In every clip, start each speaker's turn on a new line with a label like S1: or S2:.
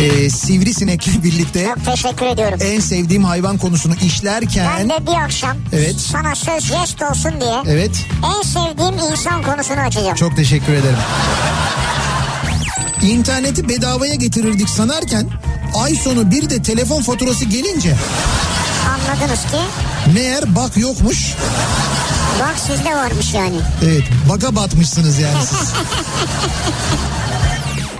S1: e, sivrisinekle birlikte
S2: Çok teşekkür ediyorum.
S1: en sevdiğim hayvan konusunu
S2: ben
S1: işlerken...
S2: de bir akşam
S1: Evet.
S2: sana söz jest olsun diye
S1: Evet
S2: en sevdiğim insan konusunu açacağım.
S1: çok teşekkür ederim. İnterneti bedavaya getirirdik sanarken ay sonu bir de telefon faturası gelince
S2: Anladınız ki
S1: meğer bak yokmuş.
S2: bak sizde varmış yani.
S1: Evet baka batmışsınız yani siz.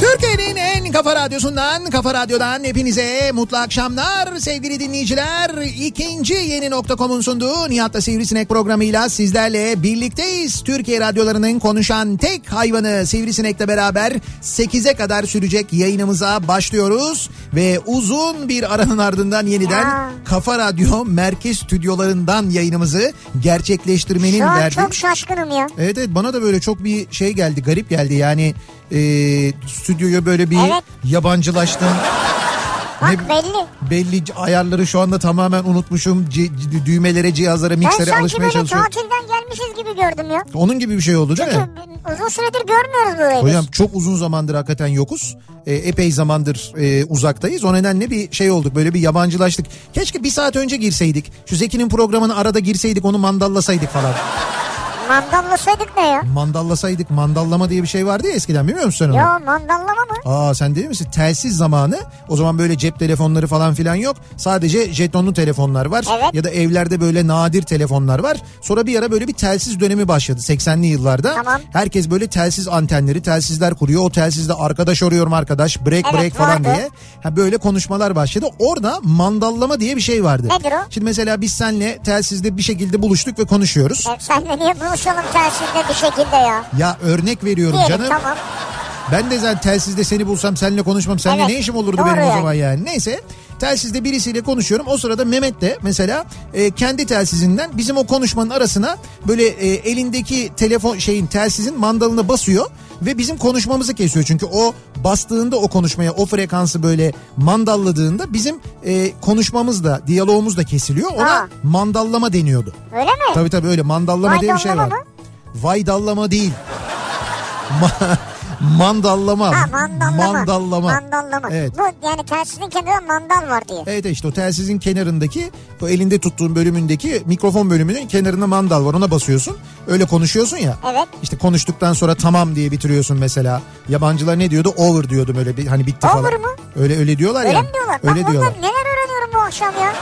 S1: Türkiye'nin en kafa radyosundan, kafa radyodan hepinize mutlu akşamlar sevgili dinleyiciler. İkinci yeni nokta.com'un sunduğu Nihat'la Sivrisinek programıyla sizlerle birlikteyiz. Türkiye radyolarının konuşan tek hayvanı Sivrisinek'le beraber 8'e kadar sürecek yayınımıza başlıyoruz. Ve uzun bir aranın ardından yeniden
S2: Ya.
S1: Kafa Radyo merkez stüdyolarından yayınımızı gerçekleştirmenin
S2: Şu an
S1: verdiği...
S2: çok şaşkınım ya.
S1: Evet evet bana da böyle çok bir şey geldi garip geldi yani e, stüdyoya böyle bir
S2: Evet.
S1: yabancılaştım.
S2: Bak
S1: Ne-
S2: belli.
S1: Belli c- ayarları şu anda tamamen unutmuşum. C- c- düğmelere, cihazlara,
S2: Ben
S1: mikslere
S2: sanki
S1: alışmaya
S2: böyle
S1: çalışıyorum.
S2: tatilden gelmişiz gibi gördüm ya.
S1: Onun gibi bir şey oldu değil mi?
S2: Çünkü uzun süredir görmüyoruz böyle.
S1: Hocam çok uzun zamandır hakikaten yokuz. E, epey zamandır e, uzaktayız. O nedenle bir şey olduk. Böyle bir yabancılaştık. Keşke bir saat önce girseydik. Şu Zeki'nin programını arada girseydik onu mandallasaydık falan.
S2: Mandallasaydık ne ya?
S1: Mandallasaydık mandallama diye bir şey vardı ya eskiden biliyor musun sen onu?
S2: Ya mandallama mı?
S1: Aa sen değil misin? Telsiz zamanı. O zaman böyle cep telefonları falan filan yok. Sadece jetonlu telefonlar var.
S2: Evet.
S1: Ya da evlerde böyle nadir telefonlar var. Sonra bir ara böyle bir telsiz dönemi başladı 80'li yıllarda.
S2: Tamam.
S1: Herkes böyle telsiz antenleri, telsizler kuruyor. O telsizde arkadaş arıyorum arkadaş, break
S2: Evet,
S1: break falan
S2: vardı.
S1: diye. Ha böyle konuşmalar başladı. Orada mandallama diye bir şey vardı.
S2: Nedir o?
S1: Şimdi mesela biz senle telsizde bir şekilde buluştuk ve konuşuyoruz.
S2: E, senle niye buluşalım telsizde bir şekilde ya?
S1: Ya örnek veriyorum
S2: Diyelim
S1: canım.
S2: tamam.
S1: Ben de zaten telsizde seni bulsam seninle konuşmam. Seninle
S2: Evet.
S1: ne işim olurdu
S2: Doğru
S1: benim o
S2: yani.
S1: zaman yani. Neyse telsizde birisiyle konuşuyorum. O sırada Mehmet de mesela e, kendi telsizinden bizim o konuşmanın arasına böyle e, elindeki telefon şeyin telsizin mandalına basıyor ve bizim konuşmamızı kesiyor. Çünkü o bastığında o konuşmaya o frekansı böyle mandalladığında bizim e, konuşmamız da diyalogumuz da kesiliyor. Ona
S2: Aa.
S1: mandallama deniyordu.
S2: Öyle mi?
S1: Tabii tabii öyle mandallama diye bir şey var.
S2: Maydallama mı?
S1: Vaydallama değil. Ma- mandallama.
S2: Ha mandallama.
S1: Mandallama.
S2: Mandallama.
S1: Evet.
S2: Bu yani telsizin kenarında mandal var diye.
S1: Evet işte o telsizin kenarındaki o elinde tuttuğun bölümündeki mikrofon bölümünün kenarında mandal var ona basıyorsun. Öyle konuşuyorsun ya.
S2: Evet.
S1: İşte konuştuktan sonra tamam diye bitiriyorsun mesela. Yabancılar ne diyordu? Over diyordum öyle bir hani bitti
S2: Over
S1: falan.
S2: mu?
S1: Öyle öyle diyorlar
S2: Öyle
S1: ya.
S2: mi diyorlar?
S1: Öyle
S2: ben
S1: diyorlar.
S2: bundan neler öğreniyorum bu akşam ya?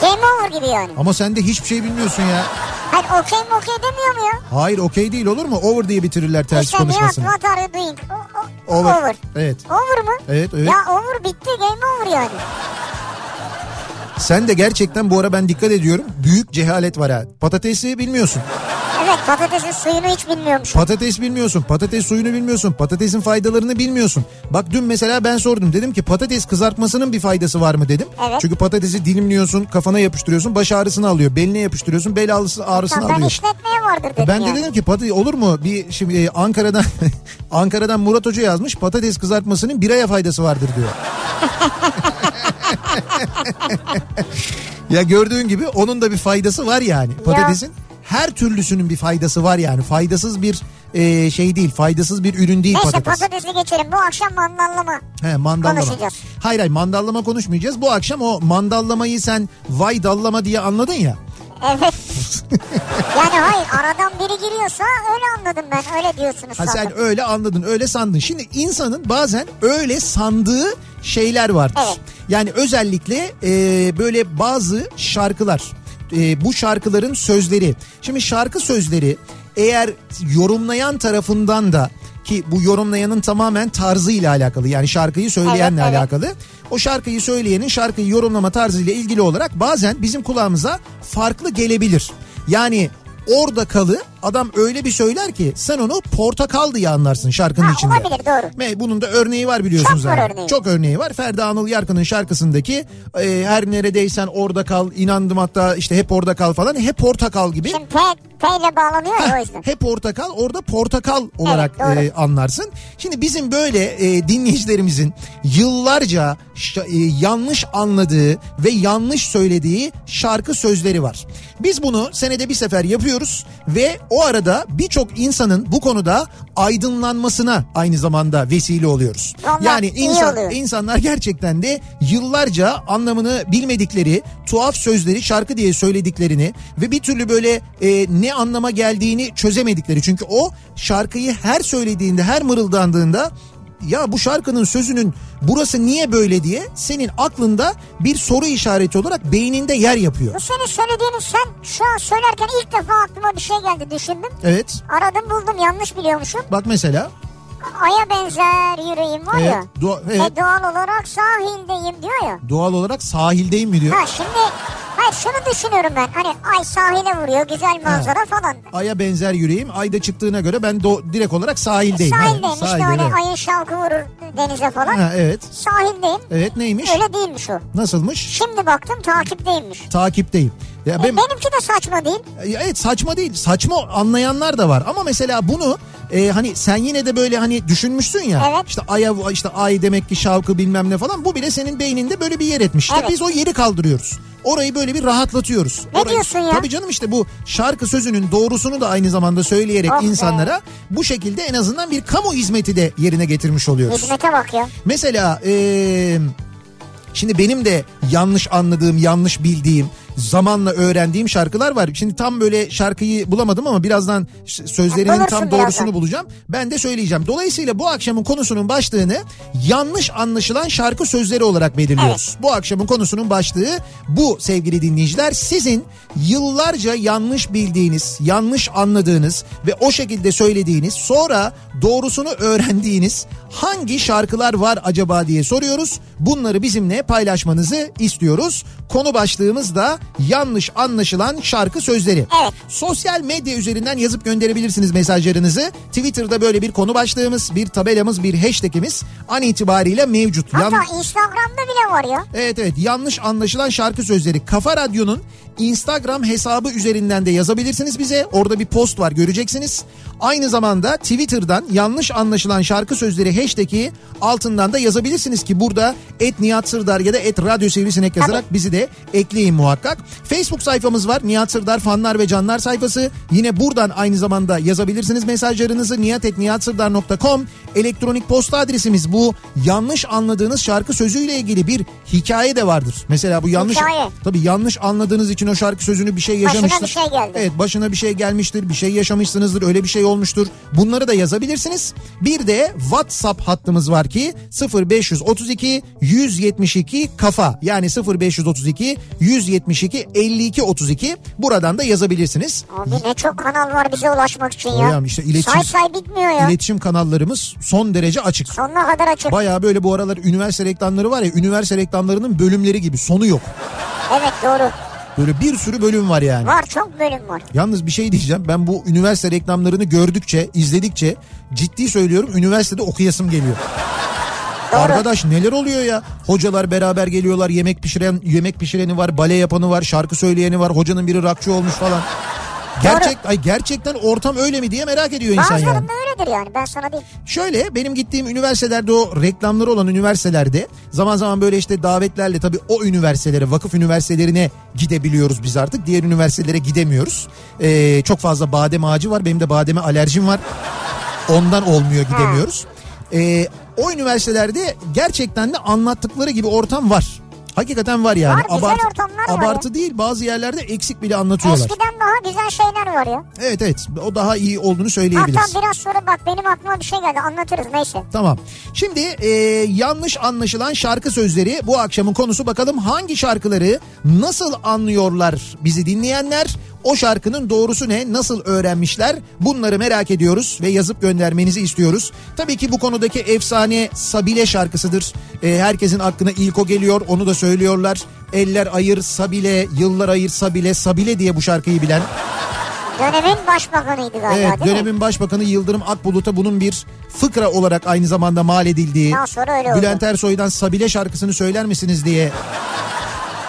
S2: Game over gibi yani.
S1: Ama sen de hiçbir şey bilmiyorsun ya.
S2: Hayır okey mi okey demiyor mu ya?
S1: Hayır okey değil olur mu? Over diye bitirirler telsiz
S2: işte
S1: konuşmasını.
S2: Nihat what are you doing? O- o- over. over.
S1: Evet.
S2: mu?
S1: Evet, evet.
S2: Ya over bitti game over yani.
S1: Sen de gerçekten bu ara ben dikkat ediyorum. Büyük cehalet var ha. Patatesi bilmiyorsun.
S2: Evet patatesin suyunu hiç bilmiyormuş.
S1: Patates bilmiyorsun. Patates suyunu bilmiyorsun. Patatesin faydalarını bilmiyorsun. Bak dün mesela ben sordum. Dedim ki patates kızartmasının bir faydası var mı dedim.
S2: Evet.
S1: Çünkü patatesi dilimliyorsun, kafana yapıştırıyorsun, baş ağrısını alıyor. Beline yapıştırıyorsun, bel ağrısı, ağrısını
S2: Tamam, ben
S1: alıyor.
S2: işletmeye vardır dedim
S1: E, Ben de
S2: yani.
S1: dedim ki patates olur mu? Bir şimdi e, Ankara'dan Ankara'dan Murat Hoca yazmış. Patates kızartmasının biraya faydası vardır diyor. ya gördüğün gibi onun da bir faydası var yani. Patatesin her türlüsünün bir faydası var yani. Faydasız bir e, şey değil. Faydasız bir ürün değil
S2: Neyse
S1: patates.
S2: patatesi geçelim bu akşam mandallama.
S1: He mandallama.
S2: Konuşacağız.
S1: Hayır hayır mandallama konuşmayacağız. Bu akşam o mandallamayı sen vay dallama diye anladın ya.
S2: Evet Yani hayır aradan biri giriyorsa öyle anladım ben. Öyle diyorsunuz
S1: Ha sen
S2: sandım.
S1: öyle anladın öyle sandın. Şimdi insanın bazen öyle sandığı şeyler vardır.
S2: Evet.
S1: Yani özellikle e, böyle bazı şarkılar e, bu şarkıların sözleri. Şimdi şarkı sözleri eğer yorumlayan tarafından da ki bu yorumlayanın tamamen tarzıyla alakalı yani şarkıyı söyleyenle
S2: Evet, evet.
S1: alakalı. O şarkıyı söyleyenin şarkıyı yorumlama tarzıyla ilgili olarak bazen bizim kulağımıza farklı gelebilir. Yani orada kalı adam öyle bir söyler ki sen onu portakal diye anlarsın şarkının
S2: Ha,
S1: içinde.
S2: olabilir, doğru.
S1: Ve bunun da örneği var biliyorsunuz
S2: Çok var
S1: zaten.
S2: örneği.
S1: Çok örneği var. Ferdi Anıl Yarkın'ın şarkısındaki e, her neredeysen orada kal inandım hatta işte hep orada kal falan hep portakal gibi.
S2: Şimdi P, P ile bağlanıyor ya o yüzden.
S1: Hep portakal orada portakal olarak
S2: doğru.
S1: e, anlarsın. Şimdi bizim böyle e, dinleyicilerimizin yıllarca şa- e, yanlış anladığı ve yanlış söylediği şarkı sözleri var. Biz bunu senede bir sefer yapıyoruz ve o arada birçok insanın bu konuda aydınlanmasına aynı zamanda vesile oluyoruz.
S2: Vallahi
S1: yani
S2: iyi
S1: insan
S2: oluyor.
S1: insanlar gerçekten de yıllarca anlamını bilmedikleri tuhaf sözleri şarkı diye söylediklerini ve bir türlü böyle e, ne anlama geldiğini çözemedikleri. Çünkü o şarkıyı her söylediğinde her mırıldandığında ya bu şarkının sözünün burası niye böyle diye senin aklında bir soru işareti olarak beyninde yer yapıyor.
S2: Bu E, senin söylediğini sen şu an söylerken ilk defa aklıma bir şey geldi düşündüm.
S1: Evet
S2: Aradım buldum yanlış biliyormuşum.
S1: bak mesela
S2: Aya benzer yüreğim var
S1: evet,
S2: ya.
S1: doğa- evet,
S2: E doğal olarak sahildeyim diyor ya.
S1: doğal olarak sahildeyim mi diyor.
S2: Ha şimdi hayır şunu düşünüyorum ben. Hani ay sahile vuruyor güzel manzara falan.
S1: Ay'a benzer yüreğim ayda çıktığına göre ben do- direkt olarak sahildeyim.
S2: Sahildeyim
S1: Evet,
S2: işte
S1: sahilde,
S2: öyle
S1: evet.
S2: ayın şalkı vurur denize falan.
S1: Ha, E, evet.
S2: Sahildeyim.
S1: Evet neymiş?
S2: Öyle değilmiş o.
S1: Nasılmış?
S2: Şimdi baktım takipteymiş.
S1: Takipteyim. Ya
S2: E,
S1: ben,
S2: benimki de saçma değil.
S1: evet saçma değil. Saçma anlayanlar da var ama mesela bunu e, hani sen yine de böyle hani düşünmüşsün ya.
S2: Evet.
S1: İşte aya işte ay demek ki şavkı bilmem ne falan. Bu bile senin beyninde böyle bir yer etmiş. İşte
S2: Evet.
S1: biz o yeri kaldırıyoruz. Orayı böyle bir rahatlatıyoruz.
S2: Ne
S1: Orayı-
S2: diyorsun ya?
S1: Tabii canım işte bu şarkı sözünün doğrusunu da aynı zamanda söyleyerek
S2: Oh be.
S1: insanlara bu şekilde en azından bir kamu hizmeti de yerine getirmiş oluyoruz.
S2: Hizmete bak ya.
S1: Mesela eee, şimdi benim de yanlış anladığım, yanlış bildiğim, zamanla öğrendiğim şarkılar var. Şimdi tam böyle şarkıyı bulamadım ama birazdan ş- sözlerinin
S2: Bulursun
S1: tam
S2: birazdan.
S1: doğrusunu bulacağım. Ben de söyleyeceğim. Dolayısıyla bu akşamın konusunun başlığını yanlış anlaşılan şarkı sözleri olarak belirliyoruz. Bu akşamın konusunun başlığı bu sevgili dinleyiciler. Sizin yıllarca yanlış bildiğiniz, yanlış anladığınız ve o şekilde söylediğiniz sonra doğrusunu öğrendiğiniz hangi şarkılar var acaba diye soruyoruz. Bunları bizimle paylaşmanızı istiyoruz. Konu başlığımız da yanlış anlaşılan şarkı sözleri.
S2: Evet.
S1: Sosyal medya üzerinden yazıp gönderebilirsiniz mesajlarınızı. Twitter'da böyle bir konu başlığımız, bir tabelamız, bir hashtagimiz an itibariyle mevcut. Yan-
S2: Hatta Instagram'da bile var ya.
S1: Evet evet yanlış anlaşılan şarkı sözleri Kafa Radyo'nun Instagram hesabı üzerinden de yazabilirsiniz bize. Orada bir post var göreceksiniz. Aynı zamanda Twitter'dan yanlış anlaşılan şarkı sözleri hashtag'i altından da yazabilirsiniz ki burada et Nihat Sırdar ya da et Radyo Sivrisinek yazarak bizi de ekleyin muhakkak. Facebook sayfamız var Nihat Sırdar fanlar ve canlar sayfası. Yine buradan aynı zamanda yazabilirsiniz mesajlarınızı niyatetniyatsırdar.com elektronik posta adresimiz bu. Yanlış anladığınız şarkı sözüyle ilgili bir hikaye de vardır. Mesela bu yanlış
S2: Hikaye.
S1: tabii yanlış anladığınız için o şarkı sözünü bir şey yaşamıştır.
S2: bir şey geldi.
S1: Evet başına bir şey gelmiştir, bir şey yaşamışsınızdır, öyle bir şey olmuştur. Bunları da yazabilirsiniz. Bir de WhatsApp hattımız var ki 0532 172 kafa yani 0532 172 52 32 buradan da yazabilirsiniz.
S2: Abi ne çok kanal var bize ulaşmak için ya.
S1: Hocam işte iletişim-
S2: Say say bitmiyor ya.
S1: İletişim kanallarımız son derece açık.
S2: Sonuna kadar açık.
S1: Baya böyle bu aralar üniversite reklamları var ya üniversite reklamlarının bölümleri gibi sonu yok.
S2: Evet doğru.
S1: Böyle bir sürü bölüm var yani.
S2: Var çok bölüm var.
S1: Yalnız bir şey diyeceğim. Ben bu üniversite reklamlarını gördükçe, izledikçe ciddi söylüyorum üniversitede okuyasım geliyor. Arkadaş neler oluyor ya? Hocalar beraber geliyorlar. Yemek pişiren yemek pişireni var, bale yapanı var, şarkı söyleyeni var. Hocanın biri rakçı olmuş falan. Gerçek ay gerçekten ortam öyle mi diye merak ediyor insan yani.
S2: Bazılarında öyledir yani ben sana değil.
S1: Şöyle benim gittiğim üniversitelerde o reklamları olan üniversitelerde zaman zaman böyle işte davetlerle tabii o üniversitelere vakıf üniversitelerine gidebiliyoruz biz artık. Diğer üniversitelere gidemiyoruz. Ee, çok fazla badem ağacı var benim de bademe alerjim var. Ondan olmuyor gidemiyoruz. Ee, o üniversitelerde gerçekten de anlattıkları gibi ortam var. Hakikaten var yani.
S2: Var, güzel ortamlar var ya.
S1: abartı değil bazı yerlerde eksik bile anlatıyorlar.
S2: Eskiden daha güzel şeyler var ya.
S1: Evet evet o daha iyi olduğunu söyleyebiliriz.
S2: Hatta biraz sonra bak benim aklıma bir şey geldi anlatırız neyse.
S1: Tamam. Şimdi e, yanlış anlaşılan şarkı sözleri bu akşamın konusu. Bakalım hangi şarkıları nasıl anlıyorlar bizi dinleyenler? O şarkının doğrusu ne? Nasıl öğrenmişler? Bunları merak ediyoruz ve yazıp göndermenizi istiyoruz. Tabii ki bu konudaki efsane Sabile şarkısıdır. E, herkesin aklına ilk o geliyor. Onu da söylüyorlar. Eller ayır Sabile, yıllar ayır Sabile, Sabile diye bu şarkıyı bilen.
S2: Dönemin başbakanıydı galiba
S1: Evet,
S2: değil mi?
S1: dönemin başbakanı Yıldırım Akbulut'a bunun bir fıkra olarak aynı zamanda mal edildiği.
S2: Daha sonra öyle oldu.
S1: Bülent Ersoy'dan Sabile şarkısını söyler misiniz diye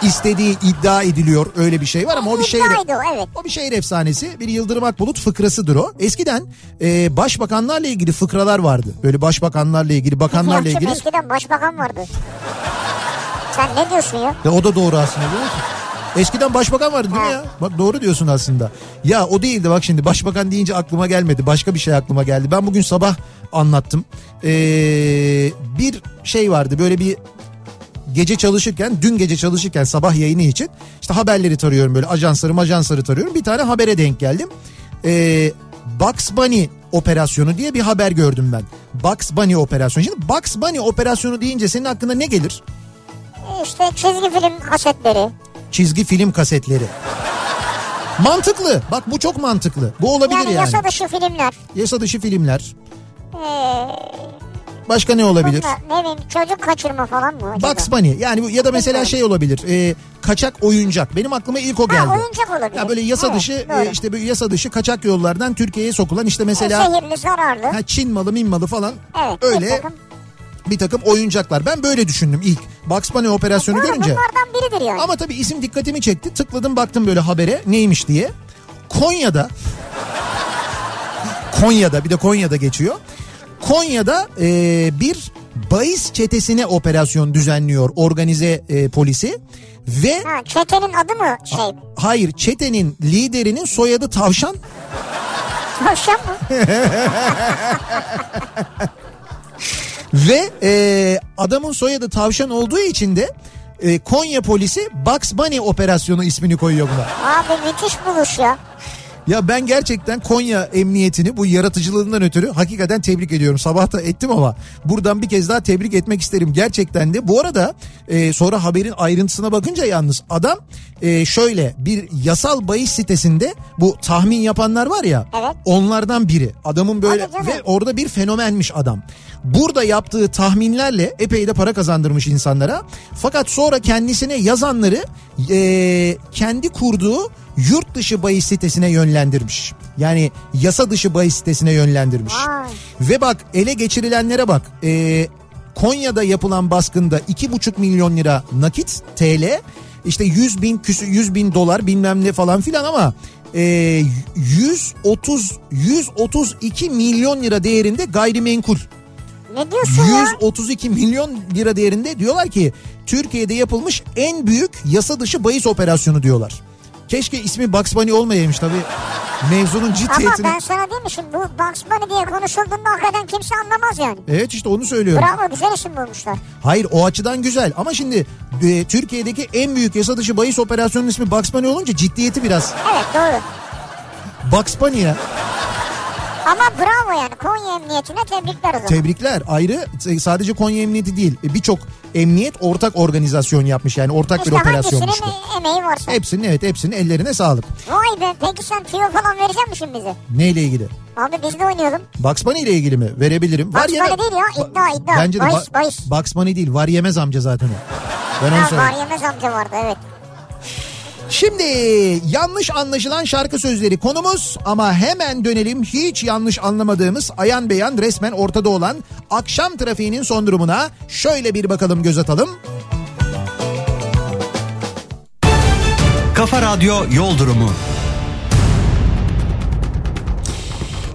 S1: istediği iddia ediliyor. Öyle bir şey var ama o bir şehir.
S2: İddiaydı o, evet.
S1: O bir şehir efsanesi. Bir Yıldırım Akbulut fıkrasıdır o. Eskiden e, başbakanlarla ilgili fıkralar vardı. Böyle başbakanlarla ilgili, bakanlarla
S2: Yalçın
S1: ilgili.
S2: eskiden başbakan vardı. Sen ne diyorsun ya?
S1: Ya o da doğru aslında biliyor musun? Eskiden başbakan vardı değil mi ya? Bak doğru diyorsun aslında. Ya o değildi bak şimdi başbakan deyince aklıma gelmedi. Başka bir şey aklıma geldi. Ben bugün sabah anlattım. Ee, bir şey vardı böyle bir gece çalışırken dün gece çalışırken sabah yayını için işte haberleri tarıyorum böyle ajansları majansları tarıyorum. Bir tane habere denk geldim. Ee, Bugs Bunny operasyonu diye bir haber gördüm ben. Bugs Bunny operasyonu. Şimdi Bugs Bunny operasyonu deyince senin aklına ne gelir?
S2: E İşte çizgi film kasetleri.
S1: çizgi film kasetleri. Mantıklı. Bak bu çok mantıklı. Bu olabilir
S2: Yani
S1: yani.
S2: yasa dışı filmler.
S1: Yasa dışı filmler.
S2: Ee,
S1: Başka ne olabilir?
S2: bunlar, ne bileyim çocuk kaçırma falan mı acaba?
S1: Bugs Bunny yani bu- ya da mesela
S2: Bilmiyorum.
S1: şey olabilir e, kaçak oyuncak benim aklıma ilk o geldi.
S2: Ha, oyuncak olabilir.
S1: Ya böyle yasa
S2: Evet,
S1: dışı e,
S2: doğru.
S1: işte böyle yasa dışı kaçak yollardan Türkiye'ye sokulan işte
S2: E,
S1: mesela
S2: Zehirli zararlı.
S1: ha, Çin malı min malı falan
S2: evet. bir
S1: öyle
S2: takım.
S1: bir takım oyuncaklar. Ben böyle düşündüm ilk Bugs Bunny operasyonu
S2: Doğru,
S1: görünce.
S2: Bunlardan biridir yani.
S1: Ama tabii isim dikkatimi çekti. Tıkladım baktım böyle habere neymiş diye. Konya'da Konya'da bir de Konya'da geçiyor. Konya'da e, bir bahis çetesine operasyon düzenliyor organize e, polisi ve
S2: Ha, çetenin adı mı şey?
S1: hayır çetenin liderinin soyadı tavşan
S2: Tavşan mı?
S1: Ve e, adamın soyadı tavşan olduğu için de e, Konya polisi Bugs Bunny operasyonu ismini koyuyor buna.
S2: Abi müthiş buluş ya.
S1: Ya ben gerçekten Konya emniyetini bu yaratıcılığından ötürü hakikaten tebrik ediyorum. Sabah da ettim ama buradan bir kez daha tebrik etmek isterim gerçekten de. Bu arada e, sonra haberin ayrıntısına bakınca yalnız adam e, şöyle bir yasal bahis sitesinde bu tahmin yapanlar var ya
S2: Evet.
S1: onlardan biri. Adamın böyle
S2: Hadi canım.
S1: ve orada bir fenomenmiş adam. Burada yaptığı tahminlerle epey de para kazandırmış insanlara. Fakat sonra kendisine yazanları e, kendi kurduğu yurt dışı bahis sitesine yönlendirmiş. Yani yasa dışı bahis sitesine yönlendirmiş.
S2: Vay.
S1: Ve bak ele geçirilenlere bak. E, Konya'da yapılan baskında 2,5 milyon lira nakit TL. işte 100 bin küsü 100 bin dolar bilmem ne falan filan ama e, 130 132 milyon lira değerinde gayrimenkul.
S2: Ne diyorsun ya?
S1: 132 milyon lira değerinde diyorlar ki Türkiye'de yapılmış en büyük yasa dışı bahis operasyonu diyorlar. Keşke ismi Bugs Bunny olmayaymış tabii. Mevzunun
S2: Ama
S1: ciddiyetini.
S2: ben sana diyeyim mi şimdi bu Bugs Bunny diye konuşulduğunda hakikaten kimse anlamaz yani.
S1: Evet işte onu söylüyorum.
S2: Bravo güzel isim bulmuşlar.
S1: Hayır o açıdan güzel ama şimdi e, Türkiye'deki en büyük yasa dışı bahis operasyonunun ismi Bugs Bunny olunca ciddiyeti biraz
S2: Evet doğru.
S1: Bugs Bunny ya.
S2: Ama bravo yani Konya Emniyetine tebrikler o zaman.
S1: Tebrikler ayrı e, sadece Konya Emniyeti değil e, birçok emniyet ortak organizasyon yapmış yani ortak
S2: işte
S1: bir operasyonmuş bu.
S2: hangisinin emeği varsa.
S1: Hepsinin evet hepsinin ellerine sağlık.
S2: Vay be peki sen tüyo falan verecek misin bize?
S1: Neyle ilgili?
S2: Abi biz de oynayalım.
S1: Bugs Bunny ile ilgili mi? Verebilirim.
S2: Bugs Bunny değil ya, iddia,
S1: Ba-
S2: iddia.
S1: Bence de
S2: Bahis,
S1: ba-
S2: bahis.
S1: Bugs Bunny değil var yemez amca zaten o. Ben onu
S2: Ha,
S1: söyleyeyim.
S2: var yemez amca vardı evet.
S1: Şimdi yanlış anlaşılan şarkı sözleri konumuz ama hemen dönelim hiç yanlış anlamadığımız ayan beyan resmen ortada olan akşam trafiğinin son durumuna şöyle bir bakalım göz atalım.
S3: Kafa Radyo Yol Durumu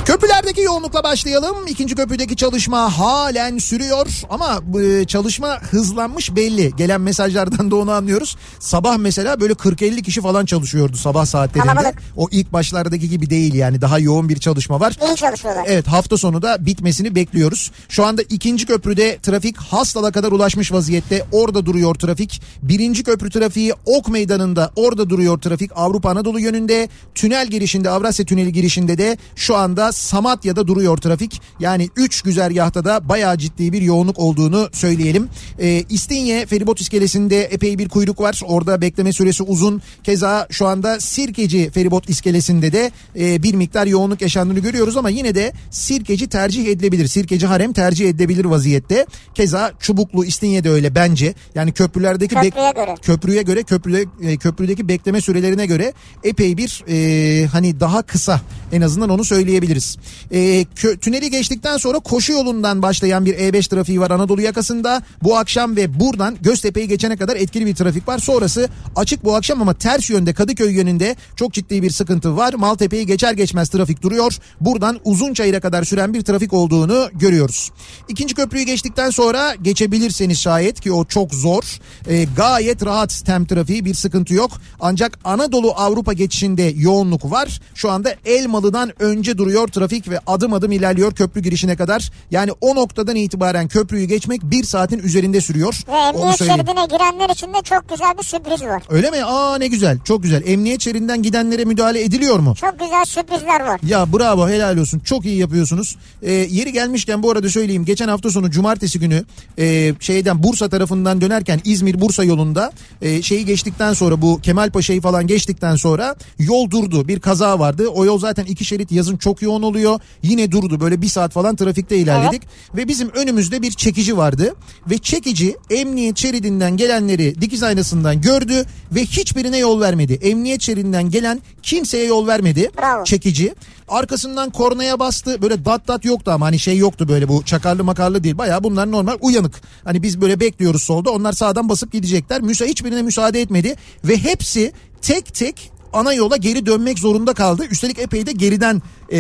S1: Köprülerdeki yoğunlukla başlayalım. İkinci köprüdeki çalışma halen sürüyor ama e, çalışma hızlanmış belli. Gelen mesajlardan da onu anlıyoruz. Sabah mesela böyle 40-50 kişi falan çalışıyordu sabah saatlerinde.
S2: Kalabalık.
S1: O ilk başlardaki gibi değil yani daha yoğun bir çalışma var.
S2: İyi çalışıyorlar.
S1: Evet hafta sonu da bitmesini bekliyoruz. Şu anda ikinci köprüde trafik Hastal'a kadar ulaşmış vaziyette. Orada duruyor trafik. Birinci köprü trafiği Ok Meydanı'nda orada duruyor trafik. Avrupa Anadolu yönünde tünel girişinde Avrasya Tüneli girişinde de şu anda Samatya'da duruyor trafik. Yani 3 güzergahta da bayağı ciddi bir yoğunluk olduğunu söyleyelim. Ee, İstinye Feribot iskelesinde epey bir kuyruk var. Orada bekleme süresi uzun. Keza şu anda Sirkeci Feribot iskelesinde de e, bir miktar yoğunluk yaşandığını görüyoruz ama yine de Sirkeci tercih edilebilir. Sirkeci harem tercih edilebilir vaziyette. Keza Çubuklu İstinye de öyle bence. Yani köprülerdeki bek-
S2: Köprüye göre.
S1: köprüye göre köprüde, e, köprüdeki bekleme sürelerine göre epey bir e, hani daha kısa en azından onu söyleyebiliriz. E, kö- tüneli geçtikten sonra koşu yolundan başlayan bir E5 trafiği var Anadolu yakasında. Bu akşam ve buradan Göztepe'yi geçene kadar etkili bir trafik var. Sonrası açık bu akşam ama ters yönde Kadıköy yönünde çok ciddi bir sıkıntı var. Maltepe'yi geçer geçmez trafik duruyor. Buradan Uzunçayır'a kadar süren bir trafik olduğunu görüyoruz. İkinci köprüyü geçtikten sonra geçebilirseniz şayet ki o çok zor. E, gayet rahat tem trafiği bir sıkıntı yok. Ancak Anadolu Avrupa geçişinde yoğunluk var. Şu anda Elmalı'dan önce duruyor trafik ve adım adım ilerliyor köprü girişine kadar. Yani o noktadan itibaren köprüyü geçmek bir saatin üzerinde sürüyor.
S2: Ve
S1: Onu
S2: emniyet
S1: söyleyeyim.
S2: şeridine girenler için de çok güzel bir sürpriz var.
S1: Öyle mi? Aa ne güzel. Çok güzel. Emniyet şeridinden gidenlere müdahale ediliyor mu?
S2: Çok güzel sürprizler var.
S1: Ya bravo helal olsun çok iyi yapıyorsunuz. Ee, yeri gelmişken bu arada söyleyeyim geçen hafta sonu cumartesi günü e, şeyden Bursa tarafından dönerken İzmir Bursa yolunda e, şeyi geçtikten sonra bu Kemalpaşa'yı falan geçtikten sonra yol durdu bir kaza vardı. O yol zaten iki şerit yazın çok yoğun oluyor yine durdu böyle bir saat falan trafikte ilerledik ve bizim önümüzde bir çekici vardı ve çekici emniyet şeridinden gelenleri dikiz aynasından gördü ve hiçbirine yol vermedi. Emniyet şeridinden gelen kimseye yol vermedi
S2: Bravo.
S1: çekici. Arkasından kornaya bastı. Böyle dat dat yoktu ama hani şey yoktu böyle bu çakarlı makarlı değil. Bayağı bunlar normal uyanık. Hani biz böyle bekliyoruz solda. Onlar sağdan basıp gidecekler. Müsa hiçbirine müsaade etmedi ve hepsi tek tek ana yola geri dönmek zorunda kaldı. Üstelik epey de geriden e,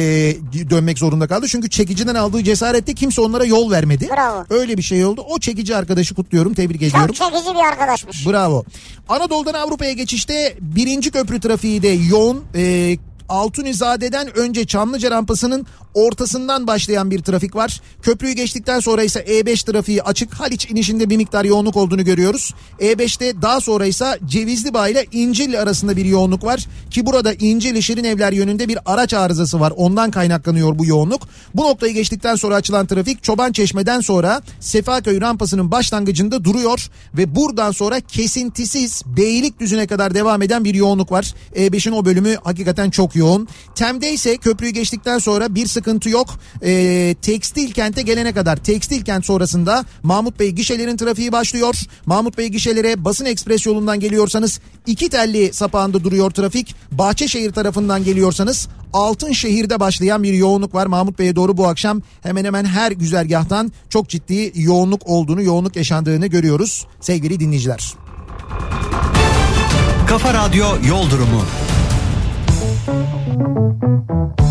S1: dönmek zorunda kaldı. Çünkü çekiciden aldığı cesarette kimse onlara yol vermedi.
S2: Bravo.
S1: Öyle bir şey oldu. O çekici arkadaşı kutluyorum. Tebrik ediyorum.
S2: Çok çekici bir arkadaşmış.
S1: Bravo. Anadolu'dan Avrupa'ya geçişte birinci köprü trafiği de yoğun. Ee, Altunizade'den önce Çamlıca rampasının ortasından başlayan bir trafik var. Köprüyü geçtikten sonra ise E5 trafiği açık. Haliç inişinde bir miktar yoğunluk olduğunu görüyoruz. E5'te daha sonra ise Cevizli Bağ ile İncil arasında bir yoğunluk var. Ki burada İncil Şirin Evler yönünde bir araç arızası var. Ondan kaynaklanıyor bu yoğunluk. Bu noktayı geçtikten sonra açılan trafik Çoban Çeşme'den sonra Sefaköy rampasının başlangıcında duruyor ve buradan sonra kesintisiz Beylikdüzü'ne kadar devam eden bir yoğunluk var. E5'in o bölümü hakikaten çok yoğun. Tem'de ise köprüyü geçtikten sonra bir sıkıntı yok. E, tekstil kente gelene kadar tekstil kent sonrasında Mahmut Bey gişelerin trafiği başlıyor. Mahmut Bey gişelere basın ekspres yolundan geliyorsanız iki telli sapağında duruyor trafik. Bahçeşehir tarafından geliyorsanız Altınşehir'de başlayan bir yoğunluk var. Mahmut Bey'e doğru bu akşam hemen hemen her güzergahtan çok ciddi yoğunluk olduğunu, yoğunluk yaşandığını görüyoruz sevgili dinleyiciler.
S3: Kafa Radyo Yol Durumu.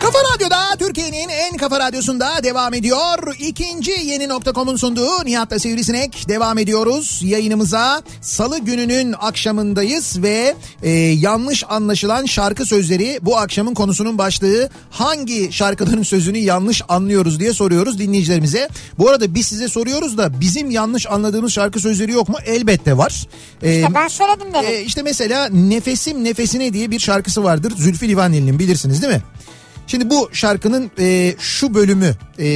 S1: Kafa Radyo'da Türkiye'nin en kafa radyosunda devam ediyor. İkinci yeni nokta.com'un sunduğu Nihat'la Sivrisinek devam ediyoruz. Yayınımıza salı gününün akşamındayız ve e, yanlış anlaşılan şarkı sözleri bu akşamın konusunun başlığı hangi şarkıların sözünü yanlış anlıyoruz diye soruyoruz dinleyicilerimize. Bu arada biz size soruyoruz da bizim yanlış anladığımız şarkı sözleri yok mu? Elbette var. E,
S2: Ya ben söyledim dedim.
S1: ee, işte mesela Nefesim Nefesine diye bir şarkısı vardır. Zülfü Livaneli'nin bilirsiniz değil mi? Şimdi bu şarkının e, şu bölümü e,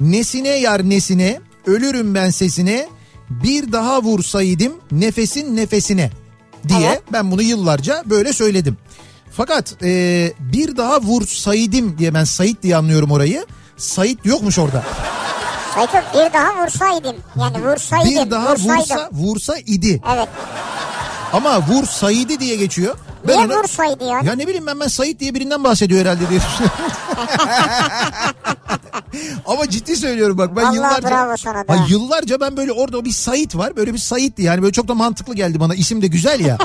S1: Nesine yar nesine ölürüm ben sesine bir daha vursaydım nefesin nefesine diye
S2: Evet.
S1: ben bunu yıllarca böyle söyledim. Fakat e, bir daha vursaydım diye ben Sait diye anlıyorum orayı. Sait yokmuş orada.
S2: Sayın bir daha vursaydım. Yani vursaydım.
S1: Bir daha
S2: vursaydım.
S1: vursa vursa idi.
S2: Evet.
S1: Ama vursaydı diye geçiyor.
S2: Niye vursaydı yani?
S1: Ya ne bileyim ben ben Sait diye birinden bahsediyor herhalde diye düşünüyorum. Ama ciddi söylüyorum bak ben
S2: Vallahi
S1: yıllarca
S2: bravo sana be.
S1: Ay, yıllarca ben böyle orada o bir Sait var böyle bir Sait'ti yani böyle çok da mantıklı geldi bana isim de güzel ya.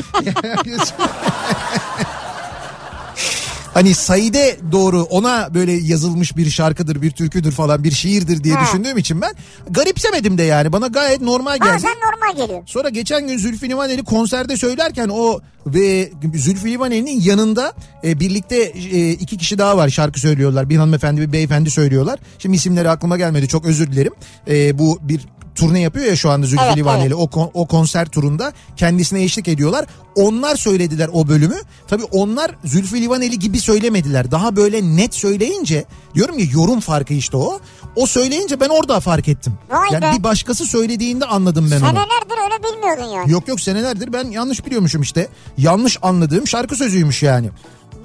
S1: hani Said'e doğru ona böyle yazılmış bir şarkıdır bir türküdür falan bir şiirdir diye
S2: Ha.
S1: düşündüğüm için ben garipsemedim de yani bana gayet normal geldi.
S2: Bazen normal geliyor.
S1: Sonra geçen gün Zülfü Livaneli konserde söylerken o ve Zülfü Livaneli'nin yanında e, birlikte e, iki kişi daha var şarkı söylüyorlar. Bir hanımefendi bir beyefendi söylüyorlar. Şimdi isimleri aklıma gelmedi çok özür dilerim. E, bu bir turne yapıyor ya şu anda Zülfü
S2: Evet,
S1: Livaneli o, kon- o konser turunda kendisine eşlik ediyorlar. Onlar söylediler o bölümü. Tabii onlar Zülfü Livaneli gibi söylemediler. Daha böyle net söyleyince diyorum ya yorum farkı işte o. O söyleyince ben orada fark ettim.
S2: Vay
S1: yani
S2: be.
S1: bir başkası söylediğinde anladım ben onu.
S2: Senelerdir öyle bilmiyordun yani.
S1: Yok yok senelerdir ben yanlış biliyormuşum işte. Yanlış anladığım şarkı sözüymüş yani.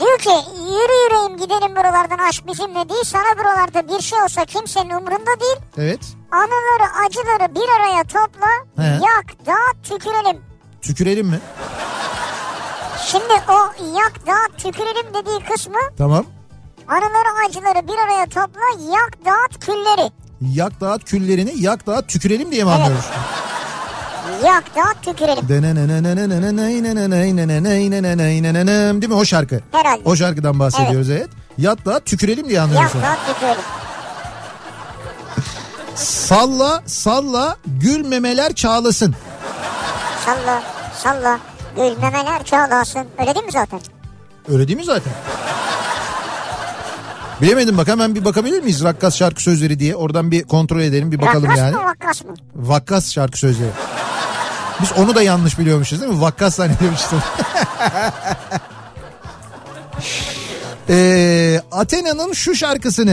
S2: Diyor ki yürü yüreğim gidelim buralardan aşk bizimle değil. Sana buralarda bir şey olsa kimsenin umurunda değil.
S1: Evet.
S2: Anıları acıları bir araya topla.
S1: He.
S2: Yak dağıt tükürelim.
S1: Tükürelim mi?
S2: Şimdi o yak dağıt tükürelim dediği kısmı
S1: Tamam.
S2: anıları acıları bir araya topla yak dağıt külleri.
S1: Yak dağıt küllerini yak dağıt tükürelim diye mi anlıyoruz?
S2: Yak dağıt tükürelim.
S1: Denenenenenenenenenenenenenenenenenenenenenenenenenenenenenenenenenenenenen, Değil mi o şarkı?
S2: Herhalde.
S1: O şarkıdan bahsediyoruz evet. Yat dağıt tükürelim diye anlıyoruz.
S2: Yak dağıt tükürelim.
S1: Salla salla gülmemeler çağlasın.
S2: Salla salla gülmemeler çağlasın. Öyle değil mi zaten?
S1: Öyle değil mi zaten? Bilemedim bak hemen bir bakabilir miyiz Rakkas şarkı sözleri diye. Oradan bir kontrol edelim bir bakalım
S2: Rakkas
S1: yani.
S2: mı vakkas mı?
S1: Vakkas şarkı sözleri. Biz onu da yanlış biliyormuşuz değil mi? Vakkas zannediyormuşuz. Ee, Athena'nın şu şarkısını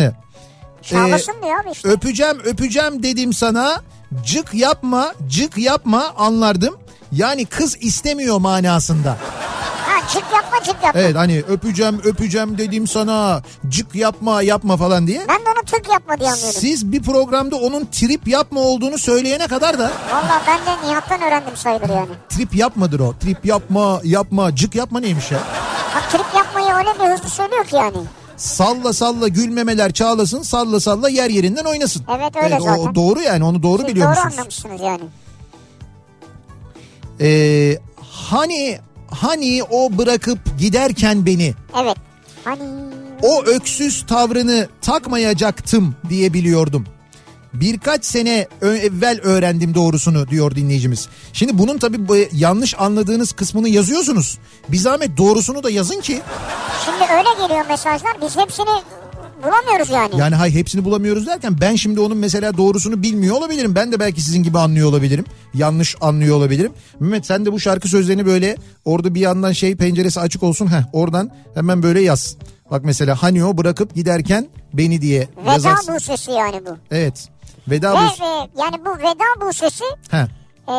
S1: Ee,
S2: Çağlasın diyor abi işte.
S1: öpeceğim öpeceğim dedim sana cık yapma cık yapma anlardım. Yani kız istemiyor manasında.
S2: Ha çık yapma çık yapma.
S1: Evet hani öpeceğim öpeceğim dedim sana cık yapma yapma falan diye.
S2: Ben de onu tık yapma diye anlıyorum.
S1: Siz bir programda onun trip yapma olduğunu söyleyene kadar da
S2: Valla ben de Nihat'tan öğrendim sayılır yani.
S1: trip yapmadır o. Trip yapma yapma cık yapma neymiş ya?
S2: Bak trip yapmayı öyle bir hızlı söylüyor ki yani.
S1: Salla salla gülmemeler çağlasın salla salla yer yerinden oynasın.
S2: Evet, öyle
S1: o-
S2: zaten.
S1: O, doğru yani onu doğru
S2: Siz doğru
S1: biliyormuşsunuz.
S2: anlamışsınız yani.
S1: Ee, hani hani o bırakıp giderken beni
S2: Evet. Hani
S1: o öksüz tavrını takmayacaktım diye biliyordum. Birkaç sene ö- evvel öğrendim doğrusunu diyor dinleyicimiz. Şimdi bunun tabii bu- yanlış anladığınız kısmını yazıyorsunuz. Bir zahmet doğrusunu da yazın ki.
S2: şimdi öyle geliyor mesajlar biz hepsini bulamıyoruz yani.
S1: Yani hay hepsini bulamıyoruz derken ben şimdi onun mesela doğrusunu bilmiyor olabilirim. Ben de belki sizin gibi anlıyor olabilirim. Yanlış anlıyor olabilirim. Mehmet sen de bu şarkı sözlerini böyle orada bir yandan şey penceresi açık olsun. Heh, oradan hemen böyle yaz. Bak mesela hani o bırakıp giderken beni diye
S2: Veda
S1: yazarsın.
S2: bu sesi yani bu.
S1: Evet. Veda
S2: Ve,
S1: bu.
S2: ve yani bu veda bu sesi
S1: Heh,
S2: e,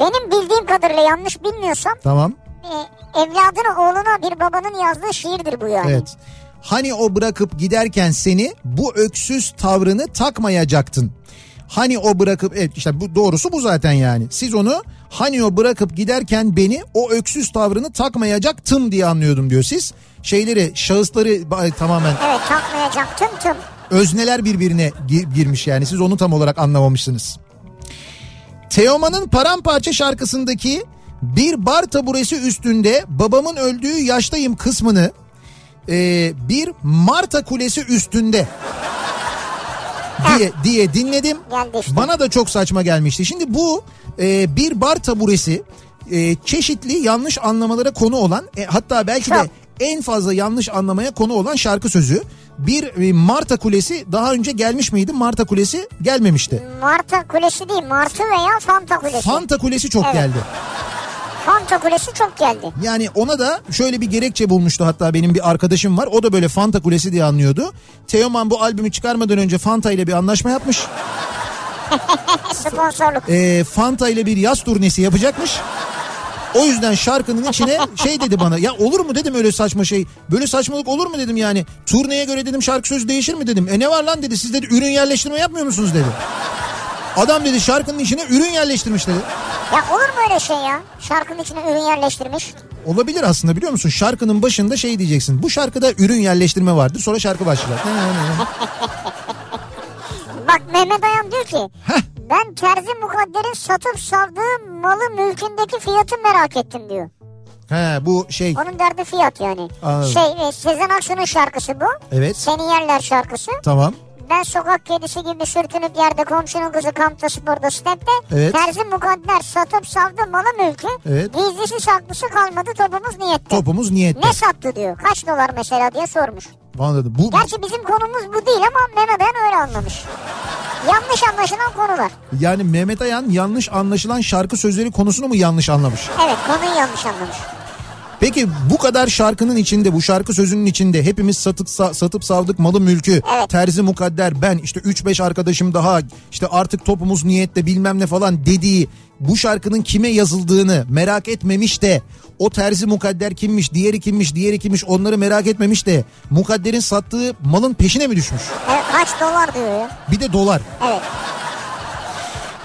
S2: benim bildiğim kadarıyla yanlış bilmiyorsam
S1: tamam.
S2: e, evladına oğluna bir babanın yazdığı şiirdir bu yani.
S1: Evet. Hani o bırakıp giderken seni bu öksüz tavrını takmayacaktın. Hani o bırakıp evet işte bu doğrusu bu zaten yani. Siz onu hani o bırakıp giderken beni o öksüz tavrını takmayacaktım diye anlıyordum diyor siz. Şeyleri şahısları ba- tamamen
S2: Evet takmayacak tüm tüm.
S1: özneler birbirine gi- girmiş yani siz onu tam olarak anlamamışsınız. Teoman'ın Paramparça şarkısındaki bir bar taburesi üstünde babamın öldüğü yaştayım kısmını e, bir Marta Kulesi üstünde diye diye dinledim.
S2: Geldi işte.
S1: Bana da çok saçma gelmişti. Şimdi bu e, bir bar taburesi e, çeşitli yanlış anlamalara konu olan e, hatta belki de
S2: Çok.
S1: en fazla yanlış anlamaya konu olan şarkı sözü. Bir e, Marta Kulesi daha önce gelmiş miydi? Marta Kulesi gelmemişti.
S2: Marta Kulesi değil Martı veya Fanta Kulesi.
S1: Fanta Kulesi çok
S2: Evet.
S1: geldi.
S2: Fanta Kulesi çok geldi.
S1: Yani ona da şöyle bir gerekçe bulmuştu hatta benim bir arkadaşım var. O da böyle Fanta Kulesi diye anlıyordu. Teoman bu albümü çıkarmadan önce Fanta ile bir anlaşma yapmış.
S2: Sponsorluk.
S1: e, Fanta ile bir yaz turnesi yapacakmış. O yüzden şarkının içine şey dedi bana ya olur mu dedim öyle saçma şey. Böyle saçmalık olur mu dedim yani. Turneye göre dedim şarkı sözü değişir mi dedim. E ne var lan dedi siz dedi ürün yerleştirme yapmıyor musunuz dedi. Adam dedi şarkının içine ürün yerleştirmiş dedi.
S2: Ya olur mu öyle şey ya? Şarkının içine ürün yerleştirmiş.
S1: Olabilir aslında biliyor musun? Şarkının başında şey diyeceksin. Bu şarkıda ürün yerleştirme vardır. Sonra şarkı başlar.
S2: Bak Mehmet Ayan diyor ki
S1: Heh.
S2: ben terzi mukadderin satıp saldığı malı mülkündeki fiyatı merak ettim diyor.
S1: He bu şey
S2: Onun derdi fiyat yani.
S1: Anladım.
S2: Şey e, Sezen Aksu'nun şarkısı bu.
S1: Evet.
S2: Seni yerler şarkısı.
S1: tamam.
S2: Ben sokak kedisi gibi sürtünüp yerde komşunun kızı kampta sporda stepte.
S1: Evet.
S2: Terzi mukadder satıp savdı malı mülkü.
S1: Evet.
S2: Gizlisi saklısı kalmadı topumuz niyette.
S1: Topumuz niyette.
S2: Ne sattı diyor. Kaç dolar mesela diye sormuş.
S1: Anladım. Bu,
S2: Gerçi bizim konumuz bu değil ama Mehmet Ayan öyle anlamış. Yanlış anlaşılan konular.
S1: yani Mehmet Ayan yanlış anlaşılan şarkı sözleri konusunu mu yanlış anlamış?
S2: Evet konuyu yanlış anlamış.
S1: Peki bu kadar şarkının içinde, bu şarkı sözünün içinde hepimiz satıp sa- satıp savdık malı mülkü,
S2: Evet.
S1: terzi mukadder, ben işte 3-5 arkadaşım daha işte artık topumuz niyette bilmem ne falan dediği bu şarkının kime yazıldığını merak etmemiş de o terzi mukadder kimmiş, diğeri kimmiş, diğeri kimmiş onları merak etmemiş de mukadderin sattığı malın peşine mi düşmüş?
S2: Evet, kaç dolar diyor ya.
S1: Bir de dolar.
S2: Evet.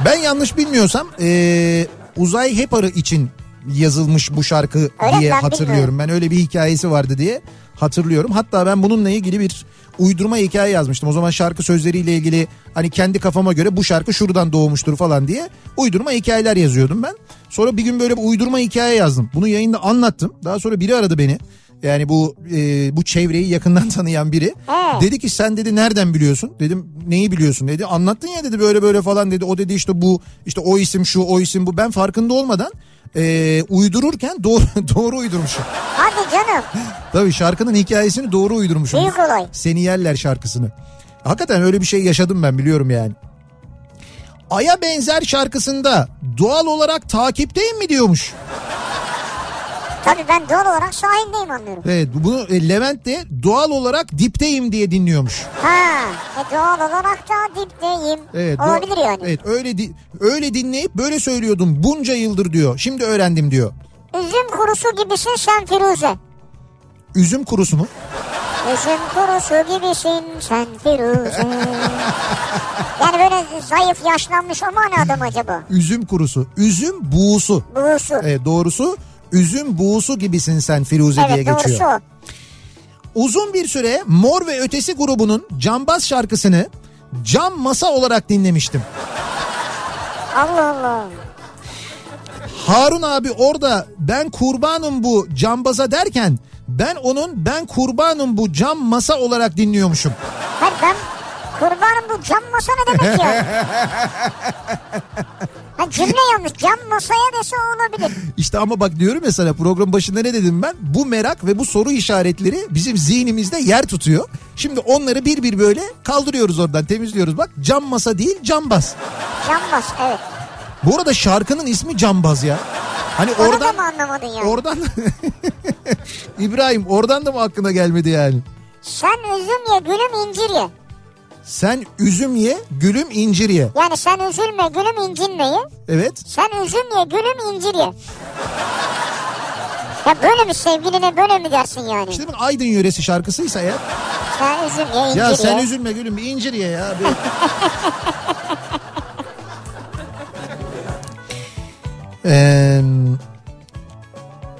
S1: Ben yanlış bilmiyorsam eee, Uzay Heparı için yazılmış bu şarkı
S2: Öyle
S1: diye
S2: mi? Ben
S1: hatırlıyorum.
S2: bilmiyorum.
S1: Ben öyle bir hikayesi vardı diye hatırlıyorum. Hatta ben bununla ilgili bir uydurma hikaye yazmıştım. O zaman şarkı sözleriyle ilgili hani kendi kafama göre bu şarkı şuradan doğmuştur falan diye uydurma hikayeler yazıyordum ben. Sonra bir gün böyle bir uydurma hikaye yazdım. Bunu yayında anlattım. Daha sonra biri aradı beni. Yani bu eee, bu çevreyi yakından tanıyan biri.
S2: Aa.
S1: Dedi ki sen dedi nereden biliyorsun? Dedim neyi biliyorsun dedi. Anlattın ya dedi böyle böyle falan dedi. O dedi işte bu işte o isim şu o isim bu. Ben farkında olmadan eee, uydururken doğru, doğru uydurmuşum.
S2: Hadi canım.
S1: Tabii şarkının hikayesini doğru uydurmuşum.
S2: Büyük olay.
S1: Seni yerler şarkısını. Hakikaten öyle bir şey yaşadım ben biliyorum yani. Ay'a benzer şarkısında doğal olarak takipteyim mi diyormuş.
S2: Tabii ben doğal olarak sahildeyim anlıyorum.
S1: Evet bunu e, Levent de doğal olarak dipteyim diye dinliyormuş.
S2: Ha, e doğal olarak da dipteyim.
S1: Evet, doğ-
S2: Olabilir yani.
S1: Evet öyle di- öyle dinleyip böyle söylüyordum bunca yıldır diyor. Şimdi öğrendim diyor.
S2: Üzüm kurusu gibisin sen Firuze.
S1: Üzüm kurusu mu?
S2: Üzüm kurusu gibisin sen Firuze. yani böyle zayıf yaşlanmış o manada mı acaba?
S1: Üzüm kurusu. Üzüm buğusu.
S2: Buğusu. Evet,
S1: Evet doğrusu üzüm buğusu gibisin sen Firuze diye geçiyor.
S2: doğrusu o.
S1: Uzun bir süre Mor ve Ötesi grubunun Cambaz şarkısını cam masa olarak dinlemiştim.
S2: Allah Allah.
S1: Harun abi orada ben kurbanım bu cambaza derken ben onun ben kurbanım bu cam masa olarak dinliyormuşum.
S2: Hayır ben kurbanım bu cam masa ne demek ya? ha, cümle yanlış. Cam masaya dese olabilir.
S1: İşte ama bak diyorum ya sana program başında ne dedim ben? Bu merak ve bu soru işaretleri bizim zihnimizde yer tutuyor. Şimdi onları bir bir böyle kaldırıyoruz oradan temizliyoruz. Bak cam masa değil cambaz.
S2: Cam mas evet.
S1: Bu arada şarkının ismi cambaz ya. Hani
S2: Onu da
S1: oradan
S2: mı anlamadın yani?
S1: oradan İbrahim oradan da mı aklına gelmedi yani?
S2: sen üzüm ye gülüm incir ye.
S1: Sen üzüm ye, gülüm incir ye.
S2: Yani sen üzülme gülüm incinme ye.
S1: Evet.
S2: Sen üzüm ye gülüm incir ye. Ya böyle mi sevgiline böyle mi dersin yani?
S1: İşte bak Aydın yöresi şarkısıysa ya.
S2: Sen üzüm ye incir
S1: Ya sen
S2: ye.
S1: üzülme gülüm bir incir ye ya. Bir- Ee,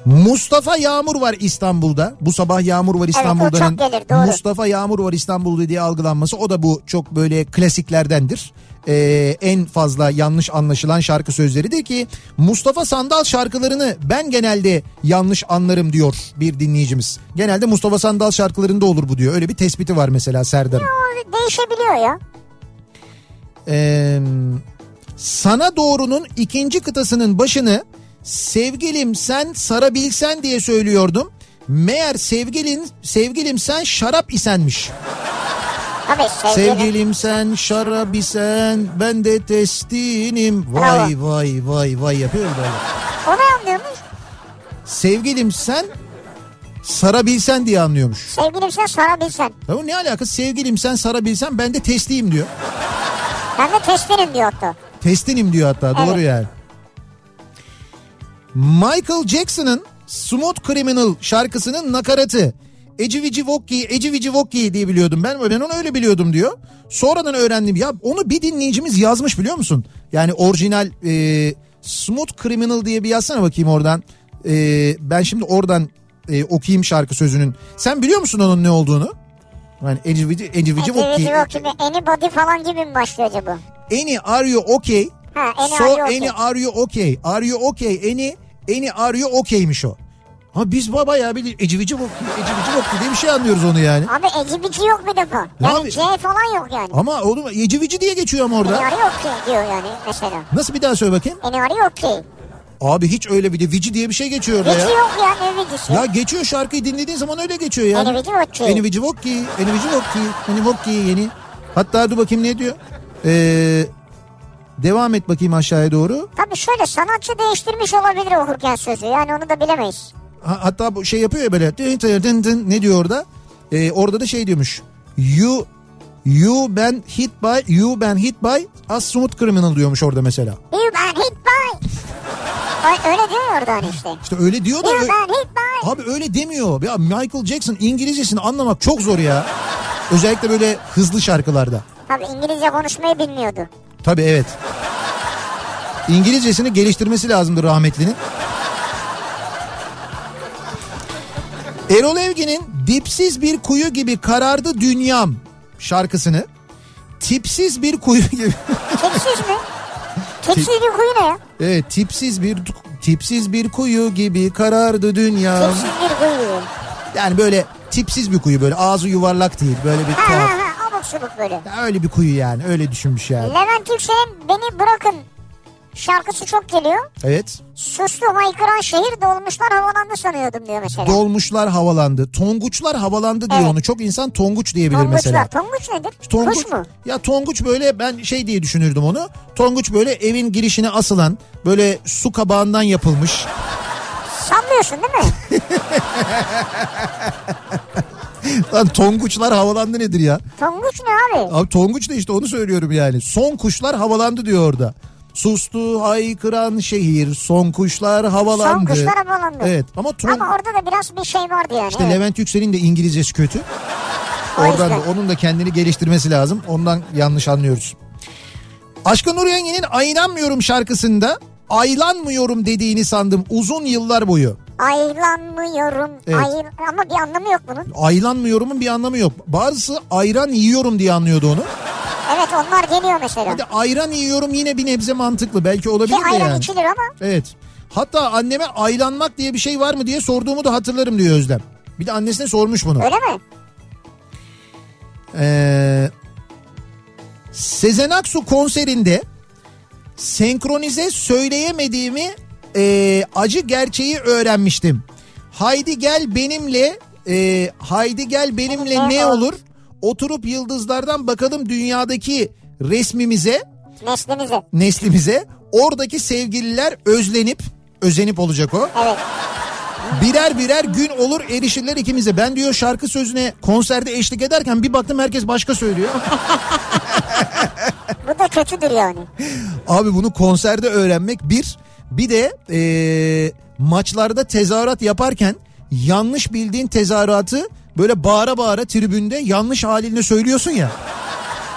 S1: Mustafa Yağmur var İstanbul'da. Bu sabah Yağmur var İstanbul'danın.
S2: çok gelir, doğru.
S1: Mustafa Yağmur var İstanbul'da diye algılanması o da bu çok böyle klasiklerdendir. Ee, en fazla yanlış anlaşılan şarkı sözleri de ki Mustafa Sandal şarkılarını ben genelde yanlış anlarım diyor bir dinleyicimiz. Genelde Mustafa Sandal şarkılarında olur bu diyor. Öyle bir tespiti var mesela Serdar'ın.
S2: O değişebiliyor ya.
S1: Ee, sana doğrunun ikinci kıtasının başını sevgilim sen sarabilsen diye söylüyordum. Meğer sevgilin sevgilim sen şarap isenmiş.
S2: Tabii sevgilin.
S1: Sevgilim sen şarap isen ben de testinim. Vay vay vay vay yapıyor böyle.
S2: O ne anlıyormuş?
S1: Sevgilim sen sarabilsen diye anlıyormuş.
S2: Sevgilim sen sarabilsen.
S1: Ya bu ne alakası sevgilim sen sarabilsen ben de testiyim diyor.
S2: Ben de testinim diyor hatta.
S1: Testinim diyor hatta doğru yani. Michael Jackson'ın Smooth Criminal şarkısının nakaratı. Ecivici Vokki, Ecivici Vokki diye biliyordum ben. Ben onu öyle biliyordum diyor. Sonradan öğrendim. Ya onu bir dinleyicimiz yazmış biliyor musun? Yani orijinal e, Smooth Criminal diye bir yazsana bakayım oradan. E, ben şimdi oradan e, okuyayım şarkı sözünün. Sen biliyor musun onun ne olduğunu? Yani Ecivici, Ecivici Vokki.
S2: Activity Rock gibi Anybody falan gibi mi başlıyor acaba?
S1: Any are you okay?
S2: Ha, Any
S1: so
S2: Are You Okay?
S1: any are you okay? Are you okay? Any any are you okay'miş o. Ha biz baba ya bir ecivici bok ecivici bok diye bir şey anlıyoruz onu yani.
S2: Abi ecibici yok bir defa.
S1: abi?
S2: Yani C falan yok yani.
S1: Ama oğlum ecivici diye geçiyor ama
S2: Any
S1: orada.
S2: are you okay diyor yani mesela.
S1: Nasıl bir daha söyle bakayım?
S2: Any are you okay?
S1: Abi hiç öyle bir de vici diye bir şey geçiyor orada
S2: Vici
S1: ya.
S2: yok ya ne vicisi?
S1: Ya geçiyor şarkıyı dinlediğin zaman öyle geçiyor yani.
S2: Any vici yok ki.
S1: Any vici bok ki. Any vici bok ki. Any bok ki yeni. Hatta dur bakayım ne diyor. Ee, devam et bakayım aşağıya doğru.
S2: Tabii şöyle sanatçı değiştirmiş olabilir okurken sözü. Yani onu da bilemeyiz.
S1: Ha- hatta bu şey yapıyor ya böyle dın dın dın dın, ne diyor orada? Ee, orada da şey diyormuş. You you ben hit by you ben hit by as smooth criminal diyormuş orada mesela.
S2: You man hit by. Ay, Öyle diyor ya orada hani işte.
S1: İşte öyle diyor da
S2: You
S1: ö-
S2: man hit by.
S1: abi öyle demiyor. Ya Michael Jackson İngilizcesini anlamak çok zor ya. Özellikle böyle hızlı şarkılarda.
S2: Tabii İngilizce konuşmayı bilmiyordu.
S1: Tabii evet. İngilizcesini geliştirmesi lazımdı rahmetlinin. Erol Evgin'in dipsiz bir kuyu gibi karardı dünyam şarkısını tipsiz bir kuyu gibi
S2: Tipsiz mi? Tipsiz bir kuyu ne ya?
S1: evet tipsiz bir tipsiz bir kuyu gibi karardı dünyam
S2: Tipsiz bir kuyu.
S1: yani böyle tipsiz bir kuyu böyle ağzı yuvarlak değil böyle bir
S2: Ha
S1: tuhaf
S2: ha ha abuk subuk böyle.
S1: Ya öyle bir kuyu yani öyle düşünmüş yani
S2: Levent Yüksel'in Beni Bırakın şarkısı çok geliyor.
S1: evet
S2: Suslu haykıran şehir dolmuşlar havalandı sanıyordum diyor mesela.
S1: dolmuşlar havalandı tonguçlar havalandı diyor
S2: Evet.
S1: onu çok insan tonguç diyebilir
S2: Tonguçlar.
S1: mesela
S2: Tonguç nedir?
S1: Tonguç,
S2: Kuş mu?
S1: Ya Tonguç böyle ben şey diye düşünürdüm onu. Tonguç böyle evin girişine asılan böyle su kabağından yapılmış.
S2: Sanmıyorsun değil mi?
S1: Lan Tonguçlar havalandı nedir ya?
S2: Tonguç ne abi?
S1: Abi Tonguç da işte onu söylüyorum yani. Son kuşlar havalandı diyor orada. Sustu haykıran şehir son kuşlar havalandı.
S2: Son kuşlar havalandı.
S1: Evet ama, ton...
S2: Ama orada da biraz bir şey vardı yani.
S1: işte
S2: evet.
S1: Levent Yüksel'in de İngilizcesi kötü.
S2: O
S1: Oradan da
S2: yüzden.
S1: onun da kendini geliştirmesi lazım. Ondan yanlış anlıyoruz. Aşkın Nur Yengi'nin Aylanmıyorum şarkısında aylanmıyorum dediğini sandım uzun yıllar boyu.
S2: Aylanmıyorum.
S1: Evet.
S2: ayıl- Ama bir anlamı yok bunun.
S1: Aylanmıyorumun bir anlamı yok. Bazısı ayran yiyorum diye anlıyordu onu.
S2: Evet onlar geliyor mesela.
S1: Hadi ayran yiyorum yine bir nebze mantıklı. Belki
S2: Ki
S1: olabilir de
S2: ayran
S1: yani.
S2: içilir ama
S1: Evet. Hatta anneme aylanmak diye bir şey var mı diye sorduğumu da hatırlarım diyor Özlem. Bir de annesine sormuş bunu.
S2: öyle mi?
S1: Ee, Sezen Aksu konserinde senkronize söyleyemediğimi e, acı gerçeği öğrenmiştim. Haydi gel benimle e, haydi gel benimle ne olur oturup yıldızlardan bakalım dünyadaki resmimize
S2: Neslimizi.
S1: neslimize oradaki sevgililer özlenip özenip olacak o.
S2: Evet.
S1: Birer birer gün olur erişirler ikimize. Ben diyor şarkı sözüne konserde eşlik ederken bir baktım herkes başka söylüyor.
S2: Bu da kötüdür yani.
S1: Abi bunu konserde öğrenmek bir. Bir de eee, maçlarda tezahürat yaparken yanlış bildiğin tezahüratı böyle bağıra bağıra tribünde yanlış halini söylüyorsun ya.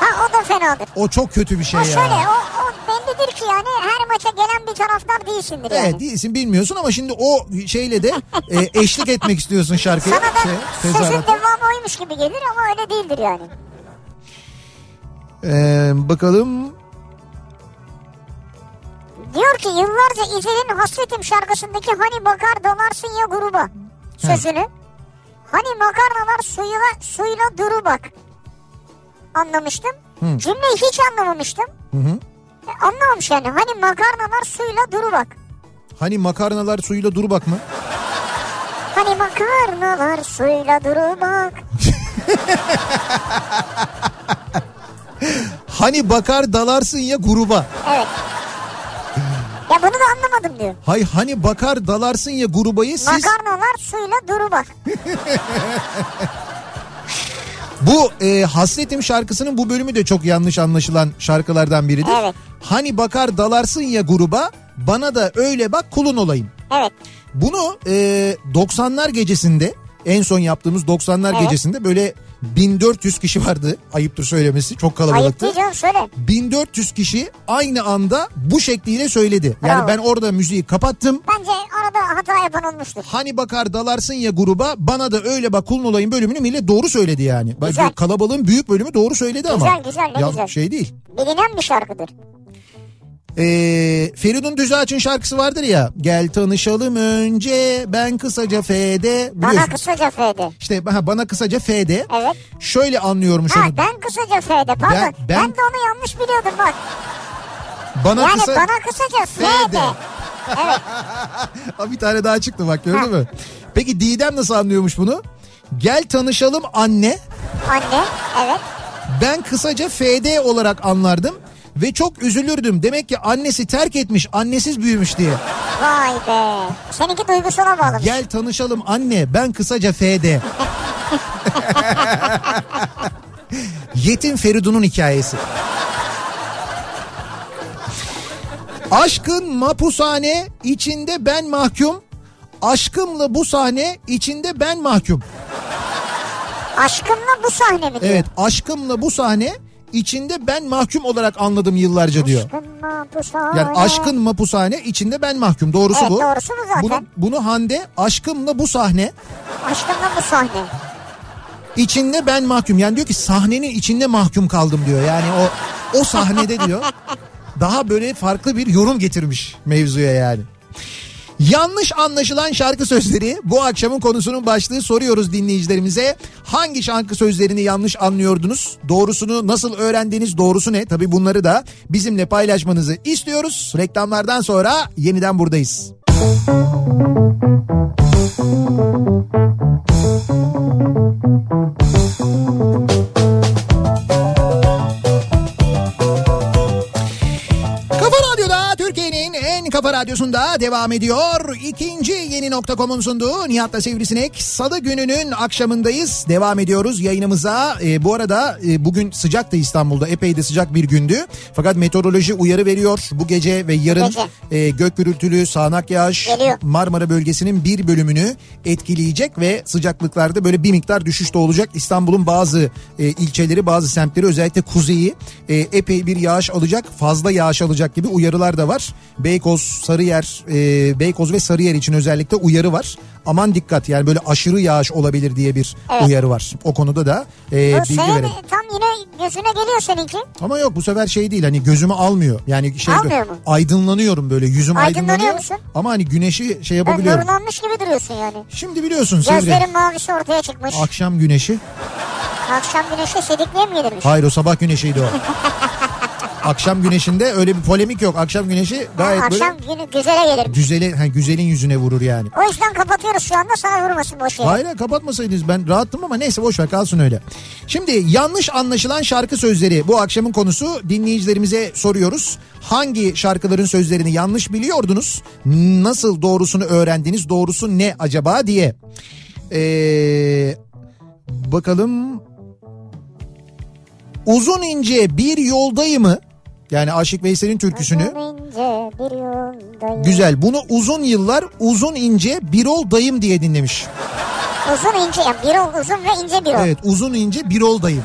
S2: Ha o da fenadır.
S1: O çok kötü bir şey
S2: Ha şöyle
S1: ya.
S2: o, o bellidir ki yani her maça gelen bir taraftar değilsindir yani.
S1: Evet değilsin bilmiyorsun ama şimdi o şeyle de e, eşlik etmek istiyorsun şarkıya.
S2: Sana da
S1: şey,
S2: sözün
S1: tezahürata.
S2: devamı oymuş gibi gelir ama öyle değildir yani.
S1: Eee, E, bakalım
S2: Diyor ki yıllarca İzel'in Hasretim şarkısındaki hani bakar dolarsın ya gruba sözünü. Hani makarnalar suyla, suyla duru bak anlamıştım. Cümleyi hiç anlamamıştım. E, anlamamış yani. Hani makarnalar suyla duru bak.
S1: hani makarnalar suyuyla dur bakma.
S2: Hani makarnalar suyla duru bak.
S1: Hani bakar dalarsın ya gruba.
S2: Evet. Ya bunu da anlamadım diyor.
S1: Hay hani bakar dalarsın ya grubayı siz
S2: Makarnalar suyla duru bak.
S1: Bu e, Hasretim şarkısının bu bölümü de çok yanlış anlaşılan şarkılardan biridir.
S2: Evet.
S1: Hani bakar dalarsın ya gruba bana da öyle bak kulun olayım.
S2: Evet.
S1: Bunu e, 90'lar gecesinde en son yaptığımız 90'lar
S2: Evet.
S1: gecesinde böyle 1400 kişi vardı. Ayıptır söylemesi çok
S2: Ayıp
S1: kalabalıktı.
S2: değil canım söyle.
S1: 1400 kişi aynı anda bu şekliyle söyledi.
S2: Bravo.
S1: Yani ben orada müziği kapattım.
S2: Bence arada hata yapan olmuştur.
S1: Hani bakar dalarsın ya gruba bana da öyle bak kulun olayım bölümünü millet doğru söyledi yani. Bak
S2: Güzel.
S1: kalabalığın büyük bölümü doğru söyledi ama.
S2: Güzel, güzel, ne
S1: Ya
S2: güzel.
S1: Şey değil.
S2: Bilinen bir şarkıdır.
S1: Ee, Feridun Düzağaç'ın şarkısı vardır ya. Gel tanışalım önce ben kısaca F'de.
S2: Bana
S1: Biliyorsun.
S2: kısaca F'de.
S1: İşte ha, bana kısaca F'de.
S2: Evet.
S1: Şöyle anlıyormuş
S2: Ha
S1: onu.
S2: ben kısaca F'de pardon. Ben,
S1: Ben- ben-
S2: de onu yanlış biliyordum bak.
S1: Bana
S2: Yani
S1: kısa
S2: bana kısaca F'de.
S1: F'de. Ha, bir tane daha çıktı bak gördün mü? Peki Didem nasıl anlıyormuş bunu? Gel tanışalım anne.
S2: Anne evet.
S1: Ben kısaca FD olarak anlardım ve çok üzülürdüm. Demek ki annesi terk etmiş, annesiz büyümüş diye.
S2: Vay be. Seninki duygusuna bağlı.
S1: Gel tanışalım anne, ben kısaca FD. Yetim Feridun'un hikayesi. Aşkın mapushane içinde ben mahkum. Aşkımla bu sahne içinde ben mahkum.
S2: Aşkımla bu sahne mi diyor?
S1: Evet aşkımla bu sahne içinde ben mahkum olarak anladım yıllarca diyor.
S2: Aşkımla bu sahne.
S1: Yani aşkın mapushane içinde ben mahkum. Doğrusu
S2: Evet,
S1: bu.
S2: doğrusu bu zaten.
S1: Bunu, bunu Hande aşkımla bu sahne
S2: Aşkımla bu sahne.
S1: içinde ben mahkum. Yani diyor ki sahnenin içinde mahkum kaldım diyor. Yani o o sahnede diyor. Daha böyle farklı bir yorum getirmiş mevzuya yani. Yanlış anlaşılan şarkı sözleri bu akşamın konusunun başlığı soruyoruz dinleyicilerimize. Hangi şarkı sözlerini yanlış anlıyordunuz? Doğrusunu nasıl öğrendiniz? Doğrusu ne? Tabii bunları da bizimle paylaşmanızı istiyoruz. Reklamlardan sonra yeniden buradayız. Kafa Radyo'da Türkiye'nin en kafa radyosunda devam ediyor. İkinci yeni nokta.com'un sunduğu Nihat'la Sivrisinek Salı gününün akşamındayız. Devam ediyoruz yayınımıza. Ee, bu arada e, bugün sıcaktı İstanbul'da. Epey de sıcak bir gündü. Fakat meteoroloji uyarı veriyor. Bu gece ve yarın e, gök gürültülü, sağanak yağış
S2: Geliyor.
S1: Marmara bölgesinin bir bölümünü etkileyecek ve sıcaklıklarda böyle bir miktar düşüş de olacak. İstanbul'un bazı e, ilçeleri, bazı semtleri özellikle kuzeyi e, epey bir yağış alacak, fazla yağış alacak gibi uyarılar da var. Beykoz, Sarıyer, e, Beykoz ve Sarıyer için özellikle uyarı var. Aman dikkat yani böyle aşırı yağış olabilir diye bir uyarı var. O konuda da e,
S2: bu
S1: bilgi
S2: sahne
S1: verelim.
S2: tam yine gözüne geliyor seninki.
S1: Ama yok bu sefer şey değil hani gözümü almıyor. Yani şey
S2: Almıyor mu?
S1: aydınlanıyorum böyle yüzüm
S2: Aydınlanıyor
S1: aydınlanıyor.
S2: musun?
S1: Ama hani güneşi şey
S2: Ben
S1: yapabiliyorum.
S2: nurlanmış gibi duruyorsun yani.
S1: Şimdi biliyorsun Sivri.
S2: Gözlerin mavisi ortaya çıkmış.
S1: Akşam güneşi.
S2: Akşam güneşe sedikliğe mi yedirmiş?
S1: Hayır o sabah güneşiydi o. Akşam güneşinde öyle bir polemik yok. Akşam güneşi gayet
S2: Akşam
S1: böyle
S2: günü güzele gelirmiş.
S1: güzeli, ha, güzelin yüzüne vurur yani.
S2: O yüzden kapatıyoruz şu anda sana vurmasın boş yere.
S1: Hayır hayır, kapatmasaydınız ben rahattım ama neyse boş ver kalsın öyle. Şimdi yanlış anlaşılan şarkı sözleri bu akşamın konusu dinleyicilerimize soruyoruz. Hangi şarkıların sözlerini yanlış biliyordunuz? Nasıl doğrusunu öğrendiniz? Doğrusu ne acaba diye. Ee, bakalım uzun ince bir yoldayımı yani Aşık Veysel'in türküsünü
S2: Uzunca bir yoldayım.
S1: güzel bunu uzun yıllar uzun ince bir ol dayım diye dinlemiş.
S2: Uzun ince yani bir ol uzun ve ince bir ol.
S1: Evet uzun ince bir oldayım.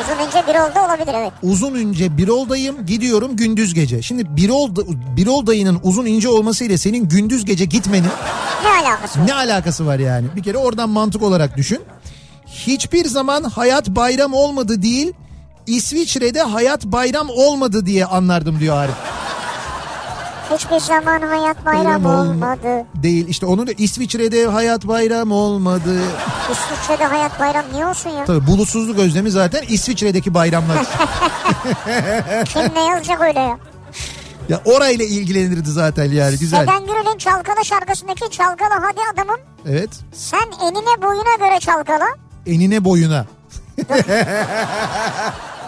S2: Uzun ince bir ol da olabilir evet.
S1: Uzun ince bir oldayım gidiyorum gündüz gece. Şimdi bir, ol, bir oldayının uzun ince olması ile senin gündüz gece gitmenin
S2: Ne alakası var?
S1: ne alakası var yani? Bir kere oradan mantık olarak düşün. Hiçbir zaman hayat bayram olmadı değil İsviçre'de hayat bayram olmadı diye anlardım diyor Arif.
S2: Hiçbir zaman hayat bayram
S1: Bayram olma-
S2: olmadı.
S1: Değil işte onun da İsviçre'de hayat bayram olmadı.
S2: İsviçre'de hayat bayram niye olsun ya?
S1: Tabii bulutsuzluk özlemi zaten İsviçre'deki bayramlar.
S2: Kim ne yazacak öyle ya?
S1: ya orayla ilgilenirdi zaten yani güzel.
S2: Neden Gürül'ün çalkala şarkısındaki çalkala hadi adamım
S1: Evet.
S2: sen enine boyuna göre çalkala.
S1: Enine boyuna.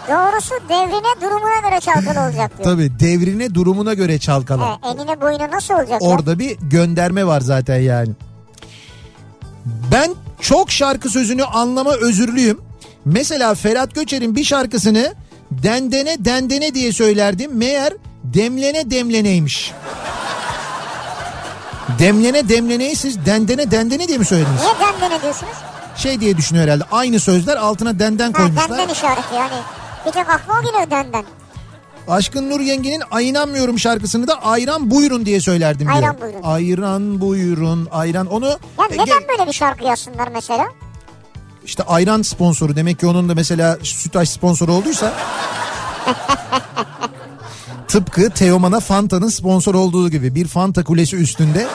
S2: Doğrusu devrine durumuna göre çalkala olacak diyor.
S1: Tabii devrine durumuna göre çalkala.
S2: He, enine boyuna nasıl olacak ya?
S1: Orada bir gönderme var zaten yani. Ben çok şarkı sözünü anlama özürlüyüm. Mesela Ferhat Göçer'in bir şarkısını dendene dendene diye söylerdim. Meğer demlene demleneymiş. demlene demleneyi siz dendene dendene diye mi söylediniz?
S2: Niye denden diyorsunuz?
S1: Şey diye düşünüyor herhalde. Aynı sözler altına denden
S2: Ha
S1: koymuşlar.
S2: denden işareti yani. Bir tek aklıma o geliyor denden.
S1: Aşkın Nur Yengi'nin Ayınanmıyorum şarkısını da ayran buyurun diye söylerdim diyor.
S2: Ayran buyurun.
S1: Ayran buyurun. Ayran onu
S2: Ya
S1: E,
S2: neden
S1: ge-
S2: böyle bir şarkı yazsınlar mesela?
S1: işte ayran sponsoru demek ki onun da mesela Sütaş sponsoru olduysa tıpkı Teoman'a Fanta'nın sponsor olduğu gibi bir Fanta kulesi üstünde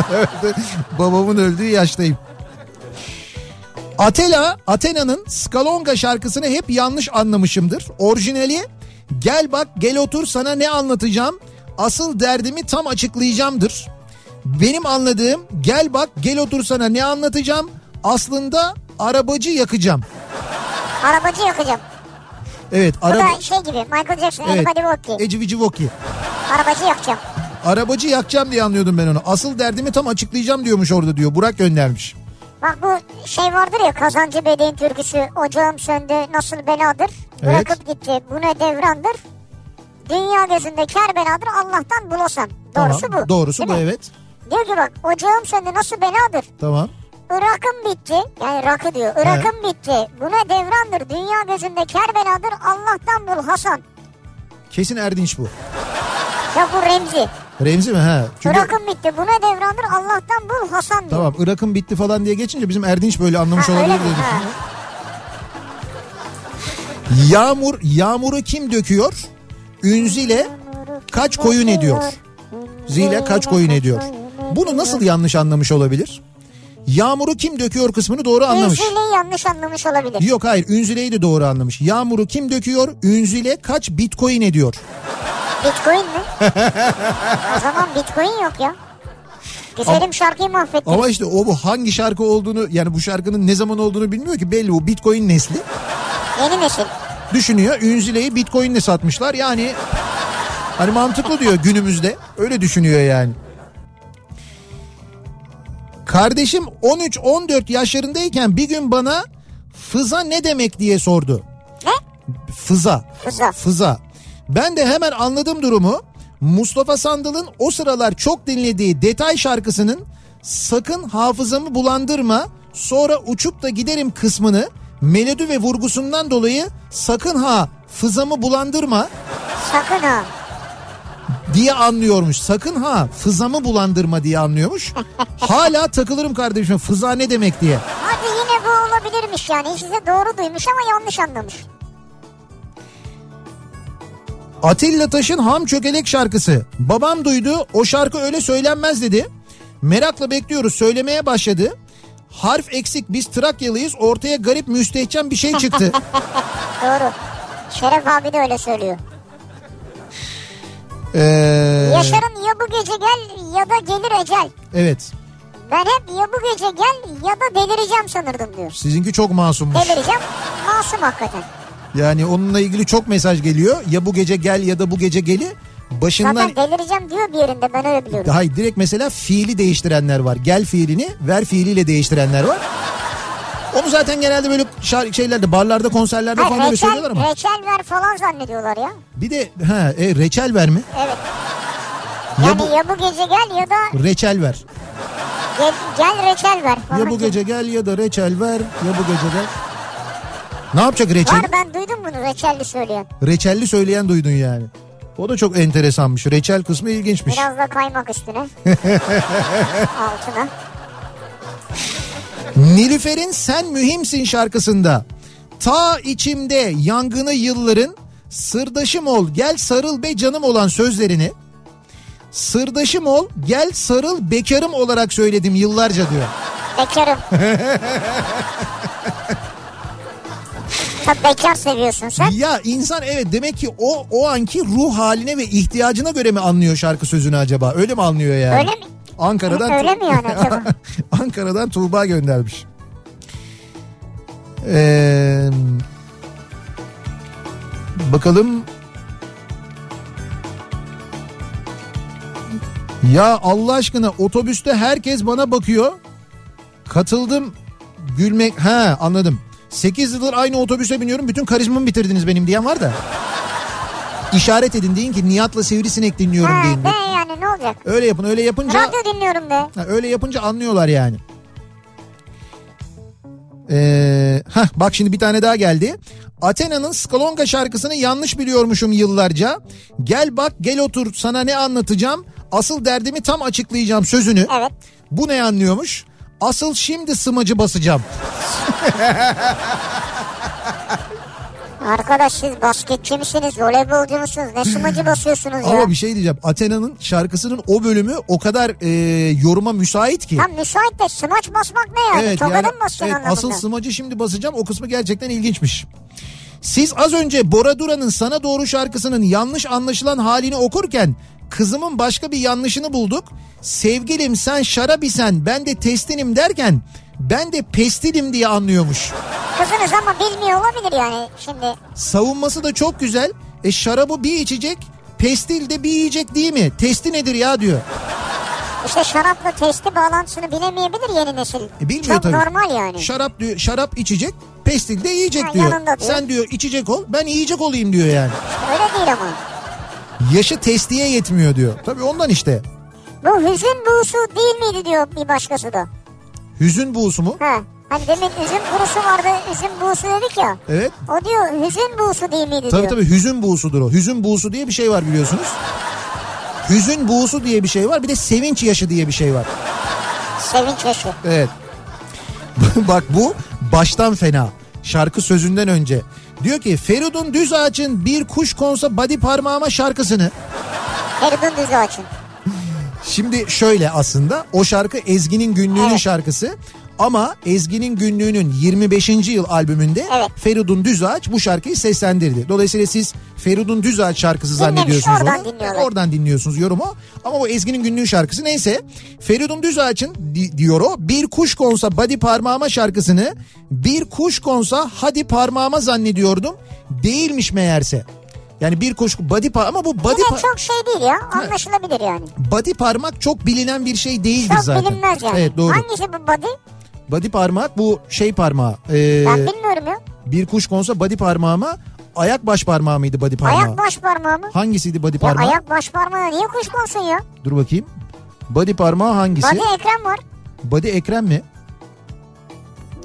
S1: babamın öldüğü yaştayım. Atela, Athena'nın Skalonga şarkısını hep yanlış anlamışımdır. Orijinali gel bak gel otur sana ne anlatacağım. Asıl derdimi tam açıklayacağımdır. Benim anladığım gel bak gel otur sana ne anlatacağım. Aslında arabacı yakacağım.
S2: Arabacı yakacağım.
S1: Evet
S2: Bu
S1: araba...
S2: da şey gibi Michael Jackson,
S1: Evet. E-
S2: Everybody Walk Diye.
S1: Eci vici voki.
S2: Arabacı yakacağım.
S1: Arabacı yakacağım diye anlıyordum ben onu. Asıl derdimi tam açıklayacağım diyormuş orada diyor. Burak göndermiş.
S2: Bak bu şey vardır ya Kazancı Bey'in türküsü. Ocağım söndü nasıl beladır.
S1: Evet.
S2: Bırakıp gitti bu ne devrandır. Dünya gözünde kar beladır Allah'tan bulasam. Doğrusu
S1: Tamam.
S2: bu.
S1: Doğrusu
S2: değil
S1: bu
S2: mi?
S1: evet.
S2: Diyor ki bak ocağım söndü nasıl beladır.
S1: Tamam.
S2: Irak'ım bitti. Yani rakı diyor. Irak'ım bitti. Bu ne devrandır. Dünya gözünde kar beladır Allah'tan bul Hasan.
S1: Kesin Erdinç bu.
S2: Ya bu Remzi.
S1: Remzi mi? Ha. Çünkü
S2: Irak'ım bitti. Bu ne devrandır Allah'tan bul Hasan diyor.
S1: tamam Irak'ın bitti falan diye geçince bizim Erdinç böyle anlamış
S2: Ha, öyle
S1: olabilir diye
S2: mi? Ha.
S1: düşünüyorum. Yağmur, yağmuru kim döküyor? Ünzile kaç koyun ediyor? Zile kaç koyun ediyor? Bunu nasıl yanlış anlamış olabilir? Yağmuru kim döküyor kısmını doğru anlamış.
S2: Remzi'yi yanlış anlamış olabilir.
S1: Yok hayır Ünzile'yi de doğru anlamış. Yağmuru kim döküyor? Ünzile kaç bitcoin ediyor?
S2: Bitcoin mi? o zaman Bitcoin yok ya. Güzelim şarkıyı mahvettin.
S1: Ama işte o bu hangi şarkı olduğunu yani bu şarkının ne zaman olduğunu bilmiyor ki belli bu bitcoin nesli.
S2: Yeni nesil.
S1: Düşünüyor Ünzile'yi bitcoinle satmışlar yani hani mantıklı diyor günümüzde öyle düşünüyor yani. Kardeşim 13-14 yaşlarındayken bir gün bana fıza ne demek diye sordu.
S2: Ne?
S1: Fıza.
S2: Fıza.
S1: Fıza. Ben de hemen anladım durumu. Mustafa Sandal'ın o sıralar çok dinlediği detay şarkısının sakın hafızamı bulandırma sonra uçup da giderim kısmını melodi ve vurgusundan dolayı sakın ha fızamı bulandırma
S2: Sakın ha.
S1: diye anlıyormuş. Sakın ha fızamı bulandırma diye anlıyormuş. Hala takılırım kardeşim fıza ne demek diye.
S2: Hadi yine bu olabilirmiş yani. Size doğru duymuş ama yanlış anlamış.
S1: Atilla Taş'ın Ham Çökelek şarkısı. Babam duydu o şarkı öyle söylenmez dedi. Merakla bekliyoruz söylemeye başladı. Harf eksik biz Trakyalıyız ortaya garip müstehcen bir şey çıktı.
S2: Doğru. Şeref abi de öyle söylüyor.
S1: Ee,
S2: Yaşar'ın ya bu gece gel ya da gelir ecel.
S1: evet
S2: Ben hep ya bu gece gel ya da delireceğim sanırdım diyor.
S1: sizinki çok masummuş.
S2: Delireceğim masum hakikaten.
S1: Yani onunla ilgili çok mesaj geliyor. Ya bu gece gel ya da bu gece geli. Başından
S2: Zaten delireceğim diyor bir yerinde ben öyle biliyorum.
S1: Hayır direkt mesela fiili değiştirenler var. Gel fiilini ver fiiliyle değiştirenler var. Onu zaten genelde böyle şar- şeylerde barlarda konserlerde falan
S2: Hayır
S1: böyle söylüyorlar şey ama.
S2: reçel, reçel ver falan zannediyorlar ya.
S1: Bir de ha, e, reçel ver mi?
S2: Evet.
S1: Ya
S2: Yani
S1: bu-
S2: ya bu gece gel ya da
S1: Reçel ver.
S2: gel, gel reçel ver. falan
S1: Ya bu
S2: gibi.
S1: gece gel ya da reçel ver. Ya bu gece gel. Ne yapacak reçel?
S2: Var ben duydum bunu reçelli söyleyen.
S1: Reçelli söyleyen duydun yani. O da çok enteresanmış. Reçel kısmı ilginçmiş.
S2: Biraz da kaymak üstüne. Altına.
S1: Nilüfer'in Sen Mühimsin şarkısında ta içimde yangını yılların sırdaşım ol gel sarıl be canım olan sözlerini sırdaşım ol gel sarıl bekarım olarak söyledim yıllarca diyor.
S2: Bekarım. Tabii bekar seviyorsun sen.
S1: Ya insan evet demek ki o o anki ruh haline ve ihtiyacına göre mi anlıyor şarkı sözünü acaba? Öyle mi anlıyor yani?
S2: Öyle mi?
S1: Ankara'dan
S2: Öyle mi yani acaba?
S1: Ankara'dan Tuğba göndermiş. Ee, bakalım. Ya Allah aşkına otobüste herkes bana bakıyor. Katıldım gülmek ha anladım. 8 yıldır aynı otobüse biniyorum bütün karizmamı bitirdiniz benim diyen var da. İşaret edin deyin ki Nihat'la Sivrisinek dinliyorum
S2: Ha,
S1: deyin.
S2: ne yani ne olacak?
S1: Öyle yapın öyle yapınca...
S2: Radyo dinliyorum de.
S1: Ha, öyle yapınca anlıyorlar yani. Ee, hah, bak şimdi bir tane daha geldi. Athena'nın Skalonga şarkısını yanlış biliyormuşum yıllarca. Gel bak gel otur sana ne anlatacağım. Asıl derdimi tam açıklayacağım sözünü.
S2: Evet.
S1: Bu ne anlıyormuş? Asıl şimdi sımacı basacağım.
S2: Arkadaş siz basketçi misiniz, voleybolcu musunuz, ne sımacı basıyorsunuz ya?
S1: Ama bir şey diyeceğim. Athena'nın şarkısının o bölümü o kadar e, yoruma müsait ki.
S2: Tam müsait de smaç basmak ne yani? Evet, Tokadın mı basacaksın
S1: evet,
S2: anlamında?
S1: asıl sımacı şimdi basacağım o kısmı gerçekten ilginçmiş. Siz az önce Bora Dura'nın Sana Doğru şarkısının yanlış anlaşılan halini okurken kızımın başka bir yanlışını bulduk. Sevgilim sen şarap isen ben de testinim derken ben de pestilim diye anlıyormuş.
S2: Kızınız ama bilmiyor olabilir yani şimdi.
S1: Savunması da çok güzel. E şarabı bir içecek pestil de bir yiyecek değil mi? Testi nedir ya diyor.
S2: İşte şarapla testi bağlantısını bilemeyebilir yeni nesil.
S1: E bilmiyor
S2: Çok
S1: tabii.
S2: normal yani.
S1: Şarap diyor, şarap içecek, pestil de yiyecek
S2: Ha,
S1: diyor.
S2: yanında diyor.
S1: Sen diyor içecek ol, ben yiyecek olayım diyor yani.
S2: Öyle değil ama.
S1: Yaşı testiye yetmiyor diyor. Tabii ondan işte.
S2: Bu hüzün buğusu değil miydi diyor bir başkası da.
S1: Hüzün buğusu mu?
S2: Ha. Hani demin üzüm burusu vardı, üzüm buğusu dedik ya.
S1: Evet.
S2: O diyor hüzün buğusu değil miydi
S1: Tabii
S2: diyor.
S1: tabii hüzün buğusudur o. Hüzün buğusu diye bir şey var biliyorsunuz. Hüzün buğusu diye bir şey var. Bir de sevinç yaşı diye bir şey var.
S2: Sevinç yaşı.
S1: Evet. Bak bu baştan fena. Şarkı sözünden önce. Diyor ki Feridun Düz Ağaç'ın Bir Kuş Konsa Body Parmağıma şarkısını
S2: Feridun Düzü açın.
S1: Şimdi şöyle aslında o şarkı Ezgi'nin günlüğünün
S2: Evet.
S1: şarkısı ama Ezgi'nin günlüğünün 25. yıl albümünde
S2: Evet.
S1: Feridun Düzağaç bu şarkıyı seslendirdi. Dolayısıyla siz Feridun Düzağaç şarkısı
S2: Dinlemiş,
S1: zannediyorsunuz
S2: oradan
S1: onu.
S2: dinliyorlar.
S1: Oradan dinliyorsunuz yorumu ama bu Ezgi'nin günlüğü şarkısı neyse Feridun Düzağaç'ın di- diyor o bir kuş konsa body parmağıma şarkısını bir kuş konsa hadi parmağıma zannediyordum değilmiş meğerse. Yani bir kuş body par ama bu body
S2: Yine
S1: par-
S2: çok şey değil ya. Anlaşılabilir yani.
S1: Body parmak çok bilinen bir şey değildir
S2: Çok
S1: zaten.
S2: bilinmez yani.
S1: Evet doğru.
S2: Hangisi bu body?
S1: Body parmak bu şey parmağı. ee,
S2: Ben bilmiyorum ya.
S1: bir kuş konsa body parmağıma ayak baş parmağı mıydı body parmağı?
S2: Ayak baş parmağı mı?
S1: Hangisiydi body
S2: Ya
S1: parmağı?
S2: ayak baş parmağı niye kuş konsun ya?
S1: Dur bakayım. Body parmağı hangisi?
S2: Body
S1: Body,
S2: ekran var.
S1: ekrem mi?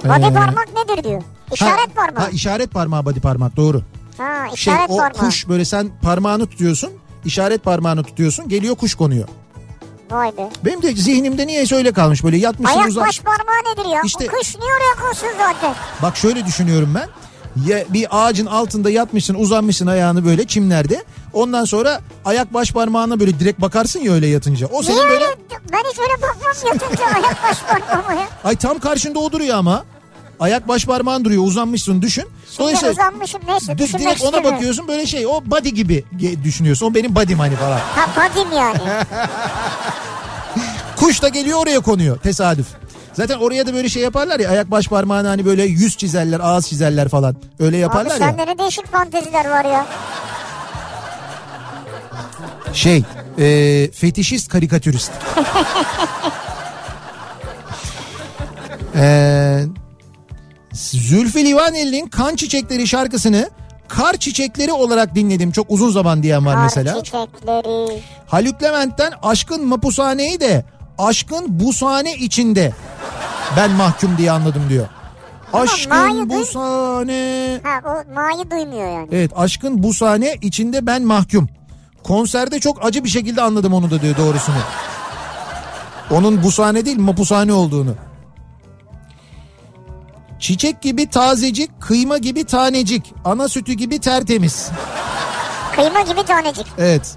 S2: Body
S1: Ee,
S2: parmak nedir diyor. İşaret
S1: ha,
S2: parmağı.
S1: Ha işaret parmağı body parmak doğru.
S2: Ha, işaret
S1: Şey o
S2: parmağı.
S1: kuş böyle sen parmağını tutuyorsun. işaret parmağını tutuyorsun. Geliyor kuş konuyor.
S2: Vay be.
S1: Benim de zihnimde niyeyse öyle kalmış böyle yatmışsın
S2: Ayak
S1: uzak.
S2: baş parmağı nedir ya?
S1: İşte-
S2: O kuş niye oraya konsun zaten?
S1: Bak şöyle düşünüyorum ben. Ya bir ağacın altında yatmışsın uzanmışsın ayağını böyle çimlerde. Ondan sonra ayak baş parmağına böyle direkt bakarsın ya öyle yatınca. O
S2: Niye
S1: senin böyle
S2: öyle? Ben hiç öyle bakmam yatınca ayak baş parmağı ya.
S1: ay tam karşında o duruyor ama. Ayak baş parmağın duruyor uzanmışsın düşün.
S2: Şimdi
S1: Dolayısıyla
S2: uzanmışım neyse
S1: di-
S2: düşünmek
S1: direkt ona
S2: istemiyorum.
S1: bakıyorsun böyle şey o body gibi ge- düşünüyorsun. O benim body'm hani falan.
S2: Ha body'm yani.
S1: Kuş da geliyor oraya konuyor tesadüf. Zaten oraya da böyle şey yaparlar ya ayak baş parmağını hani böyle yüz çizerler ağız çizerler falan. Öyle
S2: Abi
S1: yaparlar ya.
S2: sende ne değişik fanteziler var ya.
S1: Şey, e, fetişist karikatürist. e, Zülfü Livaneli'nin Kan Çiçekleri şarkısını kar çiçekleri olarak dinledim. Çok uzun zaman diyen var
S2: Kar
S1: mesela.
S2: çiçekleri.
S1: Haluk Levent'ten Aşkın Mapushane'yi de Aşkın Busane içinde ben mahkum diye anladım diyor.
S2: mavi
S1: Aşkın
S2: değil.
S1: Busane.
S2: Ha o ma'yı duymuyor yani.
S1: Evet aşkın bu sahne içinde ben mahkum. Konserde çok acı bir şekilde anladım onu da diyor doğrusunu. Onun bu sahne değil mapu sahne olduğunu. Çiçek gibi tazecik, kıyma gibi tanecik, ana sütü gibi tertemiz.
S2: Kıyma gibi tanecik.
S1: Evet.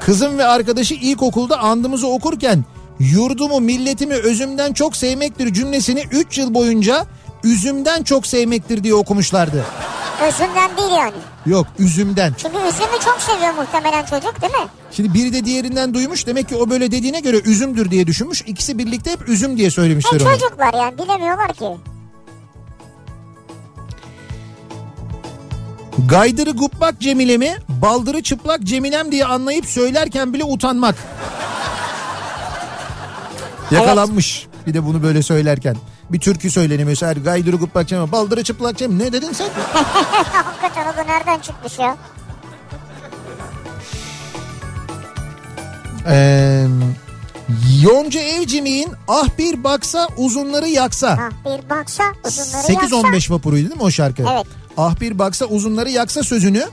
S1: Kızım ve arkadaşı ilkokulda andımızı okurken yurdumu milletimi özümden çok sevmektir cümlesini 3 yıl boyunca üzümden çok sevmektir diye okumuşlardı.
S2: Özünden değil yani.
S1: Yok üzümden.
S2: Çünkü üzümü çok seviyor muhtemelen çocuk değil mi?
S1: Şimdi biri de diğerinden duymuş. Demek ki o böyle dediğine göre üzümdür diye düşünmüş. İkisi birlikte hep üzüm diye
S2: E,
S1: söylemişler onu.
S2: çocuklar yani bilemiyorlar ki.
S1: Gaydırı gubbak Cemile'mi, baldırı çıplak Cemilem diye anlayıp söylerken bile utanmak. Yakalanmış. Bir de bunu böyle söylerken. bir türkü söylenemiyor. Her gaydırı guplakçam baldırı çıplakçam ne dedin sen?
S2: Hakikaten o da nereden çıkmış ya?
S1: Ee, Yonca Evcimik'in ah bir baksa uzunları yaksa.
S2: Ha, bir baksa uzunları yaksa.
S1: 8-15 vapuruydu değil mi o şarkı?
S2: Evet.
S1: Ah bir baksa uzunları yaksa sözünü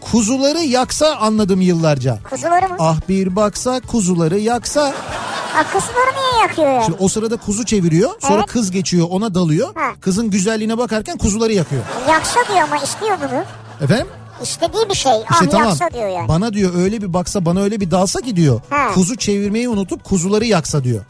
S1: kuzuları yaksa anladım yıllarca.
S2: Kuzuları mı?
S1: Ah bir baksa kuzuları yaksa.
S2: Ha, kuzuları niye yakıyor ya?
S1: Şimdi o sırada kuzu çeviriyor. Sonra
S2: Evet.
S1: kız geçiyor ona dalıyor.
S2: Ha.
S1: Kızın güzelliğine bakarken kuzuları yakıyor.
S2: Yaksa diyor ama istiyor bunu.
S1: Efendim?
S2: İstediği bir şey.
S1: İşte
S2: ah
S1: tamam.
S2: yaksa diyor yani.
S1: Bana diyor öyle bir baksa bana öyle bir dalsa ki diyor.
S2: Ha.
S1: Kuzu çevirmeyi unutup kuzuları yaksa diyor.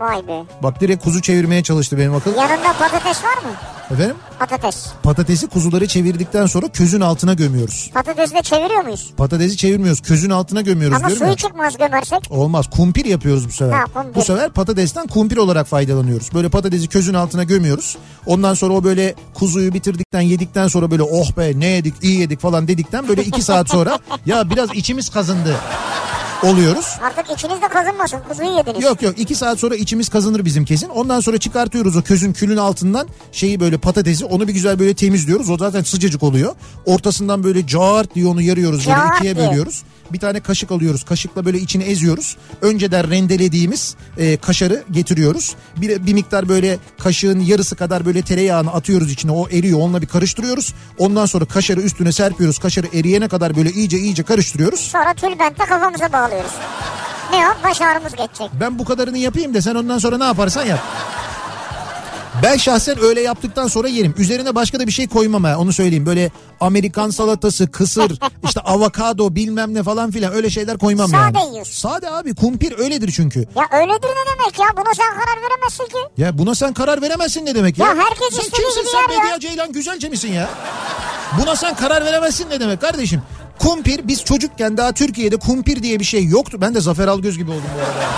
S2: Vay be.
S1: Bak direkt kuzu çevirmeye çalıştı benim akıl.
S2: Yanında patates var mı?
S1: Efendim?
S2: Patates.
S1: Patatesi kuzuları çevirdikten sonra közün altına gömüyoruz.
S2: Patatesi de çeviriyor muyuz?
S1: Patatesi çevirmiyoruz. Közün altına gömüyoruz
S2: Ama
S1: diyorum
S2: suyu
S1: ya.
S2: çıkmaz gömersek.
S1: Olmaz. Kumpir yapıyoruz bu sefer.
S2: Ha, kumpir.
S1: Bu sefer patatesten kumpir olarak faydalanıyoruz. Böyle patatesi közün altına gömüyoruz. Ondan sonra o böyle kuzuyu bitirdikten yedikten sonra böyle oh be ne yedik iyi yedik falan dedikten böyle iki saat sonra ya biraz içimiz kazındı oluyoruz.
S2: Artık içiniz de kazınmasın. Kuzuyu yediniz.
S1: Yok yok iki saat sonra içimiz kazınır bizim kesin. Ondan sonra çıkartıyoruz o közün külün altından şeyi böyle patatesi onu bir güzel böyle temizliyoruz. O zaten sıcacık oluyor. Ortasından böyle cart diye onu yarıyoruz böyle
S2: Cağırt
S1: ikiye
S2: diye.
S1: bölüyoruz. Bir tane kaşık alıyoruz. Kaşıkla böyle içini eziyoruz. Önceden rendelediğimiz e, kaşarı getiriyoruz. Bir, bir miktar böyle kaşığın yarısı kadar böyle tereyağını atıyoruz içine. O eriyor. Onunla bir karıştırıyoruz. Ondan sonra kaşarı üstüne serpiyoruz. Kaşarı eriyene kadar böyle iyice iyice karıştırıyoruz.
S2: Sonra tülbentle kafamıza bağlıyoruz. Ne o? Baş ağrımız geçecek.
S1: Ben bu kadarını yapayım da sen ondan sonra ne yaparsan yap. Ben şahsen öyle yaptıktan sonra yerim. Üzerine başka da bir şey koymam ha onu söyleyeyim. Böyle Amerikan salatası, kısır, işte avokado bilmem ne falan filan öyle şeyler koymam yani.
S2: Sade yiyorsun.
S1: Sade abi kumpir öyledir çünkü.
S2: Ya öyledir ne demek ya? Buna sen karar veremezsin ki.
S1: Ya buna sen karar veremezsin ne demek ya?
S2: Ya herkes
S1: sen
S2: istediği
S1: kimsin
S2: gibi
S1: sen
S2: yer ya.
S1: Bediye Ceylan Güzelce misin ya? Buna sen karar veremezsin ne demek kardeşim? Kumpir biz çocukken daha Türkiye'de kumpir diye bir şey yoktu. Ben de Zafer Algöz gibi oldum bu arada.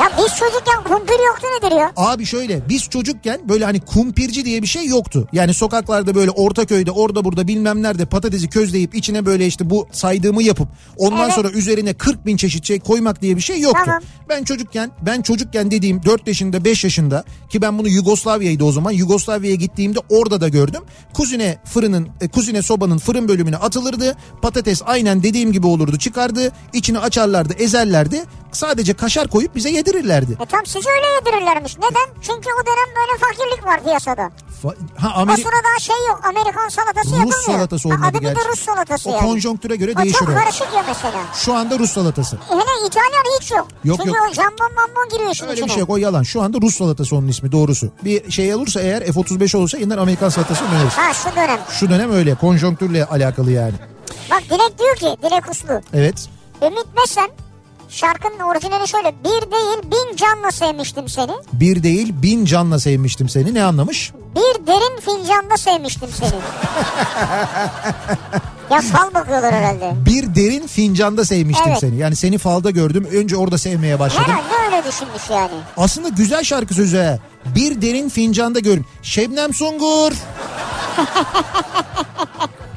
S2: Ya biz çocukken kumpir yoktu nedir ya?
S1: Abi şöyle biz çocukken böyle hani kumpirci diye bir şey yoktu. Yani sokaklarda böyle Ortaköy'de orada burada bilmem nerede patatesi közleyip içine böyle işte bu saydığımı yapıp ondan
S2: Evet.
S1: sonra üzerine 40 bin çeşit şey koymak diye bir şey yoktu.
S2: Tamam.
S1: Ben çocukken ben çocukken dediğim 4 yaşında 5 yaşında ki ben bunu Yugoslavya'ydı o zaman Yugoslavya'ya gittiğimde orada da gördüm. Kuzine fırının e, kuzine sobanın fırın bölümüne atılırdı. Patates aynen dediğim gibi olurdu çıkardı. içini açarlardı ezerlerdi. Sadece kaşar koyup bize yedirirlerdi.
S2: E tam sizi öyle yedirirlermiş. Neden? Çünkü o dönem böyle fakirlik var piyasada.
S1: Fa- Ha,
S2: O
S1: Ameri-
S2: sırada şey yok. Amerikan salatası yapılmıyor.
S1: Rus salatası
S2: Ha,
S1: onun adı
S2: adı bir de
S1: gerçi.
S2: Rus salatası
S1: O
S2: yani.
S1: konjonktüre göre
S2: O
S1: değişir
S2: çok
S1: o.
S2: karışık ya mesela.
S1: Şu anda Rus salatası.
S2: E Hele İtalyan hiç yok.
S1: Yok,
S2: Çünkü
S1: yok.
S2: o jambon mambon giriyor işin
S1: Öyle bir
S2: içine.
S1: şey yok o yalan. Şu anda Rus salatası onun ismi doğrusu. Bir şey olursa eğer F-35 olursa yeniden Amerikan salatası öneririz.
S2: Ha şu dönem.
S1: Şu dönem öyle konjonktürle alakalı yani.
S2: Bak Dilek diyor ki Dilek Uslu.
S1: Evet.
S2: Ümit Besen şarkının orijinali şöyle. Bir değil bin canla sevmiştim seni.
S1: Bir değil bin canla sevmiştim seni. Ne anlamış?
S2: Bir derin fincanda sevmiştim seni. ya fal bakıyorlar herhalde.
S1: Bir derin fincanda sevmiştim
S2: Evet.
S1: seni. Yani seni falda gördüm. Önce orada sevmeye başladım.
S2: Herhalde öyle düşünmüş yani.
S1: Aslında güzel şarkı sözü he. Bir derin fincanda görün. Şebnem Sungur.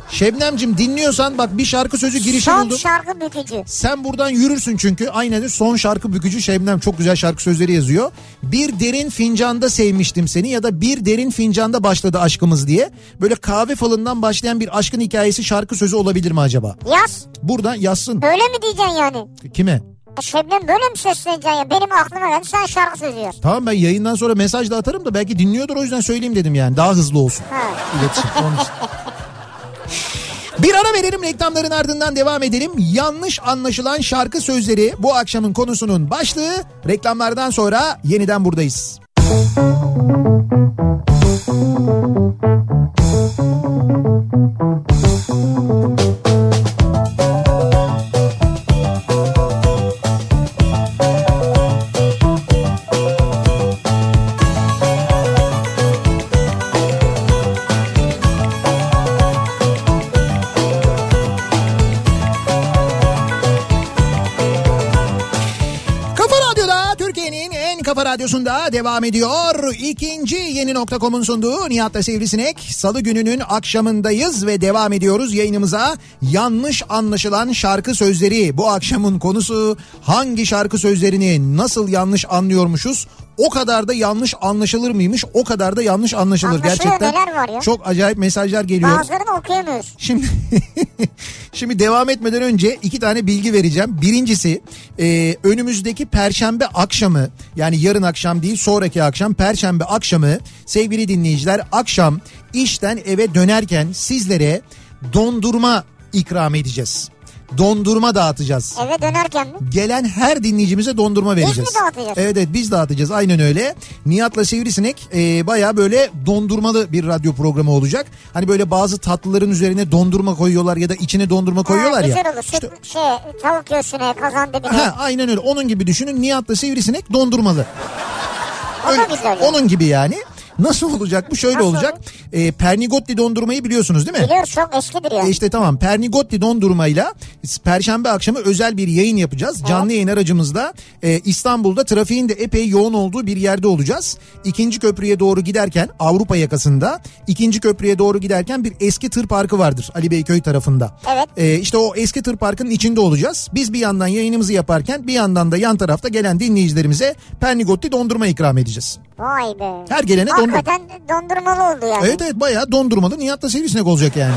S1: Şebnemcim dinliyorsan bak bir şarkı sözü girişi
S2: Son
S1: buldum.
S2: şarkı bükücü.
S1: Sen buradan yürürsün çünkü. Aynen de son şarkı bükücü Şebnem çok güzel şarkı sözleri yazıyor. Bir derin fincanda sevmiştim seni ya da bir derin fincanda başladı aşkımız diye. Böyle kahve falından başlayan bir aşkın hikayesi şarkı sözü olabilir mi acaba?
S2: Yaz.
S1: Buradan yazsın.
S2: Öyle mi diyeceksin yani?
S1: Kime?
S2: E Şebnem böyle mi sesleneceksin ya? Benim aklıma geldi sen şarkı sözü yaz.
S1: Tamam ben yayından sonra mesaj da atarım da belki dinliyordur o yüzden söyleyeyim dedim yani. Daha hızlı olsun.
S2: Ha.
S1: İletişim. Onun için. Bir ara verelim reklamların ardından devam edelim. Yanlış anlaşılan şarkı sözleri bu akşamın konusunun başlığı. Reklamlardan sonra yeniden buradayız. Kafa Radyo'da Türkiye'nin en kafa radyosunda devam ediyor. İkinci yeni nokta.com'un sunduğu Nihat'la Sivrisinek. Salı gününün akşamındayız ve devam ediyoruz yayınımıza. Yanlış anlaşılan şarkı sözleri bu akşamın konusu. Hangi şarkı sözlerini nasıl yanlış anlıyormuşuz o kadar da yanlış anlaşılır mıymış? O kadar da yanlış anlaşılır
S2: Anlaşılıyor,
S1: gerçekten.
S2: neler var ya?
S1: Çok acayip mesajlar geliyor.
S2: Bazılarını okuyamıyoruz.
S1: Şimdi şimdi devam etmeden önce iki tane bilgi vereceğim. Birincisi e, önümüzdeki perşembe akşamı yani yarın akşam değil sonraki akşam perşembe akşamı sevgili dinleyiciler akşam işten eve dönerken sizlere dondurma ikram edeceğiz. Dondurma dağıtacağız
S2: Eve dönerken mi?
S1: gelen her dinleyicimize dondurma vereceğiz.
S2: mi dağıtacağız?
S1: Evet evet biz dağıtacağız aynen öyle. Nihat'la Sivrisinek e, baya böyle dondurmalı bir radyo programı olacak. Hani böyle bazı tatlıların üzerine dondurma koyuyorlar ya da içine dondurma koyuyorlar
S2: ha,
S1: ya.
S2: güzel olur. Süt, şey, tavuk göğsüne, kazan dibine.
S1: Ha, aynen öyle onun gibi düşünün Nihat'la Sivrisinek dondurmalı.
S2: O da
S1: Öyle-
S2: güzel. olur.
S1: onun gibi yani. Nasıl olacak bu? Şöyle
S2: Nasıl
S1: olacak. E, Pernigotli dondurmayı biliyorsunuz değil mi?
S2: Biliyoruz çok eskidir ya.
S1: E işte tamam Pernigotti dondurmayla perşembe akşamı özel bir yayın yapacağız. Canlı yayın aracımızda e, İstanbul'da trafiğin de epey yoğun olduğu bir yerde olacağız. İkinci köprüye doğru giderken Avrupa yakasında ikinci köprüye doğru giderken bir eski tır parkı vardır Ali Beyköy tarafında.
S2: Evet.
S1: E, işte o eski tır parkının içinde olacağız. Biz bir yandan yayınımızı yaparken bir yandan da yan tarafta gelen dinleyicilerimize Pernigotti dondurma ikram edeceğiz.
S2: Vay be.
S1: Her gelene dondurma.
S2: Hakikaten dondurmalı oldu yani.
S1: Evet evet bayağı dondurmalı Nihat'la sivrisinek olacak yani.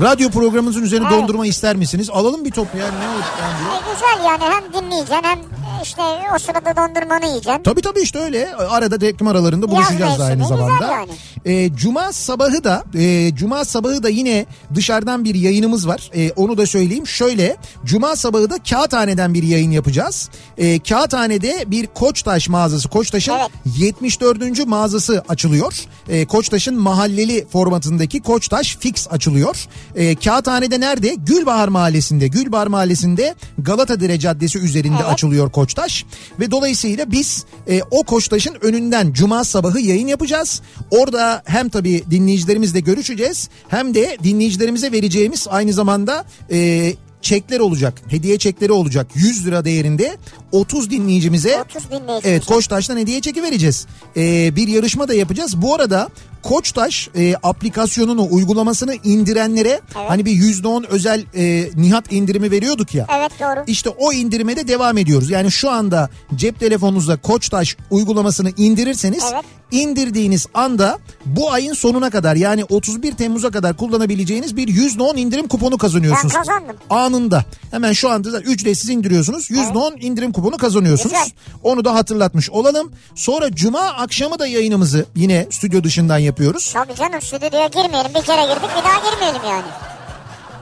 S1: Radyo programımızın üzerine dondurma ister misiniz? Alalım bir top yani ne olur yani diye.
S2: E, güzel yani hem dinleyeceksin hem e, işte o sırada dondurmanı yiyeceksin.
S1: Tabii tabii işte öyle. Arada reklam aralarında buluşacağız da
S2: mevsimi,
S1: aynı
S2: güzel
S1: zamanda.
S2: yani.
S1: Ee, Cuma sabahı da e, Cuma sabahı da yine dışarıdan bir yayınımız var. E, onu da söyleyeyim. Şöyle Cuma sabahı da Kağıthane'den bir yayın yapacağız. E, Kağıthane'de bir Koçtaş mağazası. Koçtaş'ın 74. mağazası açılıyor. E, Koçtaş'ın mahalleli formatındaki Koçtaş Fix açılıyor. E, Kağıthane'de nerede? Gülbahar Mahallesi'nde. Gülbahar Mahallesi'nde Galata Dere Caddesi üzerinde açılıyor Koçtaş. Ve dolayısıyla biz e, o Koçtaş'ın önünden Cuma sabahı yayın yapacağız. Orada hem tabii dinleyicilerimizle görüşeceğiz hem de dinleyicilerimize vereceğimiz aynı zamanda e, çekler olacak. Hediye çekleri olacak. 100 lira değerinde 30 dinleyicimize
S2: 30 dinleyicimiz.
S1: Evet Koçtaş'tan hediye çeki vereceğiz. Ee, bir yarışma da yapacağız. Bu arada Koçtaş e, aplikasyonunu uygulamasını indirenlere hani bir %10 özel e, Nihat indirimi veriyorduk ya.
S2: Evet, doğru.
S1: İşte o indirime de devam ediyoruz. Yani şu anda cep telefonunuzda Koçtaş uygulamasını indirirseniz
S2: Evet.
S1: indirdiğiniz anda bu ayın sonuna kadar yani 31 Temmuz'a kadar kullanabileceğiniz bir %10 indirim kuponu kazanıyorsunuz.
S2: Ben kazandım.
S1: Anında. Hemen şu anda da ücretsiz indiriyorsunuz. %10 indirim kuponu kazanıyorsunuz.
S2: Güzel.
S1: Onu da hatırlatmış olalım. Sonra cuma akşamı da yayınımızı yine stüdyo dışından yapıyoruz.
S2: Tabii canım stüdyoya girmeyelim. Bir kere girdik bir daha girmeyelim yani.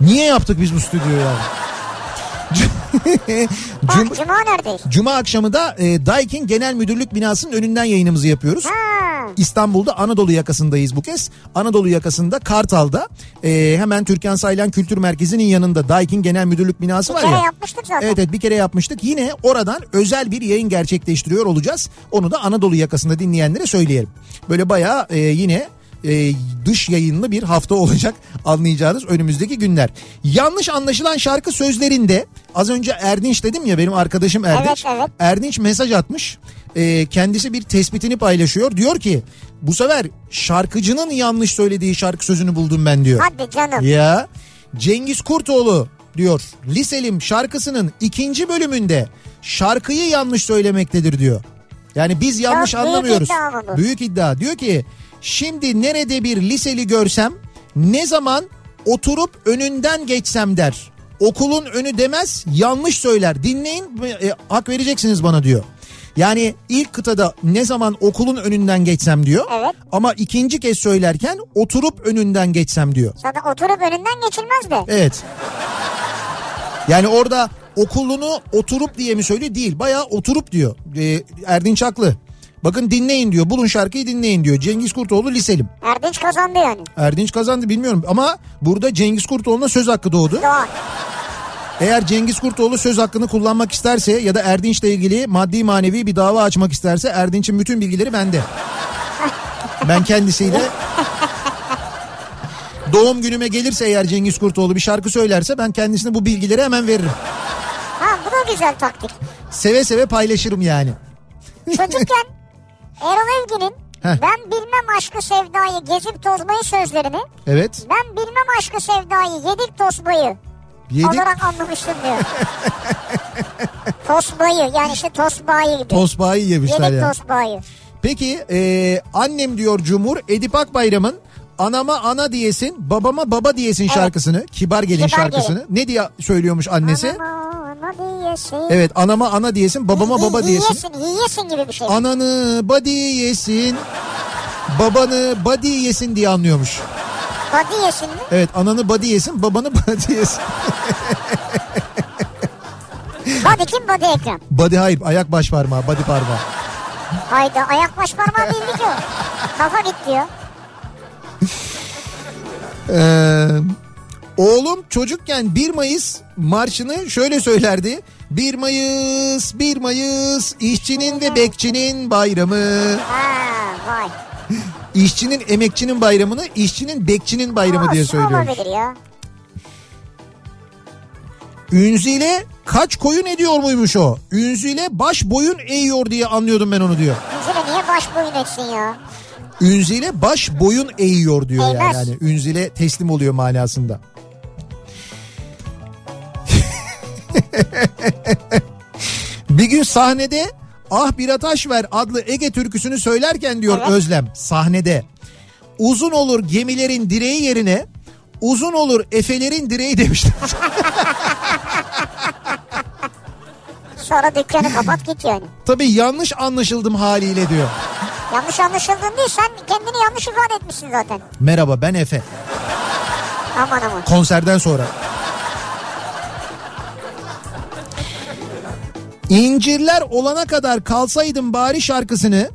S1: Niye yaptık biz bu stüdyoyu yani?
S2: Bak
S1: Cum-
S2: cuma neredeyiz?
S1: Cuma akşamı da e, Daikin Genel Müdürlük binasının önünden yayınımızı yapıyoruz.
S2: Ha.
S1: İstanbul'da Anadolu yakasındayız bu kez. Anadolu yakasında Kartal'da e, hemen Türkan Saylan Kültür Merkezi'nin yanında Daikin Genel Müdürlük binası
S2: Bir
S1: var
S2: kere
S1: ya.
S2: yapmıştık zaten.
S1: Evet evet bir kere yapmıştık. Yine oradan özel bir yayın gerçekleştiriyor olacağız. Onu da Anadolu yakasında dinleyenlere söyleyelim. Böyle bayağı e, yine e, dış yayınlı bir hafta olacak anlayacağınız önümüzdeki günler. Yanlış anlaşılan şarkı sözlerinde az önce Erdinç dedim ya benim arkadaşım Erdinç.
S2: Evet, evet.
S1: Erdinç mesaj atmış. E, kendisi bir tespitini paylaşıyor. Diyor ki bu sefer şarkıcının yanlış söylediği şarkı sözünü buldum ben diyor.
S2: Hadi canım.
S1: Ya Cengiz Kurtoğlu diyor. Liselim şarkısının ikinci bölümünde şarkıyı yanlış söylemektedir diyor. Yani biz yanlış
S2: büyük
S1: anlamıyoruz.
S2: iddia mı bu?
S1: Büyük iddia. Diyor ki şimdi nerede bir liseli görsem ne zaman oturup önünden geçsem der. Okulun önü demez yanlış söyler. Dinleyin e, hak vereceksiniz bana diyor. Yani ilk kıtada ne zaman okulun önünden geçsem diyor.
S2: Evet.
S1: Ama ikinci kez söylerken oturup önünden geçsem diyor.
S2: Zaten oturup önünden geçilmez de.
S1: Evet. Yani orada okulunu oturup diye mi söylüyor? Değil. Bayağı oturup diyor. Ee, Erdinç haklı. Bakın dinleyin diyor. Bulun şarkıyı dinleyin diyor. Cengiz Kurtoğlu liselim.
S2: Erdinç kazandı yani.
S1: Erdinç kazandı bilmiyorum ama burada Cengiz Kurtoğlu'na söz hakkı doğdu.
S2: Doğan.
S1: Eğer Cengiz Kurtoğlu söz hakkını kullanmak isterse ya da Erdinç'le ilgili maddi manevi bir dava açmak isterse Erdinç'in bütün bilgileri bende. Ben kendisiyle doğum günüme gelirse eğer Cengiz Kurtoğlu bir şarkı söylerse ben kendisine bu bilgileri hemen veririm.
S2: Ha bu da güzel taktik.
S1: Seve seve paylaşırım yani.
S2: Çocukken Erol Evgin'in
S1: Heh.
S2: ben bilmem aşkı sevdayı gezip tozmayı sözlerini
S1: Evet.
S2: ben bilmem aşkı sevdayı yedik tozbayı
S1: Yedik.
S2: olarak anlamıştım diyor. Tosbayı yani işte tosbayı gibi.
S1: Tosbağayı yemişler
S2: Yedek
S1: yani.
S2: tosbayı.
S1: Peki e, annem diyor Cumhur Edip Akbayram'ın Anama ana diyesin, babama baba diyesin şarkısını, Kibar Gelin
S2: Kibar
S1: şarkısını. Ne diye söylüyormuş annesi?
S2: Anama ana diyesin.
S1: Evet, anama ana diyesin, babama
S2: İ-
S1: baba
S2: i-
S1: diyesin.
S2: Yiyesin, yiyesin gibi bir şey.
S1: Ananı body yesin, babanı body yesin diye anlıyormuş.
S2: Body yesin mi?
S1: Evet, ananı body yesin, babanı body yesin.
S2: Body kim body ekran?
S1: Body hayır, ayak baş parmağı, body parmağı.
S2: Hayda ayak baş parmağı bildi ki o. Kafa git diyor.
S1: Ee, oğlum çocukken 1 Mayıs marşını şöyle söylerdi. 1 Mayıs, 1 Mayıs işçinin ve bekçinin bayramı.
S2: Ha vay.
S1: İşçinin emekçinin bayramını, işçinin bekçinin bayramı
S2: Olsun,
S1: diye söylüyor.
S2: Olabilir ya.
S1: Ünzile kaç koyun ediyor muymuş o? Ünzile baş boyun eğiyor diye anlıyordum ben onu diyor.
S2: Bizimle niye baş boyun etsin ya?
S1: Ünzile baş boyun eğiyor diyor yani.
S2: Eğmez.
S1: yani. Ünzile teslim oluyor manasında. bir gün sahnede Ah Bir Ataş Ver adlı Ege türküsünü söylerken diyor
S2: Evet.
S1: Özlem sahnede. Uzun olur gemilerin direği yerine uzun olur efelerin direği demişler.
S2: Sonra dükkanı kapat git yani.
S1: Tabii yanlış anlaşıldım haliyle diyor.
S2: Yanlış anlaşıldın değil sen kendini yanlış ifade etmişsin zaten.
S1: Merhaba ben Efe.
S2: Aman aman.
S1: konserden sonra. İncirler olana kadar kalsaydım bari şarkısını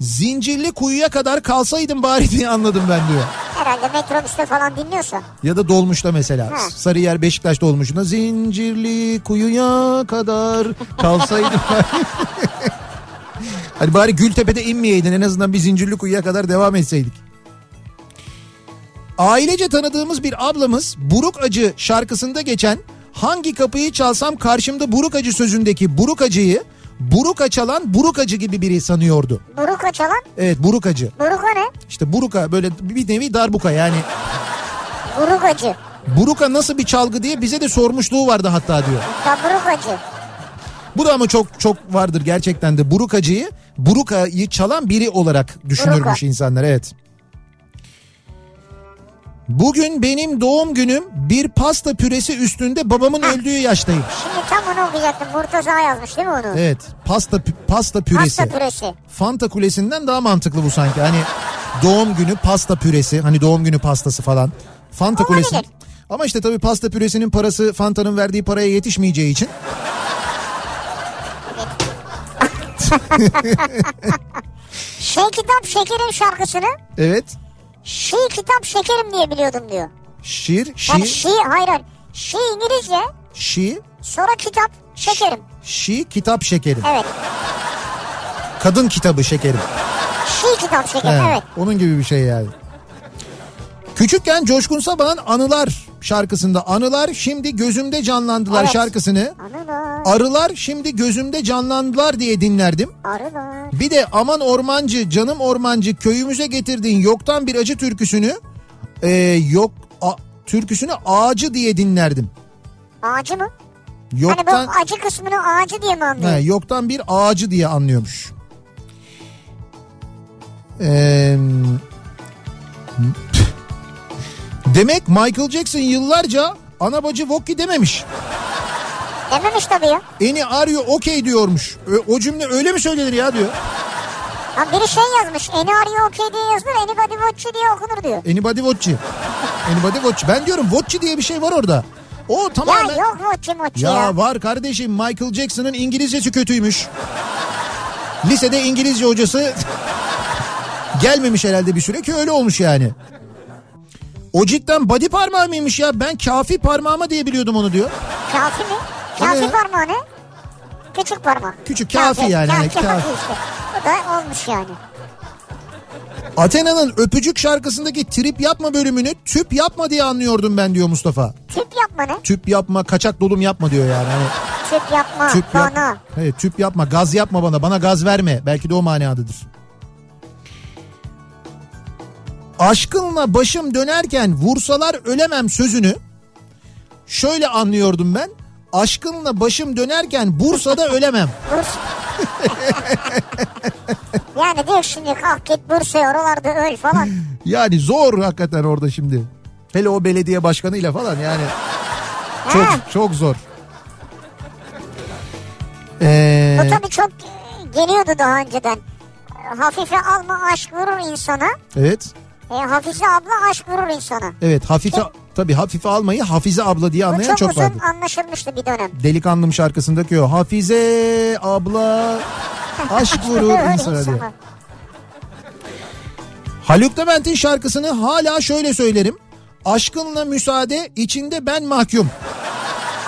S1: zincirli kuyuya kadar kalsaydım bari diye anladım ben diyor.
S2: Herhalde metrobüste falan dinliyorsa.
S1: Ya da dolmuşta mesela.
S2: Ha.
S1: Sarıyer Beşiktaş dolmuşunda zincirli kuyuya kadar kalsaydım bari. Hani bari Gültepe'de inmeyeydin en azından bir zincirli kuyuya kadar devam etseydik. Ailece tanıdığımız bir ablamız Buruk Acı şarkısında geçen hangi kapıyı çalsam karşımda Buruk Acı sözündeki Buruk Acı'yı Buruka çalan Buruk Acı gibi biri sanıyordu.
S2: Buruka çalan.
S1: Evet Buruk Acı.
S2: Buruka ne?
S1: İşte Buruka böyle bir nevi darbuka yani.
S2: Burukacı.
S1: Buruka nasıl bir çalgı diye bize de sormuşluğu vardı hatta diyor.
S2: Ya burukacı.
S1: Bu da ama çok çok vardır gerçekten de burukacıyı burukayı çalan biri olarak düşünürmüş
S2: Buruka.
S1: insanlar evet. Bugün benim doğum günüm bir pasta püresi üstünde babamın öldüğü yaştayım.
S2: Şimdi tam onu okuyacaktım. Murtaza yazmış değil mi onu?
S1: Evet pasta pü- pasta püresi.
S2: Pasta püresi.
S1: Fanta kulesinden daha mantıklı bu sanki. Hani doğum günü pasta püresi hani doğum günü pastası falan. Fanta
S2: Olabilir.
S1: kulesi. Ama işte tabii pasta püresinin parası Fanta'nın verdiği paraya yetişmeyeceği için
S2: Şey kitap şekerim şarkısını
S1: evet
S2: şi kitap şekerim diye biliyordum diyor.
S1: Şiir,
S2: Yani
S1: şi,
S2: şi hayır hayır. Şi İngilizce
S1: şi,
S2: sonra kitap şekerim.
S1: şi kitap şekerim.
S2: Evet.
S1: Kadın kitabı şekerim.
S2: Şi kitap şekerim
S1: He,
S2: evet.
S1: Onun gibi bir şey yani. Küçükken Coşkun Sabah'ın Anılar şarkısında Anılar şimdi gözümde canlandılar
S2: Evet.
S1: şarkısını
S2: Anılar,
S1: Arılar şimdi gözümde canlandılar diye dinlerdim.
S2: arılar.
S1: Bir de aman ormancı canım ormancı köyümüze getirdiğin yoktan bir acı türküsünü e, yok a- türküsünü ağacı diye dinlerdim.
S2: Ağacı mı? Hani
S1: Yoktan
S2: bu acı kısmını ağacı diye mi anlıyor?
S1: He, yoktan bir ağacı diye anlıyormuş. Ee, demek Michael Jackson yıllarca ana bacı Wokki dememiş.
S2: Dememiş tabii ya.
S1: Eni arıyor okey diyormuş. Ö- O cümle öyle mi söylenir ya diyor.
S2: Ha biri şey yazmış. Eni arıyor okey diye yazılır. Eni bodyboççu diye okunur diyor.
S1: Anybody watch'i. Anybody watch. Ben diyorum watch'i diye bir şey var orada. O
S2: Ya
S1: tamamen...
S2: yok moçi moçi ya.
S1: Ya var kardeşim Michael Jackson'ın İngilizcesi kötüymüş. Lisede İngilizce hocası gelmemiş herhalde bir süre ki öyle olmuş yani. O cidden body parmağı mıymış ya? Ben kafi parmağıma diye biliyordum onu diyor.
S2: Kafi mi?
S1: O ne
S2: Kafi
S1: ya?
S2: parmağı ne? Küçük parmak.
S1: Küçük, kafi yani, evet,
S2: Kafi,
S1: kafi.
S2: işte. Bu da olmuş yani.
S1: Athena'nın öpücük şarkısındaki trip yapma bölümünü tüp yapma diye anlıyordum ben diyor Mustafa.
S2: Tüp yapma ne?
S1: Tüp yapma, kaçak dolum yapma diyor yani. Hani
S2: Tüp yapma
S1: tüp yap-
S2: bana.
S1: Evet, tüp yapma, gaz yapma bana, bana gaz verme. Belki de o manadadır. Aşkınla başım dönerken vursalar ölemem sözünü şöyle anlıyordum ben. Aşkınla başım dönerken Bursa'da ölemem.
S2: Bursa. yani diyor şimdi kalk git Bursa'ya oralarda öl falan.
S1: Yani zor hakikaten orada şimdi. Hele o belediye başkanıyla falan yani. Çok
S2: Ha,
S1: çok zor. Ee,
S2: bu tabii çok geliyordu daha önceden. E, Hafife alma aşk vurur insana.
S1: evet.
S2: E, hafize abla aşk vurur insana.
S1: Evet hafife tabii hafife almayı Hafize abla diye
S2: Bu
S1: anlayan
S2: çok,
S1: çok
S2: uzun
S1: vardı.
S2: anlaşılmıştı bir dönem.
S1: Delikanlım şarkısındaki o Hafize abla aşk vurur insana diyor. Haluk Levent'in şarkısını hala şöyle söylerim. Aşkınla müsaade içinde ben mahkum.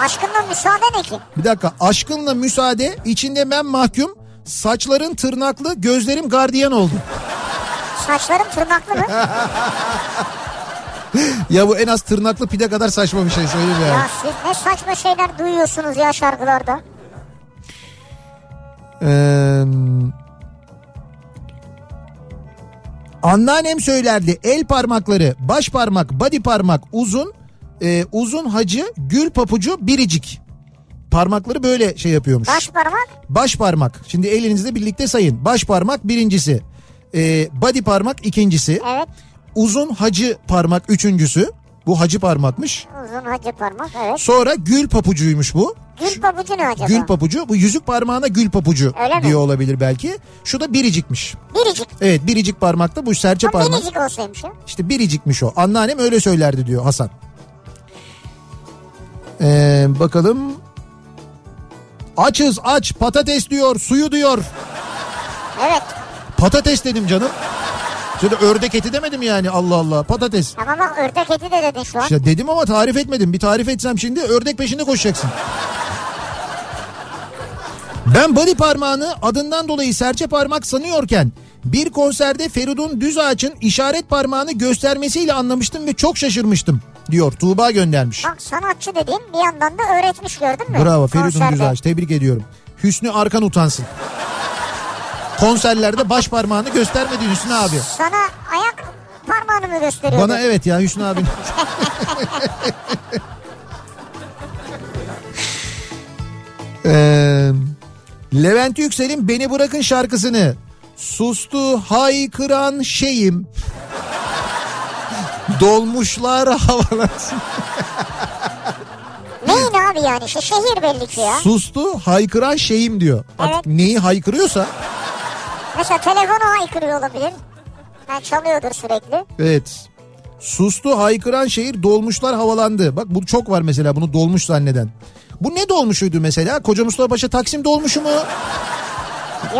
S2: Aşkından müsaade ne ki?
S1: Bir dakika aşkınla müsaade içinde ben mahkum. Saçların tırnaklı gözlerim gardiyan oldu.
S2: Saçlarım tırnaklı mı?
S1: Ya bu en az tırnaklı pide kadar saçma bir şey söyleyeyim ya.
S2: ya siz ne saçma şeyler duyuyorsunuz ya şarkılarda.
S1: Ee, anneannem söylerdi el parmakları, baş parmak, body parmak uzun, e, uzun hacı, gül papucu, biricik. Parmakları böyle şey yapıyormuş.
S2: Baş parmak
S1: Baş parmak. Şimdi elinizle birlikte sayın. Baş parmak birincisi. Ee, body parmak ikincisi.
S2: evet
S1: Uzun hacı parmak üçüncüsü. Bu hacı parmakmış.
S2: uzun hacı parmak evet.
S1: Sonra gül papucuymuş bu.
S2: Gül pabucu ne acaba?
S1: Gül papucu. Bu yüzük parmağına gül papucu
S2: Öyle mi?
S1: diye olabilir belki. Şu da biricikmiş.
S2: Biricik.
S1: Evet biricik parmakta bu serçe
S2: Ha,
S1: parmak.
S2: biricik olsaymış ya.
S1: İşte biricikmiş o. Anneannem öyle söylerdi diyor Hasan. Ee, bakalım. Açız aç patates diyor suyu diyor.
S2: Evet.
S1: Patates dedim canım. Şöyle ördek eti demedim yani Allah Allah patates.
S2: Ama bak ördek eti de dedin şu an.
S1: İşte dedim ama tarif etmedim. Bir tarif etsem şimdi ördek peşinde koşacaksın. Ben body parmağını adından dolayı serçe parmak sanıyorken bir konserde Feridun Düz Ağaç'ın işaret parmağını göstermesiyle anlamıştım ve çok şaşırmıştım diyor Tuğba göndermiş.
S2: Bak sanatçı dediğin bir yandan da öğretmiş gördün mü?
S1: Bravo Feridun
S2: Konserde.
S1: Düz Ağaç tebrik ediyorum. Hüsnü Arkan utansın. Konserlerde baş parmağını göstermedi Hüsnü abi.
S2: Sana ayak parmağını mı gösteriyordu?
S1: Bana evet ya Hüsnü abi. Ee, Levent Yüksel'in Beni Bırakın şarkısını sustu haykıran şeyim. Dolmuşlar havalansın.
S2: Neyin abi yani? Şey, şehir belli ki ya.
S1: Sustu haykıran şeyim diyor. Artık neyi haykırıyorsa.
S2: Mesela telefonu haykırıyor olabilir. Yani çalıyordur sürekli.
S1: Evet. Sustu haykıran şehir dolmuşlar havalandı. Bak bu çok var mesela bunu dolmuş zanneden. Bu ne dolmuşuydu mesela? Koca Mustafa Paşa Taksim dolmuşu mu?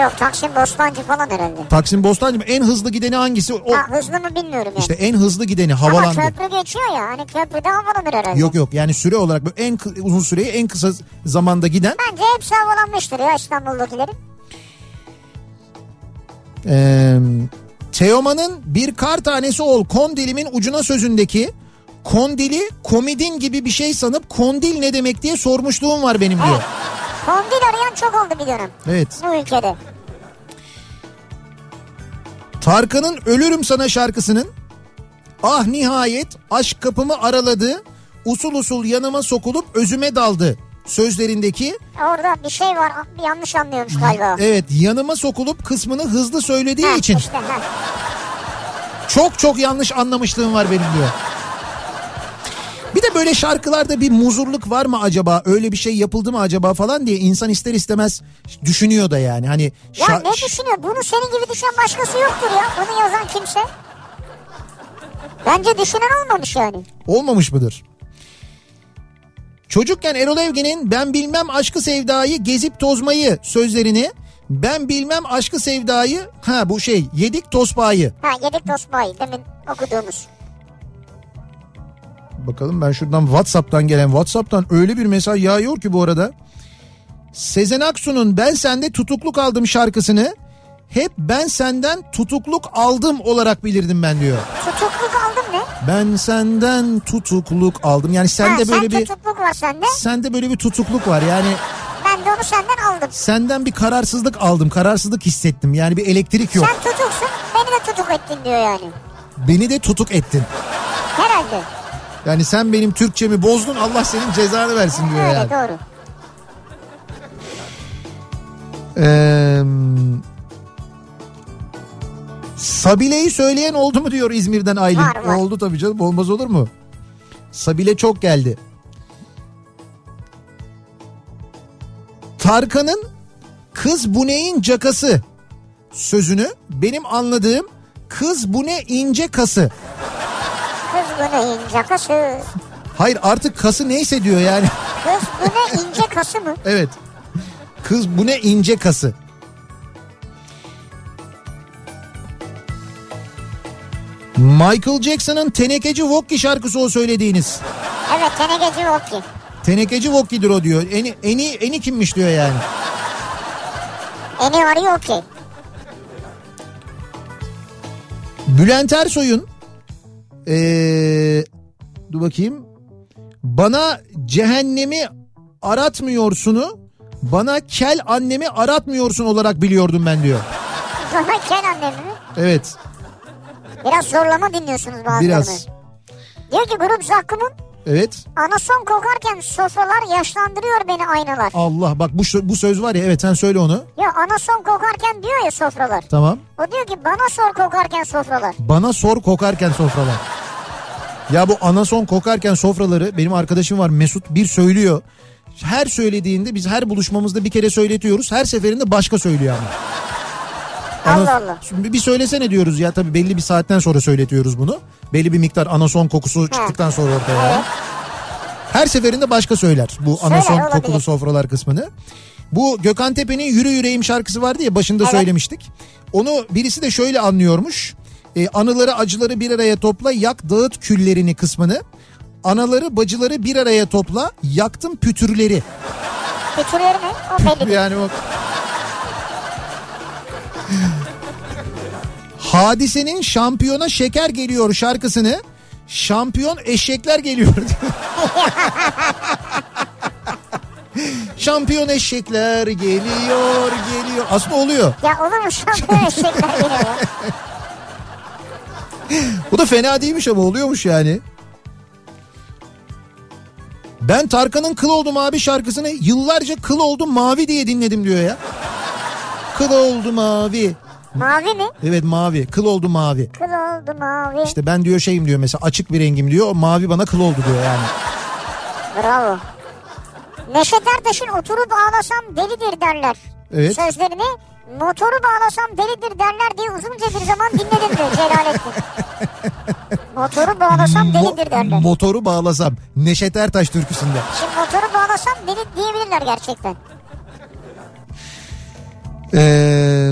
S2: Yok Taksim Bostancı falan herhalde.
S1: Taksim Bostancı mı? En hızlı gideni hangisi? O,
S2: Ha, hızlı mı bilmiyorum yani.
S1: işte en hızlı gideni
S2: Ama
S1: havalandı.
S2: köprü geçiyor ya hani köprüde havalanır herhalde.
S1: Yok yok yani süre olarak böyle en kı- uzun süreyi en kısa zamanda giden.
S2: Bence hepsi havalanmıştır ya İstanbul'dakilerin.
S1: Ee, Teoman'ın bir kar tanesi ol kondilimin ucuna sözündeki kondili komidin gibi bir şey sanıp kondil ne demek diye sormuşluğum var benim diyor.
S2: Evet. Kondil arayan çok oldu bir dönem.
S1: Evet.
S2: Bu ülkede.
S1: Tarkan'ın Ölürüm Sana şarkısının ah nihayet aşk kapımı araladı usul usul yanıma sokulup özüme daldı sözlerindeki
S2: Orada bir şey var bir yanlış anlıyormuş galiba.
S1: evet yanıma sokulup kısmını hızlı söylediği
S2: Heh,
S1: E, için
S2: işte, heh.
S1: çok çok yanlış anlamışlığım var benim diyor. Bir de böyle şarkılarda bir muzurluk var mı acaba? Öyle bir şey yapıldı mı acaba falan diye insan ister istemez düşünüyor da yani. Hani
S2: Ya
S1: şa-
S2: ne düşünüyor? Bunu senin gibi düşünen başkası yoktur ya. Bunu yazan kimse. Bence düşünen olmamış yani.
S1: Olmamış mıdır? Çocukken Erol Evgin'in ben bilmem aşkı sevdayı gezip tozmayı sözlerini ben bilmem aşkı sevdayı ha bu şey yedik tospayı.
S2: Ha yedik tosbayı demin okuduğumuz.
S1: Bakalım ben şuradan Whatsapp'tan gelen Whatsapp'tan öyle bir mesaj yağıyor ki bu arada. Sezen Aksu'nun Ben Sende Tutukluk Aldım şarkısını hep ben senden tutukluk aldım olarak bilirdim ben diyor.
S2: Tutukluk aldın ne?
S1: Ben senden tutukluk aldım. Yani
S2: ha,
S1: sende
S2: sen
S1: böyle bir
S2: tutukluk var sende.
S1: sende böyle bir tutukluk var. Yani
S2: Ben de onu senden aldım.
S1: senden bir kararsızlık aldım. Kararsızlık hissettim. Yani bir elektrik yok.
S2: Sen tutuksun beni de tutuk ettin diyor yani.
S1: Beni de tutuk ettin.
S2: Herhalde.
S1: Yani sen benim Türkçemi bozdun Allah senin cezanı versin diyor
S2: Öyle
S1: yani.
S2: doğru.
S1: Ee, Sabile'yi söyleyen oldu mu diyor İzmir'den Aylin.
S2: Var, var.
S1: Oldu tabii canım olmaz olur mu? Sabile çok geldi. Tarkan'ın kız bu neyin cakası sözünü benim anladığım kız bu ne ince kası.
S2: Kız bu ne ince kası.
S1: Hayır artık kası neyse diyor yani.
S2: Kız bu ne ince kası mı?
S1: Evet. Kız bu ne ince kası. Michael Jackson'ın Tenekeci Vokki şarkısı o söylediğiniz.
S2: Evet tenekeci Vokki.
S1: Tenekeci Vokki'dir o diyor. Eni, eni, eni kimmiş diyor yani.
S2: Eni arıyor ki.
S1: Bülent Ersoy'un ee, dur bakayım. Bana cehennemi aratmıyorsunu bana kel annemi aratmıyorsun olarak biliyordum ben diyor.
S2: Sonra Kenan mi?
S1: Evet
S2: Biraz zorlama dinliyorsunuz bazılarını.
S1: biraz.
S2: Diyor ki grup zakkumun
S1: Evet.
S2: anason kokarken sofralar yaşlandırıyor beni aynalar.
S1: Allah bak bu şö- bu söz var ya evet sen söyle onu.
S2: Ya anason kokarken diyor ya sofralar.
S1: Tamam.
S2: O diyor ki bana sor kokarken sofralar.
S1: Bana sor kokarken sofralar. Ya bu anason kokarken sofraları benim arkadaşım var Mesut bir söylüyor. Her söylediğinde biz her buluşmamızda bir kere söyletiyoruz. Her seferinde başka söylüyor ama.
S2: Allah
S1: Ana-
S2: Allah.
S1: Şimdi bir söylesene diyoruz ya tabii belli bir saatten sonra söyletiyoruz bunu. Belli bir miktar anason kokusu çıktıktan sonra ortaya. yani. Her seferinde başka söyler bu anason
S2: olabilir.
S1: kokulu sofralar kısmını. Bu Gökhan Tepe'nin Yürü Yüreğim şarkısı vardı ya başında
S2: Evet.
S1: söylemiştik. Onu birisi de şöyle anlıyormuş. E, anıları acıları bir araya topla yak dağıt küllerini kısmını. Anaları bacıları bir araya topla yaktım pütürleri.
S2: Küçülüyor ne? O belli değil.
S1: Yani o... Hadisenin şampiyona şeker geliyor şarkısını şampiyon eşekler geliyor. şampiyon eşekler geliyor geliyor. Aslında oluyor.
S2: Ya olur mu şampiyon eşekler yine ya.
S1: Bu da fena değilmiş ama oluyormuş yani. Ben Tarkan'ın Kıl Oldum Abi şarkısını yıllarca Kıl Oldum Mavi diye dinledim diyor ya. Kıl Oldum Mavi.
S2: Mavi mi?
S1: Evet mavi. Kıl oldu mavi.
S2: Kıl oldu mavi.
S1: İşte ben diyor şeyim diyor mesela açık bir rengim diyor. Mavi bana kıl oldu diyor yani.
S2: Bravo. Neşet Ertaş'ın oturup ağlasam delidir derler.
S1: Evet.
S2: Sözlerini motoru bağlasam delidir derler diye uzunca bir zaman dinledim diyor Celalettin. motoru bağlasam
S1: Mo-
S2: delidir derler.
S1: motoru bağlasam. Neşet Ertaş türküsünde.
S2: Şimdi motoru bağlasam deli diyebilirler gerçekten.
S1: Ee,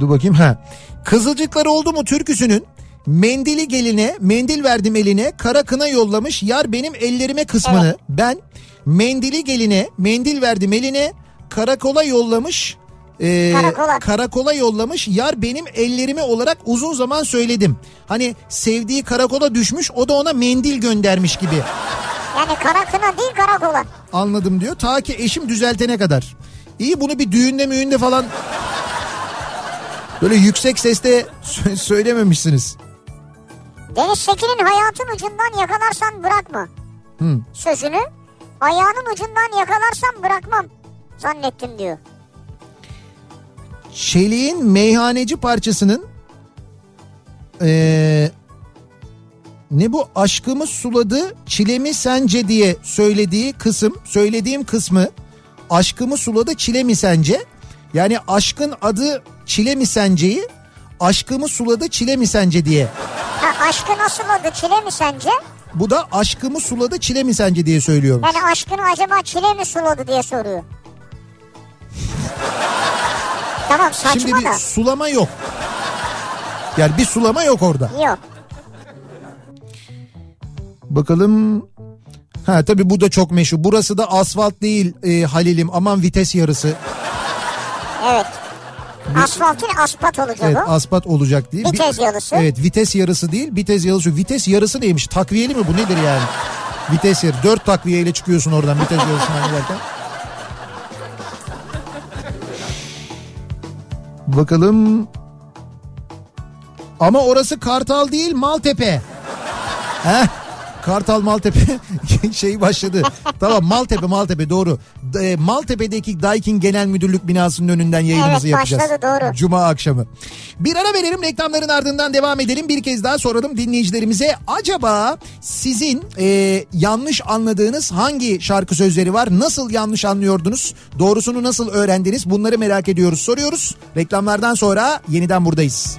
S1: dur bakayım ha. Kızılcıklar oldu mu türküsünün mendili geline mendil verdim eline kara kına yollamış yar benim ellerime kısmını
S2: Evet.
S1: ben mendili geline mendil verdim eline karakola yollamış ee,
S2: Karakola.
S1: karakola yollamış yar benim ellerime olarak uzun zaman söyledim. Hani sevdiği karakola düşmüş o da ona mendil göndermiş gibi
S2: Yani kara kına değil karakola.
S1: anladım diyor. Ta ki eşim düzeltene kadar. İyi bunu bir düğünde müğünde falan böyle yüksek sesle sö- söylememişsiniz.
S2: Deniz Sekin'in hayatın ucundan yakalarsan bırakma.
S1: Hı.
S2: Sözünü ayağının ucundan yakalarsam bırakmam zannettim diyor.
S1: Çelik'in meyhaneci parçasının eee, ne bu aşkımı suladı çilemi sence diye söylediği kısım söylediğim kısmı aşkımı suladı çilemi sence yani aşkın adı çilemi senceyi aşkımı suladı çilemi sence diye
S2: Ha, aşkı nasıl oldu çile mi sence?
S1: Bu da aşkımı suladı çile mi sence diye söylüyorum.
S2: Yani aşkını acaba çile mi suladı diye soruyor. tamam saçma
S1: Şimdi bir
S2: da.
S1: sulama yok. Yani bir sulama yok orada.
S2: Yok.
S1: Bakalım. Ha tabii bu da çok meşhur. Burası da asfalt değil e, Halil'im. Aman vites yarısı.
S2: Evet. Asfalt değil aspat olacak
S1: Evet
S2: o.
S1: asfalt olacak diye.
S2: Vites yarısı.
S1: Evet vites yarısı değil vites yarısı. Vites yarısı neymiş? Takviyeli mi bu nedir yani? Vites yarısı. Dört takviyeyle çıkıyorsun oradan vites yarısından giderken. Bakalım. Ama orası Kartal değil Maltepe. Heh. Kartal Maltepe şey başladı. tamam Maltepe Maltepe doğru. Da- e, Maltepe'deki Daikin Genel Müdürlük binasının önünden yayınımızı
S2: Evet,
S1: yapacağız.
S2: başladı, doğru.
S1: Cuma akşamı. Bir ara verelim reklamların ardından devam edelim. Bir kez daha soralım dinleyicilerimize. Acaba sizin e, yanlış anladığınız hangi şarkı sözleri var? Nasıl yanlış anlıyordunuz? Doğrusunu nasıl öğrendiniz? Bunları merak ediyoruz soruyoruz. Reklamlardan sonra yeniden buradayız.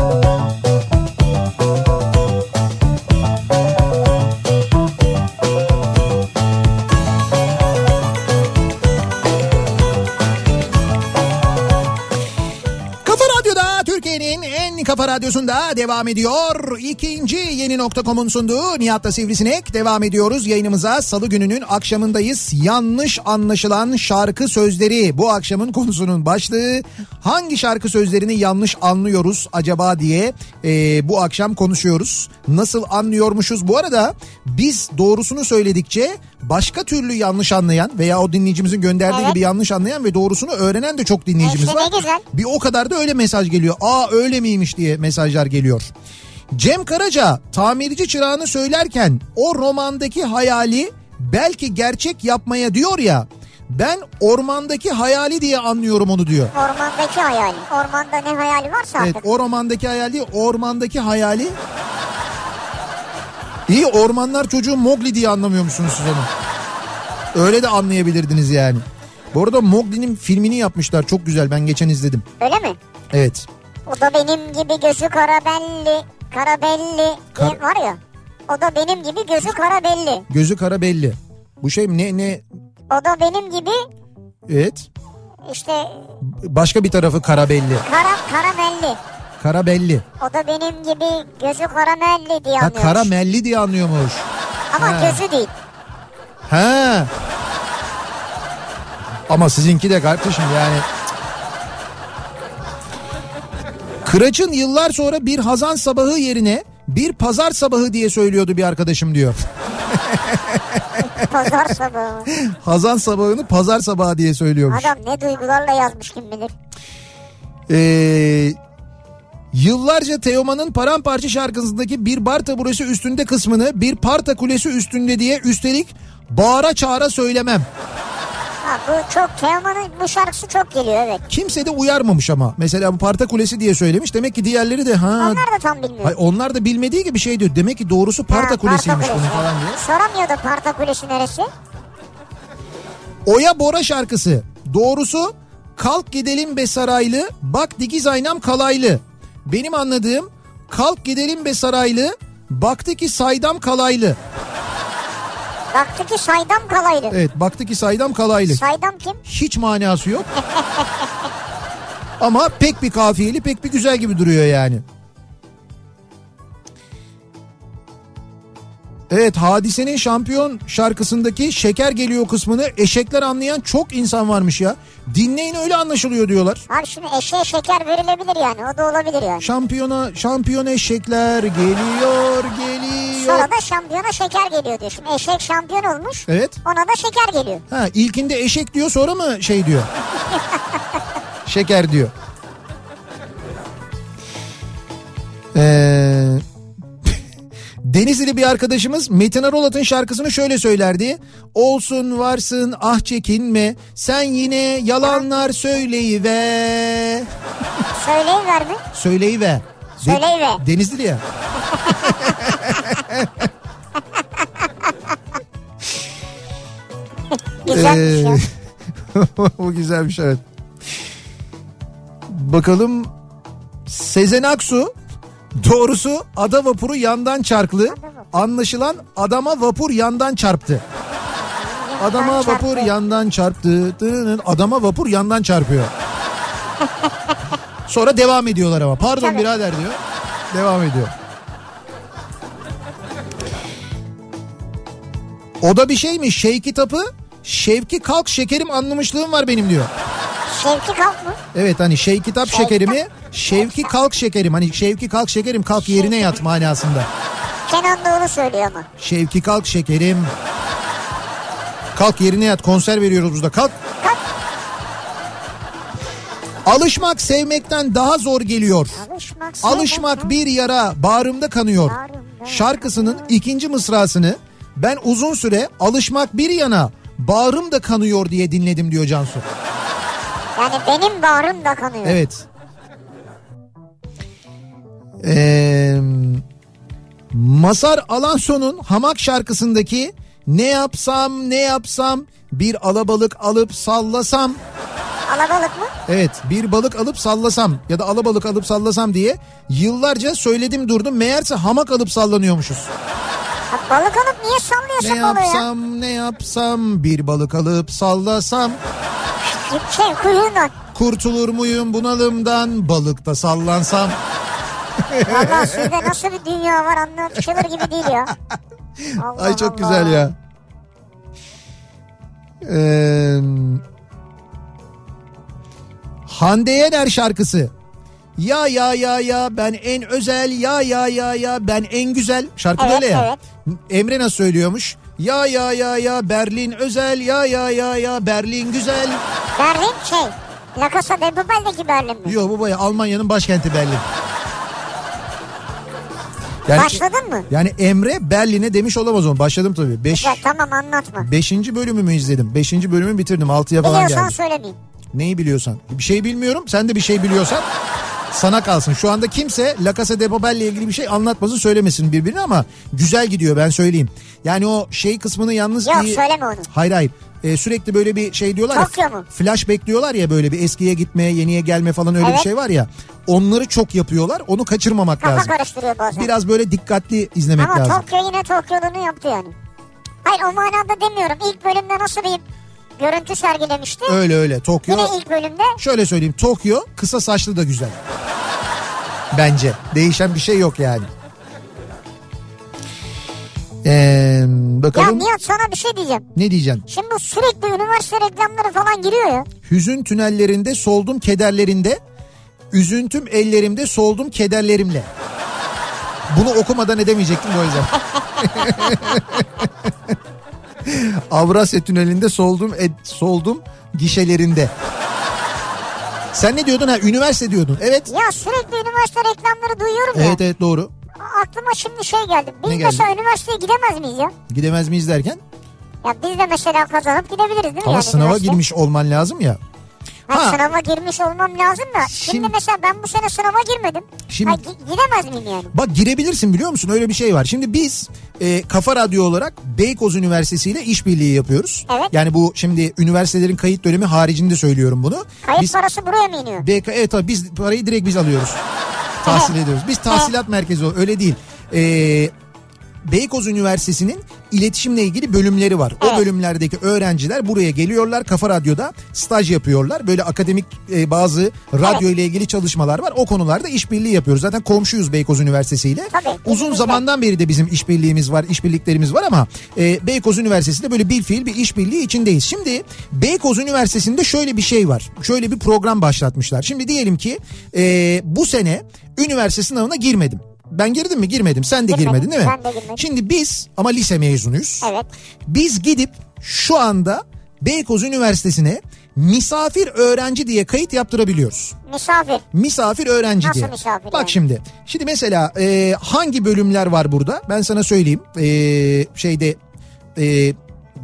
S1: Kafa Radyo'da Türkiye'nin en kafa radyosunda devam ediyor. İkinci yeni nokta.com'un sunduğu Nihat'la Sivrisinek devam ediyoruz. Yayınımıza salı gününün akşamındayız. Yanlış anlaşılan şarkı sözleri bu akşamın konusunun başlığı. Hangi şarkı sözlerini yanlış anlıyoruz acaba diye e, bu akşam konuşuyoruz. Nasıl anlıyormuşuz? Bu arada biz doğrusunu söyledikçe başka türlü yanlış anlayan veya o dinleyicimizin gönderdiği
S2: Evet.
S1: gibi yanlış anlayan ve doğrusunu öğrenen de çok dinleyicimiz
S2: İşte
S1: var.
S2: ne güzel.
S1: Bir o kadar da öyle mesaj geliyor. Aa öyle miymiş diye mesajlar geliyor. Cem Karaca tamirci çırağını söylerken o romandaki hayali belki gerçek yapmaya diyor ya. Ben ormandaki hayali diye anlıyorum onu diyor.
S2: Ormandaki hayali. Ormanda ne hayali varsa
S1: Evet
S2: artık.
S1: o romandaki hayali değil, ormandaki hayali. İyi ormanlar çocuğu Mowgli diye anlamıyor musunuz siz onu? Öyle de anlayabilirdiniz yani. Bu arada Mowgli'nin filmini yapmışlar çok güzel ben geçen izledim.
S2: Öyle mi?
S1: Evet.
S2: O da benim gibi gözü karabelli. Karabelli diye
S1: Kar-
S2: var ya. O da benim gibi gözü karabelli.
S1: Gözü kara belli. Bu şey ne ne
S2: O da benim gibi
S1: evet.
S2: işte
S1: Başka bir tarafı kara belli.
S2: kara karabelli.
S1: Kara belli.
S2: O da benim gibi gözü karamelli diye
S1: Ha
S2: anlıyormuş.
S1: kara melli diye anlıyormuş.
S2: Ama
S1: He.
S2: gözü değil.
S1: Ha. Ama sizinki de kardeşim yani. Kıraç'ın yıllar sonra bir hazan sabahı yerine bir pazar sabahı diye söylüyordu bir arkadaşım diyor.
S2: Pazar sabahı.
S1: Hazan sabahını pazar sabahı diye söylüyormuş.
S2: Adam ne duygularla yazmış kim bilir.
S1: Ee, yıllarca Teoman'ın paramparça şarkısındaki bir bar taburesi üstünde kısmını bir parta kulesi üstünde diye üstelik bağıra çağıra söylemem.
S2: Ha, bu çok Teoman'ın bu şarkısı çok geliyor evet.
S1: Kimse de uyarmamış ama. Mesela bu parta kulesi diye söylemiş. Demek ki diğerleri de ha.
S2: Onlar da tam bilmiyor.
S1: Hayır, onlar da bilmediği gibi şey diyor. Demek ki doğrusu
S2: Ha,
S1: parta kulesiymiş
S2: Kulesi.
S1: bunun falan diye.
S2: Soramıyordu Parta Kulesi neresi?
S1: Oya Bora şarkısı. Doğrusu kalk gidelim be saraylı bak dikiz aynam kalaylı. Benim anladığım kalk gidelim be saraylı baktı ki saydam kalaylı.
S2: Baktı ki Saydam Kalaylı.
S1: Evet baktı ki saydam kalaylı.
S2: Saydam kim?
S1: Hiç manası yok. Ama pek bir kafiyeli pek bir güzel gibi duruyor yani. Evet Hadise'nin şampiyon şarkısındaki şeker geliyor kısmını eşekler anlayan çok insan varmış ya. Dinleyin öyle anlaşılıyor diyorlar.
S2: Abi şimdi eşeğe şeker verilebilir yani o da olabilir yani.
S1: Şampiyona şampiyon eşekler geliyor geliyor.
S2: Sonra da şampiyona şeker geliyor diyor. Şimdi eşek şampiyon olmuş
S1: Evet.
S2: ona da şeker geliyor.
S1: Ha ilkinde eşek diyor sonra mı şey diyor? Şeker diyor. Ee, Denizli bir arkadaşımız Metin Arolat'ın şarkısını şöyle söylerdi. Olsun varsın ah çekinme sen yine yalanlar söyleyiver.
S2: Söyleyiver mi?
S1: Söyleyiver. De-
S2: Söyleyiver.
S1: Denizli ya.
S2: Güzelmiş
S1: Ee.
S2: ya.
S1: o güzelmiş evet. Bakalım Sezen Aksu doğrusu ada vapuru yandan çarklı. Anlaşılan adama vapur yandan çarptı. Adama
S2: Yandan
S1: vapur
S2: çarptı.
S1: yandan çarptı. Tının, Adama vapur yandan çarpıyor. Sonra devam ediyorlar ama. Pardon
S2: Tabii.
S1: birader diyor. Devam ediyor. O da bir şey mi? Şey kitabı Şevki kalk şekerim anlamışlığım var benim diyor.
S2: Şevki Kalk mı?
S1: Evet hani şey kitap şekerimi Şevki kalk şekerim. Hani Şevki kalk şekerim kalk yerine yat manasında.
S2: Kenan Doğulu söylüyor ama.
S1: Şevki kalk şekerim. Kalk yerine yat konser veriyoruz burada kalk.
S2: Kalk.
S1: Alışmak sevmekten daha zor geliyor.
S2: Alışmak. sevmek
S1: Alışmak
S2: ya.
S1: bir yara bağrımda kanıyor. Şarkısının ikinci mısrasını ben uzun süre alışmak bir yana bağrım da kanıyor diye dinledim diyor Cansu.
S2: Yani benim bağrım da kanıyor.
S1: Evet. Ee, Masar Alanson'un Hamak şarkısındaki ne yapsam ne yapsam bir alabalık alıp sallasam
S2: Alabalık mı?
S1: evet bir balık alıp sallasam ya da alabalık alıp sallasam diye yıllarca söyledim durdum meğerse hamak alıp sallanıyormuşuz.
S2: Ya balık alıp niye
S1: Ne
S2: sallıyorsun balığı ya?
S1: yapsam ne yapsam bir balık alıp sallasam
S2: Git Şey kuyruğundan.
S1: kurtulur muyum bunalımdan balıkta sallansam.
S2: Valla suda nasıl bir dünya var anlaşılır gibi değil ya. Allah
S1: Ay çok
S2: Allah.
S1: güzel ya. Ee, Hande Yener şarkısı. Ya ya ya ya ben en özel ya ya ya ya ben en güzel şarkı
S2: Evet,
S1: böyle ya. Emre nasıl söylüyormuş? Ya ya ya ya Berlin özel ya ya ya ya Berlin güzel.
S2: Berlin şey. La Casa de Papel'deki Berlin mi?
S1: Yok baba ya Almanya'nın başkenti Berlin. Yani,
S2: Başladın mı?
S1: yani Emre Berlin'e demiş olamaz onu. Başladım tabii. Beş,
S2: Ya tamam anlatma.
S1: Beşinci bölümü mü izledim? Beşinci bölümü bitirdim. Altıya falan
S2: Biliyorsan
S1: geldim.
S2: söylemeyeyim.
S1: Neyi biliyorsan. Bir şey bilmiyorum. Sen de bir şey biliyorsan sana kalsın. Şu anda kimse La Casa de Papel ile ilgili bir şey anlatmasın söylemesin birbirine ama güzel gidiyor ben söyleyeyim. Yani o şey kısmını yalnız
S2: Yok,
S1: iyi...
S2: söyleme onu.
S1: Hayır hayır. Ee, sürekli böyle bir şey diyorlar
S2: Tokyo mu?
S1: flashback diyorlar ya böyle bir eskiye gitme yeniye gelme falan öyle bir
S2: Evet.
S1: şey var ya. Onları çok yapıyorlar onu kaçırmamak
S2: Kafa
S1: lazım.
S2: karıştırıyor bazen.
S1: Biraz böyle dikkatli izlemek
S2: Ama
S1: lazım.
S2: Tokyo yine Tokyo'luğunu yaptı yani. Hayır o manada demiyorum. İlk bölümde nasıl bir görüntü sergilemişti?
S1: Öyle öyle Tokyo.
S2: Yine ilk bölümde
S1: Şöyle söyleyeyim Tokyo kısa saçlı da güzel. Bence değişen bir şey yok yani. Ee,
S2: ya
S1: bakalım
S2: Nihat sana bir şey diyeceğim.
S1: ne diyeceğim.
S2: Şimdi bu sürekli üniversite reklamları falan giriyor ya.
S1: Hüzün tünellerinde soldum kederlerinde. Üzüntüm ellerimde soldum kederlerimle. Bunu okumadan edemeyecektim o yüzden. Avrasya tünelinde soldum ed, soldum gişelerinde. Sen ne diyordun ha üniversite diyordun. Evet.
S2: Ya sürekli üniversite reklamları duyuyorum ya.
S1: Evet evet doğru.
S2: Aklıma şimdi şey geldi. Biz
S1: Ne geldi?
S2: mesela üniversiteye gidemez miyiz ya?
S1: Gidemez miyiz derken?
S2: Ya biz de mesela kazanıp gidebiliriz değil mi?
S1: Ama
S2: yani
S1: sınava
S2: üniversite?
S1: girmiş olman lazım ya.
S2: Ha,
S1: Ha.
S2: Sınava girmiş olmam lazım da. Şimdi,
S1: Şimdi-
S2: mesela ben bu sene sınava girmedim.
S1: Şimdi-
S2: Ha, gi- gidemez miyim yani?
S1: Bak girebilirsin biliyor musun? Öyle bir şey var. Şimdi biz e, Kafa Radyo olarak Beykoz Üniversitesi ile işbirliği yapıyoruz.
S2: Evet.
S1: Yani bu şimdi üniversitelerin kayıt dönemi haricinde söylüyorum bunu.
S2: Kayıt
S1: biz
S2: parası buraya mı iniyor?
S1: BK evet tabii biz parayı direkt biz alıyoruz. Tahsil ediyoruz. Biz tahsilat merkezi o- öyle değil. Ee, Beykoz Üniversitesi'nin iletişimle ilgili bölümleri var. O
S2: Evet.
S1: bölümlerdeki öğrenciler buraya geliyorlar. Kafa Radyo'da staj yapıyorlar. Böyle akademik e, bazı radyo ile ilgili çalışmalar var. O konularda işbirliği yapıyoruz. Zaten komşuyuz Beykoz Üniversitesi ile.
S2: Tabii,
S1: Uzun
S2: kesinlikle.
S1: zamandan beri de bizim işbirliğimiz var, işbirliklerimiz var ama e, Beykoz Üniversitesi'nde böyle bir fiil bir işbirliği içindeyiz. Şimdi Beykoz Üniversitesi'nde şöyle bir şey var. Şöyle bir program başlatmışlar. Şimdi diyelim ki e, bu sene üniversite sınavına girmedim. Ben girdim mi? Girmedim. Sen de
S2: Girmedim,
S1: girmedin değil mi?
S2: ben de girmedim.
S1: Şimdi biz ama lise mezunuyuz.
S2: Evet.
S1: Biz gidip şu anda Beykoz Üniversitesi'ne misafir öğrenci diye kayıt yaptırabiliyoruz.
S2: Misafir.
S1: Misafir öğrenci
S2: Nasıl
S1: diye.
S2: misafir
S1: Bak
S2: yani?
S1: şimdi. Şimdi mesela e, hangi bölümler var burada? Ben sana söyleyeyim. E, şeyde e,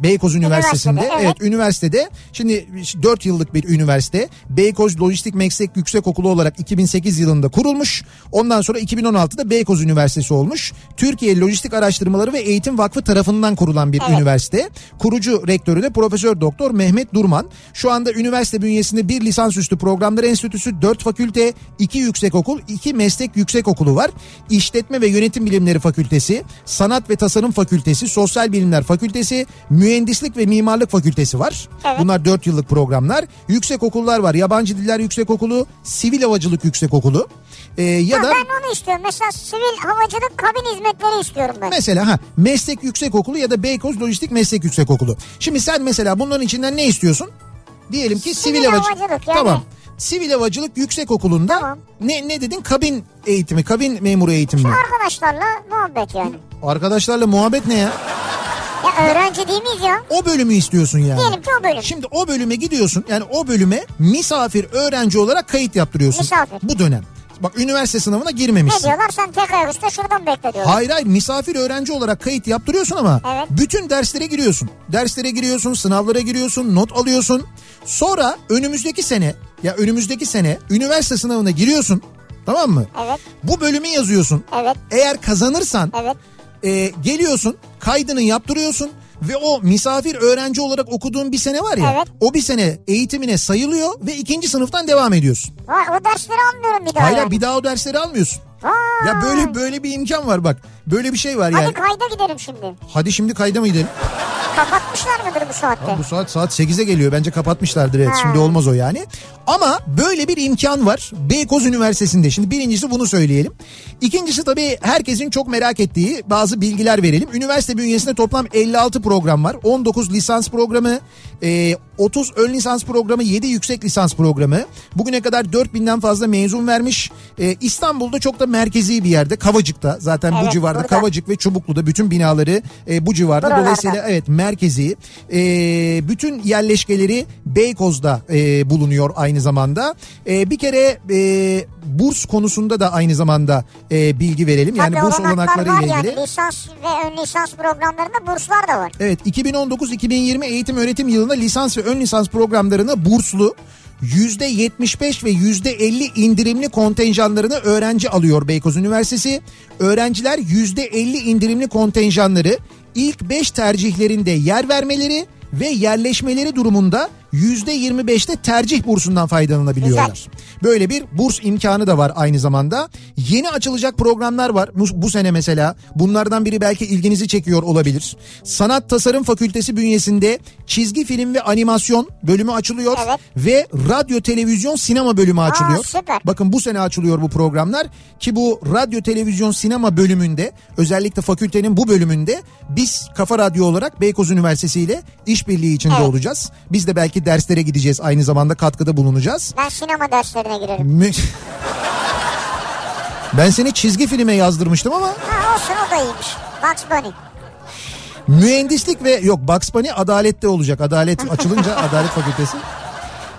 S1: Beykoz Üniversitesi'nde
S2: Üniversitede,
S1: evet.
S2: evet.
S1: üniversitede şimdi 4 yıllık bir üniversite Beykoz Lojistik Meslek Yüksekokulu olarak 2008 yılında kurulmuş. Ondan sonra 2016'da Beykoz Üniversitesi olmuş. Türkiye Lojistik Araştırmaları ve Eğitim Vakfı tarafından kurulan bir üniversite. Kurucu rektörü de Profesör Doktor Mehmet Durman. Şu anda üniversite bünyesinde bir lisansüstü programları enstitüsü, 4 fakülte, 2 yüksekokul, 2 meslek yüksekokulu var. İşletme ve Yönetim Bilimleri Fakültesi, Sanat ve Tasarım Fakültesi, Sosyal Bilimler Fakültesi, Mühendislik ve Mimarlık Fakültesi var.
S2: Evet.
S1: Bunlar 4 yıllık programlar. Yüksek okullar var. Yabancı Diller Yüksekokulu, Sivil Havacılık Yüksekokulu. Ee, ya
S2: Ha,
S1: da
S2: ben onu istiyorum. Mesela sivil havacılık kabin hizmetleri istiyorum ben.
S1: mesela ha Meslek Yüksekokulu ya da Beykoz Lojistik Meslek Yüksekokulu. Şimdi sen mesela bunların içinden ne istiyorsun? Diyelim ki sivil,
S2: Sivil
S1: havacı-
S2: havacılık yani.
S1: Tamam. Sivil Havacılık Yüksekokulu'nda
S2: Tamam.
S1: ne ne dedin? Kabin eğitimi, kabin memuru eğitimi. mi?
S2: Arkadaşlarla muhabbet yani.
S1: Arkadaşlarla muhabbet ne ya?
S2: Ya öğrenci değil miyiz ya?
S1: O bölümü istiyorsun yani.
S2: Diyelim ki o bölüm.
S1: Şimdi o bölüme gidiyorsun yani o bölüme misafir öğrenci olarak kayıt yaptırıyorsun.
S2: Misafir.
S1: Bu dönem. Bak üniversite sınavına
S2: Ne
S1: girmemişsin.
S2: diyorlar sen tek ayak üstte şuradan bekle diyorlar.
S1: Hayır hayır misafir öğrenci olarak kayıt yaptırıyorsun ama
S2: Evet.
S1: bütün derslere giriyorsun. Derslere giriyorsun, sınavlara giriyorsun, not alıyorsun. Sonra önümüzdeki sene ya önümüzdeki sene üniversite sınavına giriyorsun. Tamam mı?
S2: Evet
S1: Bu bölümü yazıyorsun.
S2: evet
S1: Eğer kazanırsan
S2: evet.
S1: e, geliyorsun kaydını yaptırıyorsun ve o misafir öğrenci olarak okuduğun bir sene var ya
S2: Evet.
S1: o bir sene eğitimine sayılıyor ve ikinci sınıftan devam ediyorsun.
S2: Vay, o dersleri almıyorum bir daha.
S1: Hayır
S2: yani.
S1: bir daha o dersleri almıyorsun.
S2: Vay.
S1: Ya böyle böyle bir imkan var bak. Böyle bir şey var
S2: Hadi
S1: yani.
S2: kayda gidelim şimdi.
S1: Hadi şimdi kayda mı gidelim?
S2: Kapatmışlar mıdır bu saatte?
S1: Bu saat saat 8'e geliyor. Bence kapatmışlardır evet.
S2: Ha.
S1: Şimdi olmaz o yani. Ama böyle bir imkan var. Beykoz Üniversitesi'nde. Şimdi birincisi bunu söyleyelim. İkincisi tabii herkesin çok merak ettiği bazı bilgiler verelim. Üniversite bünyesinde toplam 56 program var. 19 lisans programı, e, 30 ön lisans programı, 7 yüksek lisans programı. Bugüne kadar 4000'den fazla mezun vermiş. E, İstanbul'da çok da merkezi bir yerde. Kavacık'ta zaten bu
S2: Evet,
S1: civarda.
S2: burada.
S1: Kavacık ve Çubuklu'da bütün binaları e, bu civarda.
S2: Buralarda.
S1: Dolayısıyla evet merkezi e, bütün yerleşkeleri Beykoz'da e, bulunuyor aynı zamanda. E, bir kere e, burs konusunda da aynı zamanda e, bilgi verelim. Yani
S2: Tabii
S1: burs olanakları
S2: var
S1: ile ilgili.
S2: Yani, lisans ve ön lisans programlarında burslar da var.
S1: Evet 2019-2020 eğitim öğretim yılında lisans ve ön lisans programlarına burslu %75 ve %50 indirimli kontenjanlarını öğrenci alıyor Beykoz Üniversitesi. Öğrenciler %50 indirimli kontenjanları ilk 5 tercihlerinde yer vermeleri ve yerleşmeleri durumunda %25'te tercih bursundan faydalanabiliyorlar.
S2: Güzel.
S1: Böyle bir burs imkanı da var aynı zamanda. Yeni açılacak programlar var bu, bu sene mesela. Bunlardan biri belki ilginizi çekiyor olabilir. Sanat Tasarım Fakültesi bünyesinde çizgi film ve animasyon bölümü açılıyor
S2: Evet.
S1: ve radyo, televizyon, sinema bölümü açılıyor.
S2: süper.
S1: Bakın bu sene açılıyor bu programlar ki bu radyo, televizyon, sinema bölümünde özellikle fakültenin bu bölümünde biz Kafa Radyo olarak Beykoz Üniversitesi ile işbirliği içinde
S2: Evet.
S1: olacağız. Biz de belki derslere gideceğiz aynı zamanda katkıda bulunacağız.
S2: Ben sinema derslerine girerim.
S1: Mü- Ben seni çizgi filme yazdırmıştım ama
S2: Ha, olsun o da iyiymiş. Bugs Bunny.
S1: mühendislik ve yok Bugs Bunny adalette olacak. Adalet açılınca Adalet Fakültesi.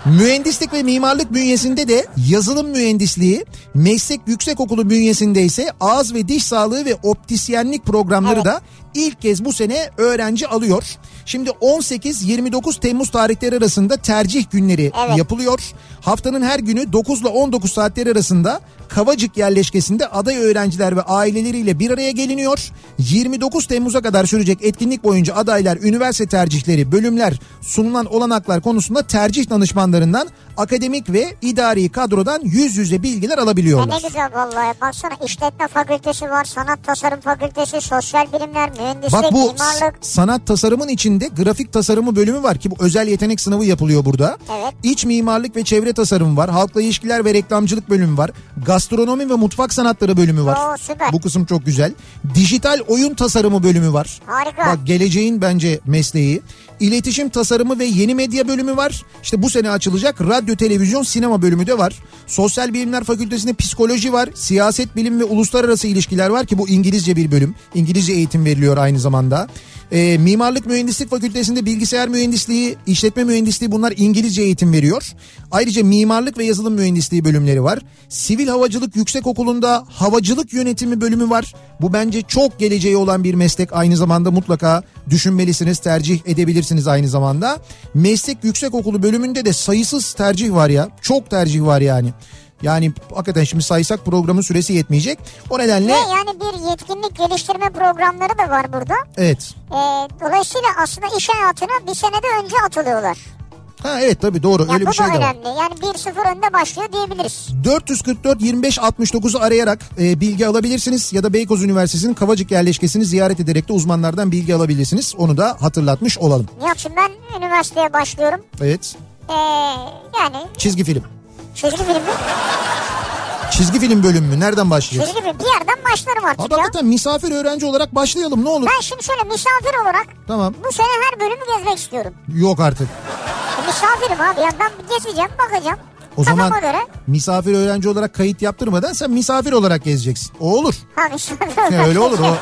S1: Mühendislik ve mimarlık bünyesinde de yazılım mühendisliği, meslek yüksekokulu bünyesinde ise ağız ve diş sağlığı ve optisyenlik programları
S2: Evet.
S1: da ilk kez bu sene öğrenci alıyor. Şimdi 18-29 Temmuz tarihleri arasında tercih günleri
S2: Evet.
S1: yapılıyor. Haftanın her günü 9 ile 19 saatleri arasında Kavacık yerleşkesinde aday öğrenciler ve aileleriyle bir araya geliniyor. 29 Temmuz'a kadar sürecek etkinlik boyunca adaylar üniversite tercihleri, bölümler, sunulan olanaklar konusunda tercih danışmanlarından akademik ve idari kadrodan yüz yüze bilgiler
S2: Ya ne
S1: alabiliyorlar.
S2: güzel vallahi. Baksana işletme fakültesi var, sanat tasarım fakültesi, sosyal bilimler, mühendislik,
S1: Bak bu
S2: mimarlık.
S1: s- sanat tasarımın içinde grafik tasarımı bölümü var ki bu özel yetenek sınavı yapılıyor burada.
S2: Evet.
S1: İç mimarlık ve çevre tasarımı var. Halkla ilişkiler ve reklamcılık bölümü var. Gastronomi ve mutfak sanatları bölümü var.
S2: Oo, süper.
S1: Bu kısım çok güzel. Dijital oyun tasarımı bölümü var.
S2: Harika.
S1: Bak geleceğin bence mesleği. İletişim tasarımı ve yeni medya bölümü var. İşte bu sene açılacak radyo, televizyon, sinema bölümü de var. Sosyal Bilimler Fakültesi'nde psikoloji var. Siyaset bilim ve uluslararası ilişkiler var ki bu İngilizce bir bölüm. İngilizce eğitim veriliyor aynı zamanda. Ee, Mimarlık Mühendislik Fakültesi'nde bilgisayar mühendisliği, işletme mühendisliği bunlar İngilizce eğitim veriyor. Ayrıca mimarlık ve yazılım mühendisliği bölümleri var. Sivil Havacılık Yüksekokulu'nda havacılık yönetimi bölümü var. Bu bence çok geleceği olan bir meslek. Aynı zamanda mutlaka düşünmelisiniz, tercih edebilirsiniz aynı zamanda. Meslek Yüksekokulu bölümünde de sayısız tercih var ya. Çok tercih var yani. Yani hakikaten şimdi saysak programın süresi yetmeyecek. O nedenle
S2: Ve yani bir yetkinlik geliştirme programları da var burada.
S1: evet.
S2: Ee, dolayısıyla aslında iş hayatına bir senede önce atılıyorlar.
S1: Ha evet tabii doğru
S2: Ya
S1: öyle
S2: bu
S1: bir şey
S2: da
S1: de var.
S2: önemli. Yani 1-0 önde başlıyor diyebiliriz.
S1: 444 25 69'u arayarak e, bilgi alabilirsiniz ya da Beykoz Üniversitesi'nin Kavacık yerleşkesini ziyaret ederek de uzmanlardan bilgi alabilirsiniz. Onu da hatırlatmış olalım.
S2: Nihat şimdi ben üniversiteye başlıyorum.
S1: Evet.
S2: Ee, yani
S1: Çizgi film.
S2: çizgi film mi?
S1: Çizgi film bölümü mü? Nereden başlayacağız?
S2: Çizgi film. Bir yerden başlarım artık
S1: Abi
S2: ya.
S1: hakikaten misafir öğrenci olarak başlayalım ne olur.
S2: Ben şimdi şöyle misafir olarak
S1: Tamam.
S2: bu sene her bölümü gezmek istiyorum.
S1: Yok artık.
S2: E, Misafirim abi ya ben gezeceğim bakacağım.
S1: O zaman
S2: Kafama göre.
S1: misafir öğrenci olarak kayıt yaptırmadan sen misafir olarak gezeceksin. O olur.
S2: Ha misafir olarak.
S1: Ya öyle olur o.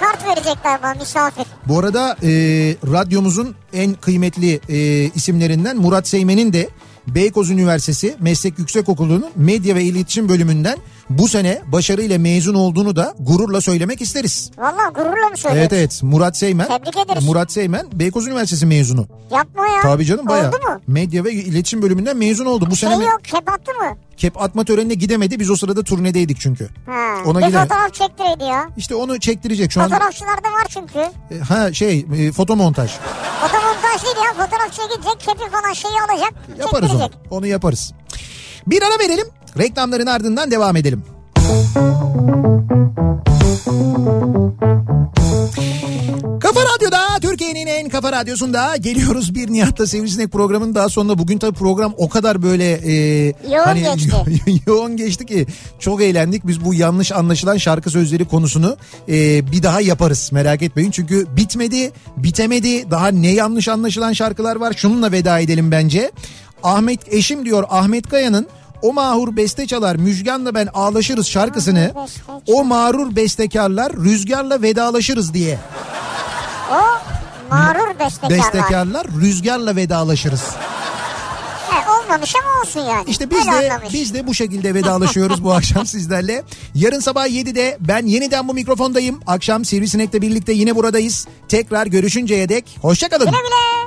S2: kart verecekler bana misafir.
S1: Bu arada e, radyomuzun en kıymetli e, isimlerinden Murat Seymen'in de Beykoz Üniversitesi Meslek Yüksekokulu'nun medya ve iletişim bölümünden bu sene başarıyla mezun olduğunu da gururla söylemek isteriz.
S2: Vallahi gururla mı söylüyorsun?
S1: Evet evet Murat Seymen.
S2: Tebrik ederiz.
S1: Murat Seymen Beykoz Üniversitesi mezunu.
S2: Yapma ya.
S1: Tabii canım bayağı.
S2: Oldu mu?
S1: Medya ve iletişim bölümünden mezun oldu. Bu
S2: Şey
S1: sene me-
S2: yok kep attı mı?
S1: kep atma törenine gidemedi. Biz o sırada turnedeydik çünkü.
S2: Ha.
S1: Ona
S2: bir
S1: gider.
S2: fotoğraf çektireydi ya.
S1: İşte onu çektirecek şu an.
S2: Fotoğrafçılarda var çünkü.
S1: E, Ha şey e, fotomontaj.
S2: Fotomontaj değil ya. Fotoğrafçıya gidecek kepi falan şeyi alacak.
S1: Yaparız onu.
S2: çektirecek.
S1: Onu yaparız. Bir ara verelim. Reklamların ardından devam edelim. Kafa Radyo'da Türkiye'nin en kafa radyosunda geliyoruz bir Nihat'la Sivrisinek programının daha sonunda. Bugün tabii program o kadar böyle e,
S2: Yoğun geçti.
S1: yoğun geçti ki çok eğlendik. Biz bu yanlış anlaşılan şarkı sözleri konusunu e, bir daha yaparız merak etmeyin. Çünkü bitmedi, bitemedi. Daha ne yanlış anlaşılan şarkılar var. Şununla veda edelim bence. Ahmet eşim diyor Ahmet Kaya'nın o mahur beste çalar Müjgan'la ben ağlaşırız şarkısını
S2: Mahur beste çalar.
S1: o mağrur bestekarlar rüzgarla vedalaşırız diye
S2: O mağrur bestekar. var.
S1: bestekarlar rüzgarla vedalaşırız.
S2: He, olmamış ama olsun yani.
S1: İşte biz
S2: Öyle
S1: de
S2: anlamış.
S1: biz de bu şekilde vedalaşıyoruz bu akşam sizlerle. Yarın sabah 7'de ben yeniden bu mikrofondayım. Akşam Sivrisinek'le birlikte yine buradayız. Tekrar görüşünceye dek hoşçakalın.
S2: Güle güle.